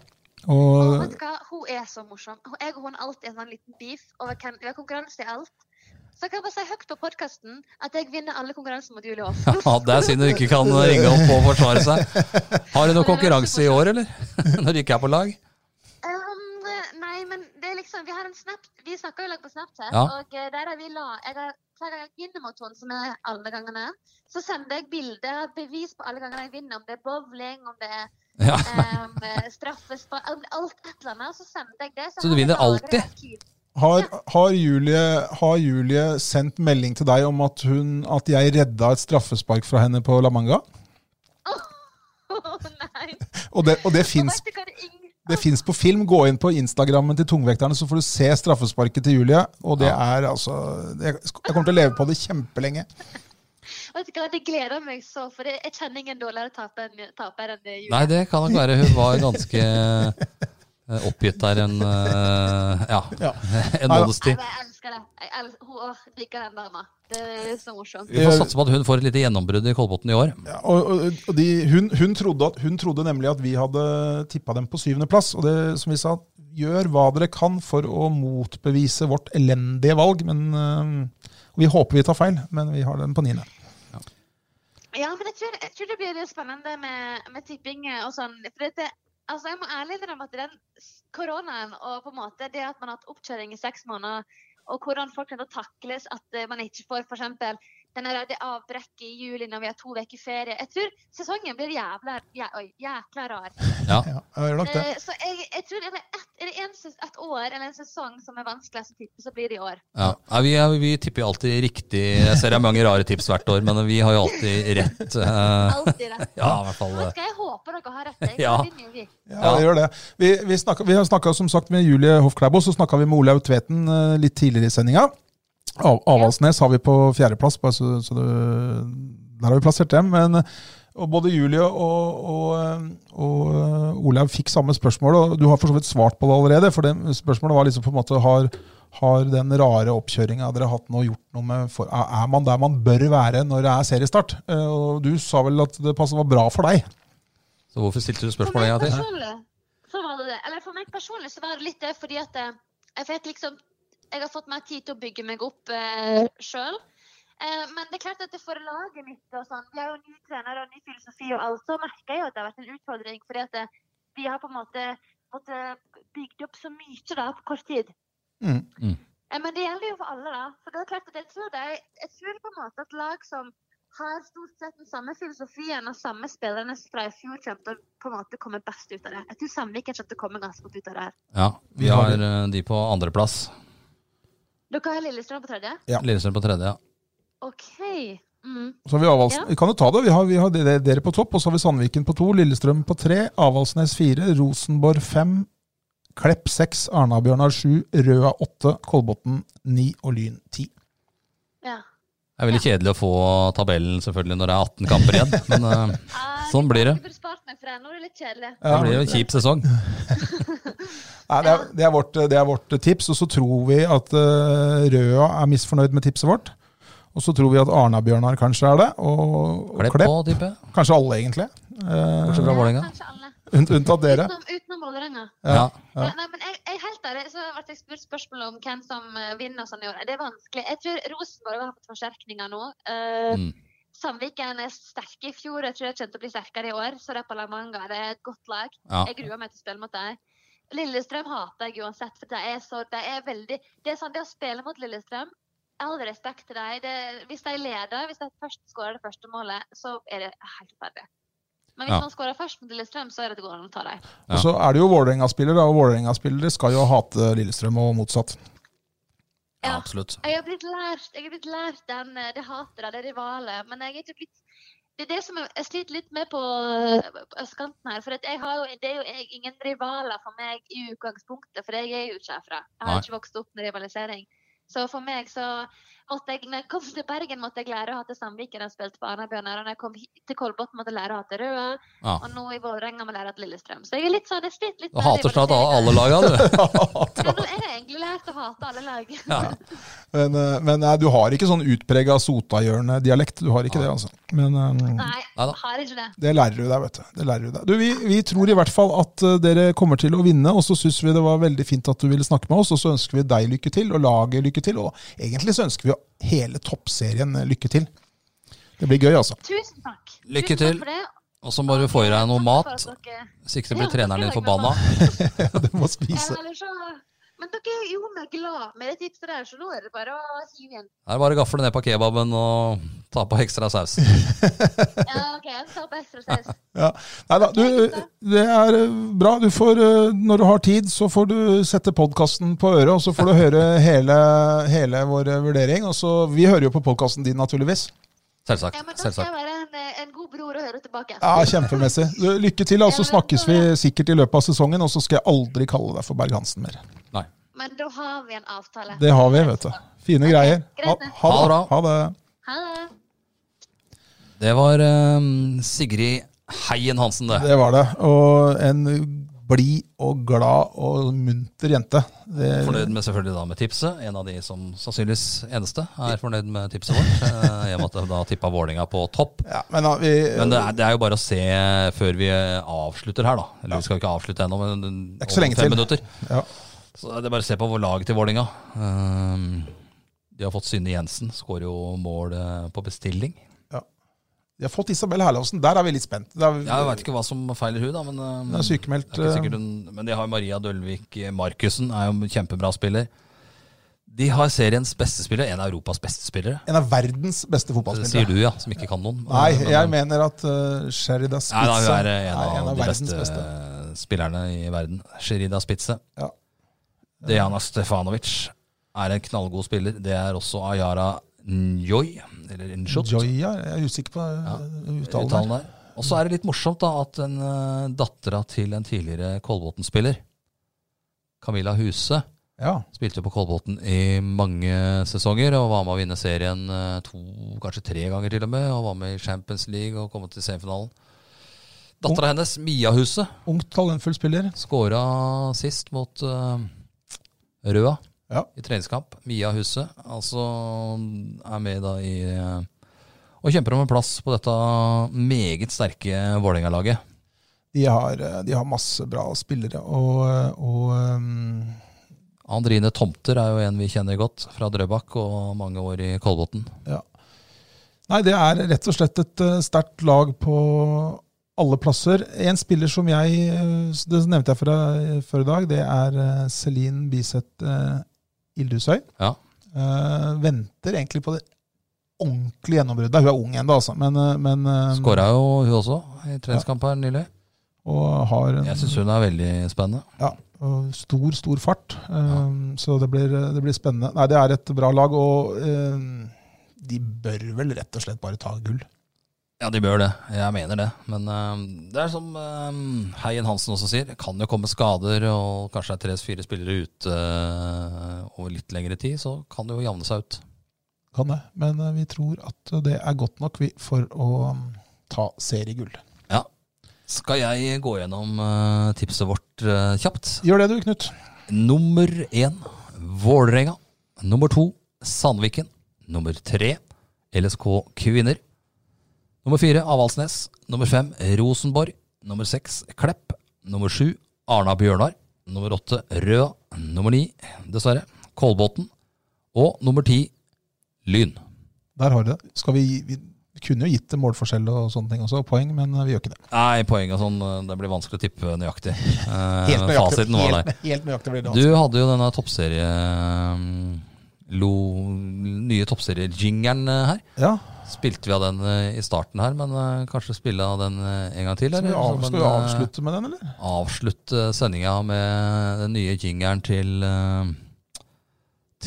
[SPEAKER 6] Og
[SPEAKER 2] Og
[SPEAKER 6] vet du hva, hun er så morsom. Hun- Jeg og hun har alltid en sånn liten beef over hvem Vi har konkurranse i alt. Så jeg kan bare si høyt på podkasten at jeg vinner alle konkurranser mot Julie Hoff.
[SPEAKER 1] Ja, Det er synd du ikke kan ringe opp og forsvare seg. Har du noen konkurranse i år, eller? Når du ikke er på lag?
[SPEAKER 6] Um, nei, men det jeg liksom, vi har en snap, vi snakker jo lag på Snapchat,
[SPEAKER 1] Ja.
[SPEAKER 6] og eh, der har vi la, jeg har, hver gang jeg vinner mot henne, som er alle gangene, så sender jeg bilder, bevis på alle gangene jeg vinner, om det er bowling, om det er
[SPEAKER 1] Ja.
[SPEAKER 6] um, straffespark, om alt et eller annet, så sender jeg det.
[SPEAKER 1] Så du
[SPEAKER 6] har jeg
[SPEAKER 1] vinner
[SPEAKER 6] lagret
[SPEAKER 1] alltid?
[SPEAKER 6] et arkiv.
[SPEAKER 2] Har, har, Julie, har Julie sendt melding til deg om at, hun, at jeg redda et straffespark fra henne på La Manga?
[SPEAKER 6] Åh, nei.
[SPEAKER 2] Og det, og det
[SPEAKER 6] Og
[SPEAKER 2] fins
[SPEAKER 6] vet du hva det yng-
[SPEAKER 2] Det fins på film. Gå inn på Instagrammen til Tungvekterne, så får du se straffesparket til Julie. Og det er altså det, Jeg kommer til å leve på det kjempelenge.
[SPEAKER 6] Vet du hva, det gleder meg så, for det, jeg kjenner ingen dårligere taper enn, taper enn eh, Julie.
[SPEAKER 1] Nei, det kan nok være hun var ganske eh, oppgitt der en eh, ja,
[SPEAKER 2] Ja.
[SPEAKER 1] en
[SPEAKER 2] Nei da.
[SPEAKER 1] måneds tid.
[SPEAKER 6] Nei, men Jeg elsker det. Jeg elsker, hun åh, digger den dama. Det er så morsomt.
[SPEAKER 1] Vi får satse på at hun får et lite gjennombrudd i Kolbotn i år.
[SPEAKER 2] Ja, og, og, og de, hun, hun, trodde at, hun trodde nemlig at vi hadde tippa dem på syvendeplass. Og det som vi sa, gjør hva dere kan for å motbevise vårt elendige valg. Men øh, Vi håper vi tar feil, men vi har dem på niende.
[SPEAKER 6] Ja, men jeg tror, jeg tror det blir litt spennende med, med tipping og sånn. For dette, altså jeg må ærlig innrømme at den s- koronaen og på en måte det at man har hatt oppkjøring i seks måneder, og hvordan folk kan da takles at eh, man ikke får for eksempel den her- det avbrekket i juli når vi har to uker ferie. Jeg tror sesongen blir jævla, jæ, oi, jækla rar.
[SPEAKER 1] Ja.
[SPEAKER 2] Ja, jeg gjør nok det.
[SPEAKER 6] Eh, Så jeg, jeg tror er det ett er det en, ses- et år eller en sesong som er vanskeligst å tippe, så blir det i år.
[SPEAKER 1] Ja. Nei, vi, er- vi tipper jo alltid riktig. Jeg ser det er mange rare tips hvert år, men vi har jo alltid rett. eh,
[SPEAKER 6] Alltid det.
[SPEAKER 1] ja, i hvert fall.
[SPEAKER 6] Men
[SPEAKER 1] eh,
[SPEAKER 6] skal jeg håpe dere har rett. Jeg
[SPEAKER 1] Ja.
[SPEAKER 6] vinner jo vi.
[SPEAKER 2] Ja,
[SPEAKER 1] Ja.
[SPEAKER 2] det gjør det. Vi, vi, snakka, vi har snakka som sagt med Julie Hoffklæbo, så snakka vi med Olaug Tveten eh, litt tidligere i sendinga. Av, Avaldsnes har vi på fjerdeplass, bare så, så det, der har vi plassert dem. Men eh, og både Julie og, og, eh, og eh, Olaug fikk samme spørsmål, og du har for så vidt svart på det allerede. For det spørsmålet var liksom på en måte har, har den rare oppkjøringa dere har hatt nå, gjort noe med for, Er er man der man bør være når det er seriestart? Eh, Og du sa vel at det passet var bra for deg?
[SPEAKER 1] Så hvorfor stilte du
[SPEAKER 6] For
[SPEAKER 1] spørsmålet en
[SPEAKER 6] meg
[SPEAKER 1] gang til?
[SPEAKER 6] personlig så var det det. Eller for meg personlig så var det litt det fordi at eh, jeg vet liksom Jeg har fått mer tid til å bygge meg opp eh, sjøl. Eh, men det er klart at det for laget mitt og sånn Vi er jo ny trener og ny filosofi og alt, så merker jeg jo at det har vært en utfordring. Fordi at eh, vi har på en måte måttet bygd opp så mye da på kort tid.
[SPEAKER 2] Mm.
[SPEAKER 1] Mm.
[SPEAKER 6] Eh, Men det gjelder jo for alle, da. For det er klart at jeg tror, det, er- jeg tror på en måte at lag som har stort sett den samme filosofien og samme spillerne fra i fjor, kommer til å på en måte komme best ut av det. Jeg tror Sandviken kommer til å komme ganske godt ut av det her.
[SPEAKER 1] Ja, vi har eh, de på andreplass.
[SPEAKER 6] Dere har Lillestrøm på tredje?
[SPEAKER 2] Ja.
[SPEAKER 1] Lillestrøm på tredje. ja.
[SPEAKER 6] OK. Mm.
[SPEAKER 2] Så har vi Avalds
[SPEAKER 6] Ja.
[SPEAKER 2] Vi kan jo ta det. Vi har, vi har dere, dere på topp, og så har vi Sandviken på to, Lillestrøm på tre, Avaldsnes fire, Rosenborg fem, Klepp seks, Arna-Bjørnar sju, Røa åtte, Kolbotn ni og Lyn ti.
[SPEAKER 6] Ja.
[SPEAKER 1] Det er veldig kjedelig å få tabellen selvfølgelig når det er 18 kamper igjen, men eh,
[SPEAKER 6] Ah,
[SPEAKER 1] Sånn blir det.
[SPEAKER 6] Jeg burde spart meg for det. Nå er det litt kjedelig.
[SPEAKER 1] det blir jo en kjip sesong.
[SPEAKER 2] Nei, det, er, det, er vårt, det er vårt tips, og så tror vi at eh, Røa er misfornøyd med tipset vårt. Og så tror vi at Arna-Bjørnar kanskje er det, og, og
[SPEAKER 1] Klepp på,
[SPEAKER 2] Klepp.
[SPEAKER 1] tipper jeg.
[SPEAKER 2] Kanskje alle, egentlig. Eh,
[SPEAKER 1] Bortsett fra Vålerenga.
[SPEAKER 6] Kanskje alle.
[SPEAKER 2] unt, unntatt dere.
[SPEAKER 6] Utenom, utenom Vålerenga.
[SPEAKER 1] Ja.
[SPEAKER 2] Ja.
[SPEAKER 6] Nei, men jeg, jeg er helt ærlig, så ble jeg spurt spørsmål om hvem som eh, vinner og sånn i år. Det er vanskelig. Jeg tror Rosenborg har fått forsterkninger nå. Eh,
[SPEAKER 1] Mm.
[SPEAKER 6] Sandviken er sterke i fjor, og jeg tror de kommer til å bli sterkere i år. Så det er Palamanga, det er et godt lag.
[SPEAKER 1] Ja.
[SPEAKER 6] Jeg gruer meg til å spille mot dem. Lillestrøm hater jeg uansett, for de er så de er veldig Det er sånn, det å spille mot Lillestrøm All respekt til dem. Det- Hvis de leder, hvis de først skårer det første målet, så er det helt ferdig. Men hvis
[SPEAKER 1] Ja.
[SPEAKER 6] man skårer først mot Lillestrøm, så er det det går an å ta dem.
[SPEAKER 1] Ja.
[SPEAKER 2] Og så er det jo Vålerenga-spillere, og Vålerenga-spillere skal jo hate Lillestrøm, og motsatt.
[SPEAKER 1] ja, absolutt.
[SPEAKER 6] Jeg har blitt lært, jeg har blitt lært den, eh, det hatet, det rivalet. Men jeg er ikke blitt Det er det som jeg jeg sliter litt med på, eh, på østkanten her. For at jeg har jo, det er jo jeg, ingen rivaler for meg i utgangspunktet, for jeg er jo ikke herfra. Jeg har
[SPEAKER 1] Nei.
[SPEAKER 6] ikke vokst opp med rivalisering. Så for meg så måtte jeg, når jeg kom til Bergen, måtte jeg lære å hate Sandviken og spilte for Arna-Bjørnar. Og når jeg kom hit til Kolbotn, måtte jeg lære å hate Røa.
[SPEAKER 1] Ja.
[SPEAKER 6] Og nå i Vålerenga må jeg lære å hate Lillestrøm. Så jeg er litt sånn, jeg sliter litt
[SPEAKER 1] Du hater snart
[SPEAKER 6] rivaliseringen.
[SPEAKER 1] alle laga, du.
[SPEAKER 6] Ja, nå er jeg egentlig lært å hate alle lag.
[SPEAKER 1] Ja.
[SPEAKER 2] Men, eh, men nei, du har ikke sånn utprega Sotahjørnet-dialekt. Du har ikke det, altså. Men eh,
[SPEAKER 6] Nei,
[SPEAKER 1] Neida.
[SPEAKER 6] har ikke det.
[SPEAKER 2] det lærer du deg, vet du. Det lærer du deg. Du, vi, vi tror i hvert fall at eh, dere kommer til å vinne, og så syns vi det var veldig fint at du ville snakke med oss, og så ønsker vi deg lykke til, og laget lykke til, og egentlig så ønsker vi jo hele toppserien eh, lykke til. Det blir gøy, altså.
[SPEAKER 6] Tusen takk.
[SPEAKER 1] Lykke
[SPEAKER 6] Tusen
[SPEAKER 1] til.
[SPEAKER 6] Takk for det.
[SPEAKER 1] Og så må du få i deg noe
[SPEAKER 6] Takk
[SPEAKER 1] mat,
[SPEAKER 6] for at dere-
[SPEAKER 1] så ikke så blir treneren din forbanna.
[SPEAKER 2] Du må
[SPEAKER 6] Ja,
[SPEAKER 2] spise.
[SPEAKER 6] eller så... Men dere med det tipset der, så nå er det bare å hive igjen.
[SPEAKER 1] Her er det bare å gafle ned på kebaben og ta på ekstra saus.
[SPEAKER 6] Ja, OK, jeg tar på ekstra saus.
[SPEAKER 2] Nei da, du, det er eh, bra. Du får, eh, når du har tid, så får du sette podkasten på øret, og så får du høre hele, hele vår eh, vurdering. Og så, vi hører jo på podkasten din, naturligvis.
[SPEAKER 1] Selvsagt.
[SPEAKER 6] Ja, men da skal
[SPEAKER 1] selvsagt.
[SPEAKER 6] jeg være en, en god bror og høre tilbake.
[SPEAKER 2] Ja, Kjempemessig. Du, lykke til, og så snakkes vi sikkert i løpet av sesongen. Og så skal jeg aldri kalle deg for Berg-Hansen mer.
[SPEAKER 1] Nei.
[SPEAKER 6] Men da har vi en avtale.
[SPEAKER 2] Det har vi, vet du. Fine greier. Ha, ha
[SPEAKER 1] Ha det
[SPEAKER 2] det.
[SPEAKER 1] bra.
[SPEAKER 2] Ha det.
[SPEAKER 6] Ha det.
[SPEAKER 1] Det var eh, Sigrid Heien Hansen, det.
[SPEAKER 2] Det var det. Og en blid og glad og munter jente. Det,
[SPEAKER 1] Fornøyd med selvfølgelig da med tipset. En av de som sannsynligvis eneste er fornøyd med tipset vårt. eh, I og med at jeg da tippa Vålinga på topp.
[SPEAKER 2] ja, men da, vi,
[SPEAKER 1] Men det er, det er jo bare å se før vi avslutter her, da. Eller vi skal jo ikke avslutte ennå, men
[SPEAKER 2] er ikke så lenge
[SPEAKER 1] fem
[SPEAKER 2] til.
[SPEAKER 1] minutter.
[SPEAKER 2] Ja.
[SPEAKER 1] Så det er bare å se på vår lag til Vålinga. Eh, de har fått Synne Jensen. Skårer jo mål eh, på bestilling.
[SPEAKER 2] Vi har fått Isabel Herlovsen. Der er vi litt spent. Det er,
[SPEAKER 1] Jeg veit ikke hva som feiler hun, da, men eh,
[SPEAKER 2] Hun er sykemeldt.
[SPEAKER 1] Det er ikke sikkert hun, men de har Maria Dølvik eh, Markussen, er jo en kjempebra spiller. De har seriens beste spiller, en av Europas beste spillere.
[SPEAKER 2] En av verdens
[SPEAKER 1] Det
[SPEAKER 2] beste
[SPEAKER 1] sier
[SPEAKER 2] fotballspillere.
[SPEAKER 1] du, ja, som ikke kan noen.
[SPEAKER 2] Nei,
[SPEAKER 1] Men-
[SPEAKER 2] jeg mener at uh, Sherida
[SPEAKER 1] Nei, da, hun
[SPEAKER 2] Spitze
[SPEAKER 1] er eh, en av, de
[SPEAKER 2] verdens
[SPEAKER 1] beste, spillerne i verden. Sherida Spitze.
[SPEAKER 2] Ja.
[SPEAKER 1] Dejana Stefanovic er en knallgod spiller. Det er også Ayara Njoy, eller Njot.
[SPEAKER 2] Joya, jeg er usikker på uh, uttalen.
[SPEAKER 1] uttalen der. Og så er det litt morsomt da at en uh, dattera til en tidligere Kolbotn-spiller, Camilla Huse,
[SPEAKER 2] Ja.
[SPEAKER 1] Spilte jo på Kolbotn i mange sesonger og var med å vinne serien eh, to, kanskje tre ganger til og med. Og var med i Champions League og kom til semifinalen. Dattera hennes, Mia Huset,
[SPEAKER 2] Ungt, talentfull spiller.
[SPEAKER 1] skåra sist mot eh, Røa
[SPEAKER 2] Ja.
[SPEAKER 1] i treningskamp. Mia Huset altså er med da i eh, og kjemper om en plass på dette meget sterke Vålerenga-laget.
[SPEAKER 2] De har, uh, de har masse bra spillere. Og, uh, og um,
[SPEAKER 1] Andrine Tomter er jo en vi kjenner godt fra Drøbak og mange år i Kolbotn.
[SPEAKER 2] Nei, det er rett og slett et eh, sterkt lag på alle plasser. En spiller som jeg eh, Det nevnte jeg for deg før i dag, det er eh, Celine Biseth eh, Ildhusøy.
[SPEAKER 1] Ja.
[SPEAKER 2] Eh, venter egentlig på det ordentlige gjennombruddet. Hun er ung ennå, altså, men, eh, men eh,
[SPEAKER 1] Skåra jo hun også i treningskamp her nylig.
[SPEAKER 2] Og har en
[SPEAKER 1] Jeg syns hun er veldig spennende.
[SPEAKER 2] ja, og stor, stor fart. Eh, Så det blir, eh, det blir spennende. Nei, det er et bra lag, og eh, de bør vel rett og slett bare ta gull.
[SPEAKER 1] Ja, de bør det. Jeg mener det. Men eh, det er som eh, Heien Hansen også sier, det kan jo komme skader, og kanskje det er tre-fire spillere ute eh, over litt lengre tid, så kan det jo javne seg ut.
[SPEAKER 2] Kan det. Men eh, vi tror at det er godt nok vi, for å mm, ta seriegull.
[SPEAKER 1] Ja. Skal jeg gå gjennom eh, tipset vårt eh, kjapt?
[SPEAKER 2] Gjør det du, Knut.
[SPEAKER 1] Nummer én Vålerenga. Nummer to Sandviken. Nummer tre LSK Kvinner. Nummer fire Avaldsnes. Nummer fem Rosenborg. Nummer seks Klepp. Nummer sju Arna-Bjørnar. Nummer åtte Røa. Nummer ni, dessverre, Kolbotn. Og nummer ti Lyn.
[SPEAKER 2] Der har du det. Skal vi, vi kunne jo gitt det målforskjell og sånne ting også, og poeng, men eh, vi gjør ikke det.
[SPEAKER 1] Nei, poenget sånn, det blir vanskelig å tippe nøyaktig. Eh, Fasiten var der.
[SPEAKER 2] helt, helt nøyaktig blir det.
[SPEAKER 1] Du hadde jo denne toppserie... mm, Lo, nye toppseriejingeren eh, her.
[SPEAKER 2] altså. Ja,
[SPEAKER 1] Spilte vi av den eh, i starten her, men eh, kanskje spille av den eh, en gang til?
[SPEAKER 2] skal vi,
[SPEAKER 1] eller?
[SPEAKER 2] av,
[SPEAKER 1] Som
[SPEAKER 2] skal
[SPEAKER 1] en,
[SPEAKER 2] vi
[SPEAKER 1] eh,
[SPEAKER 2] avslutte med den, eller?
[SPEAKER 1] Avslutte sendinga med den nye jingeren til, eh,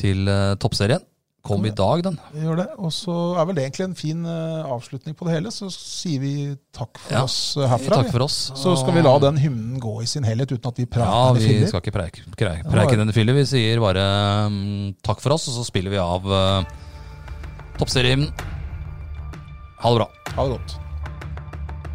[SPEAKER 1] til eh, toppserien. Kom i dag, den.
[SPEAKER 2] Vi gjør det. Og så er vel det egentlig en fin eh, avslutning på det hele. Så sier vi takk for
[SPEAKER 1] Ja.
[SPEAKER 2] oss eh, herfra.
[SPEAKER 1] Takk
[SPEAKER 2] vi.
[SPEAKER 1] for oss.
[SPEAKER 2] Så skal vi la den hymnen gå i sin helhet uten at vi prater
[SPEAKER 1] Ja,
[SPEAKER 2] eller
[SPEAKER 1] vi
[SPEAKER 2] filler.
[SPEAKER 1] skal ikke preike, preike, preike denne filler. Vi sier bare mm, takk for oss, og så spiller vi av uh, toppserien. Ha det bra.
[SPEAKER 2] Ha det godt.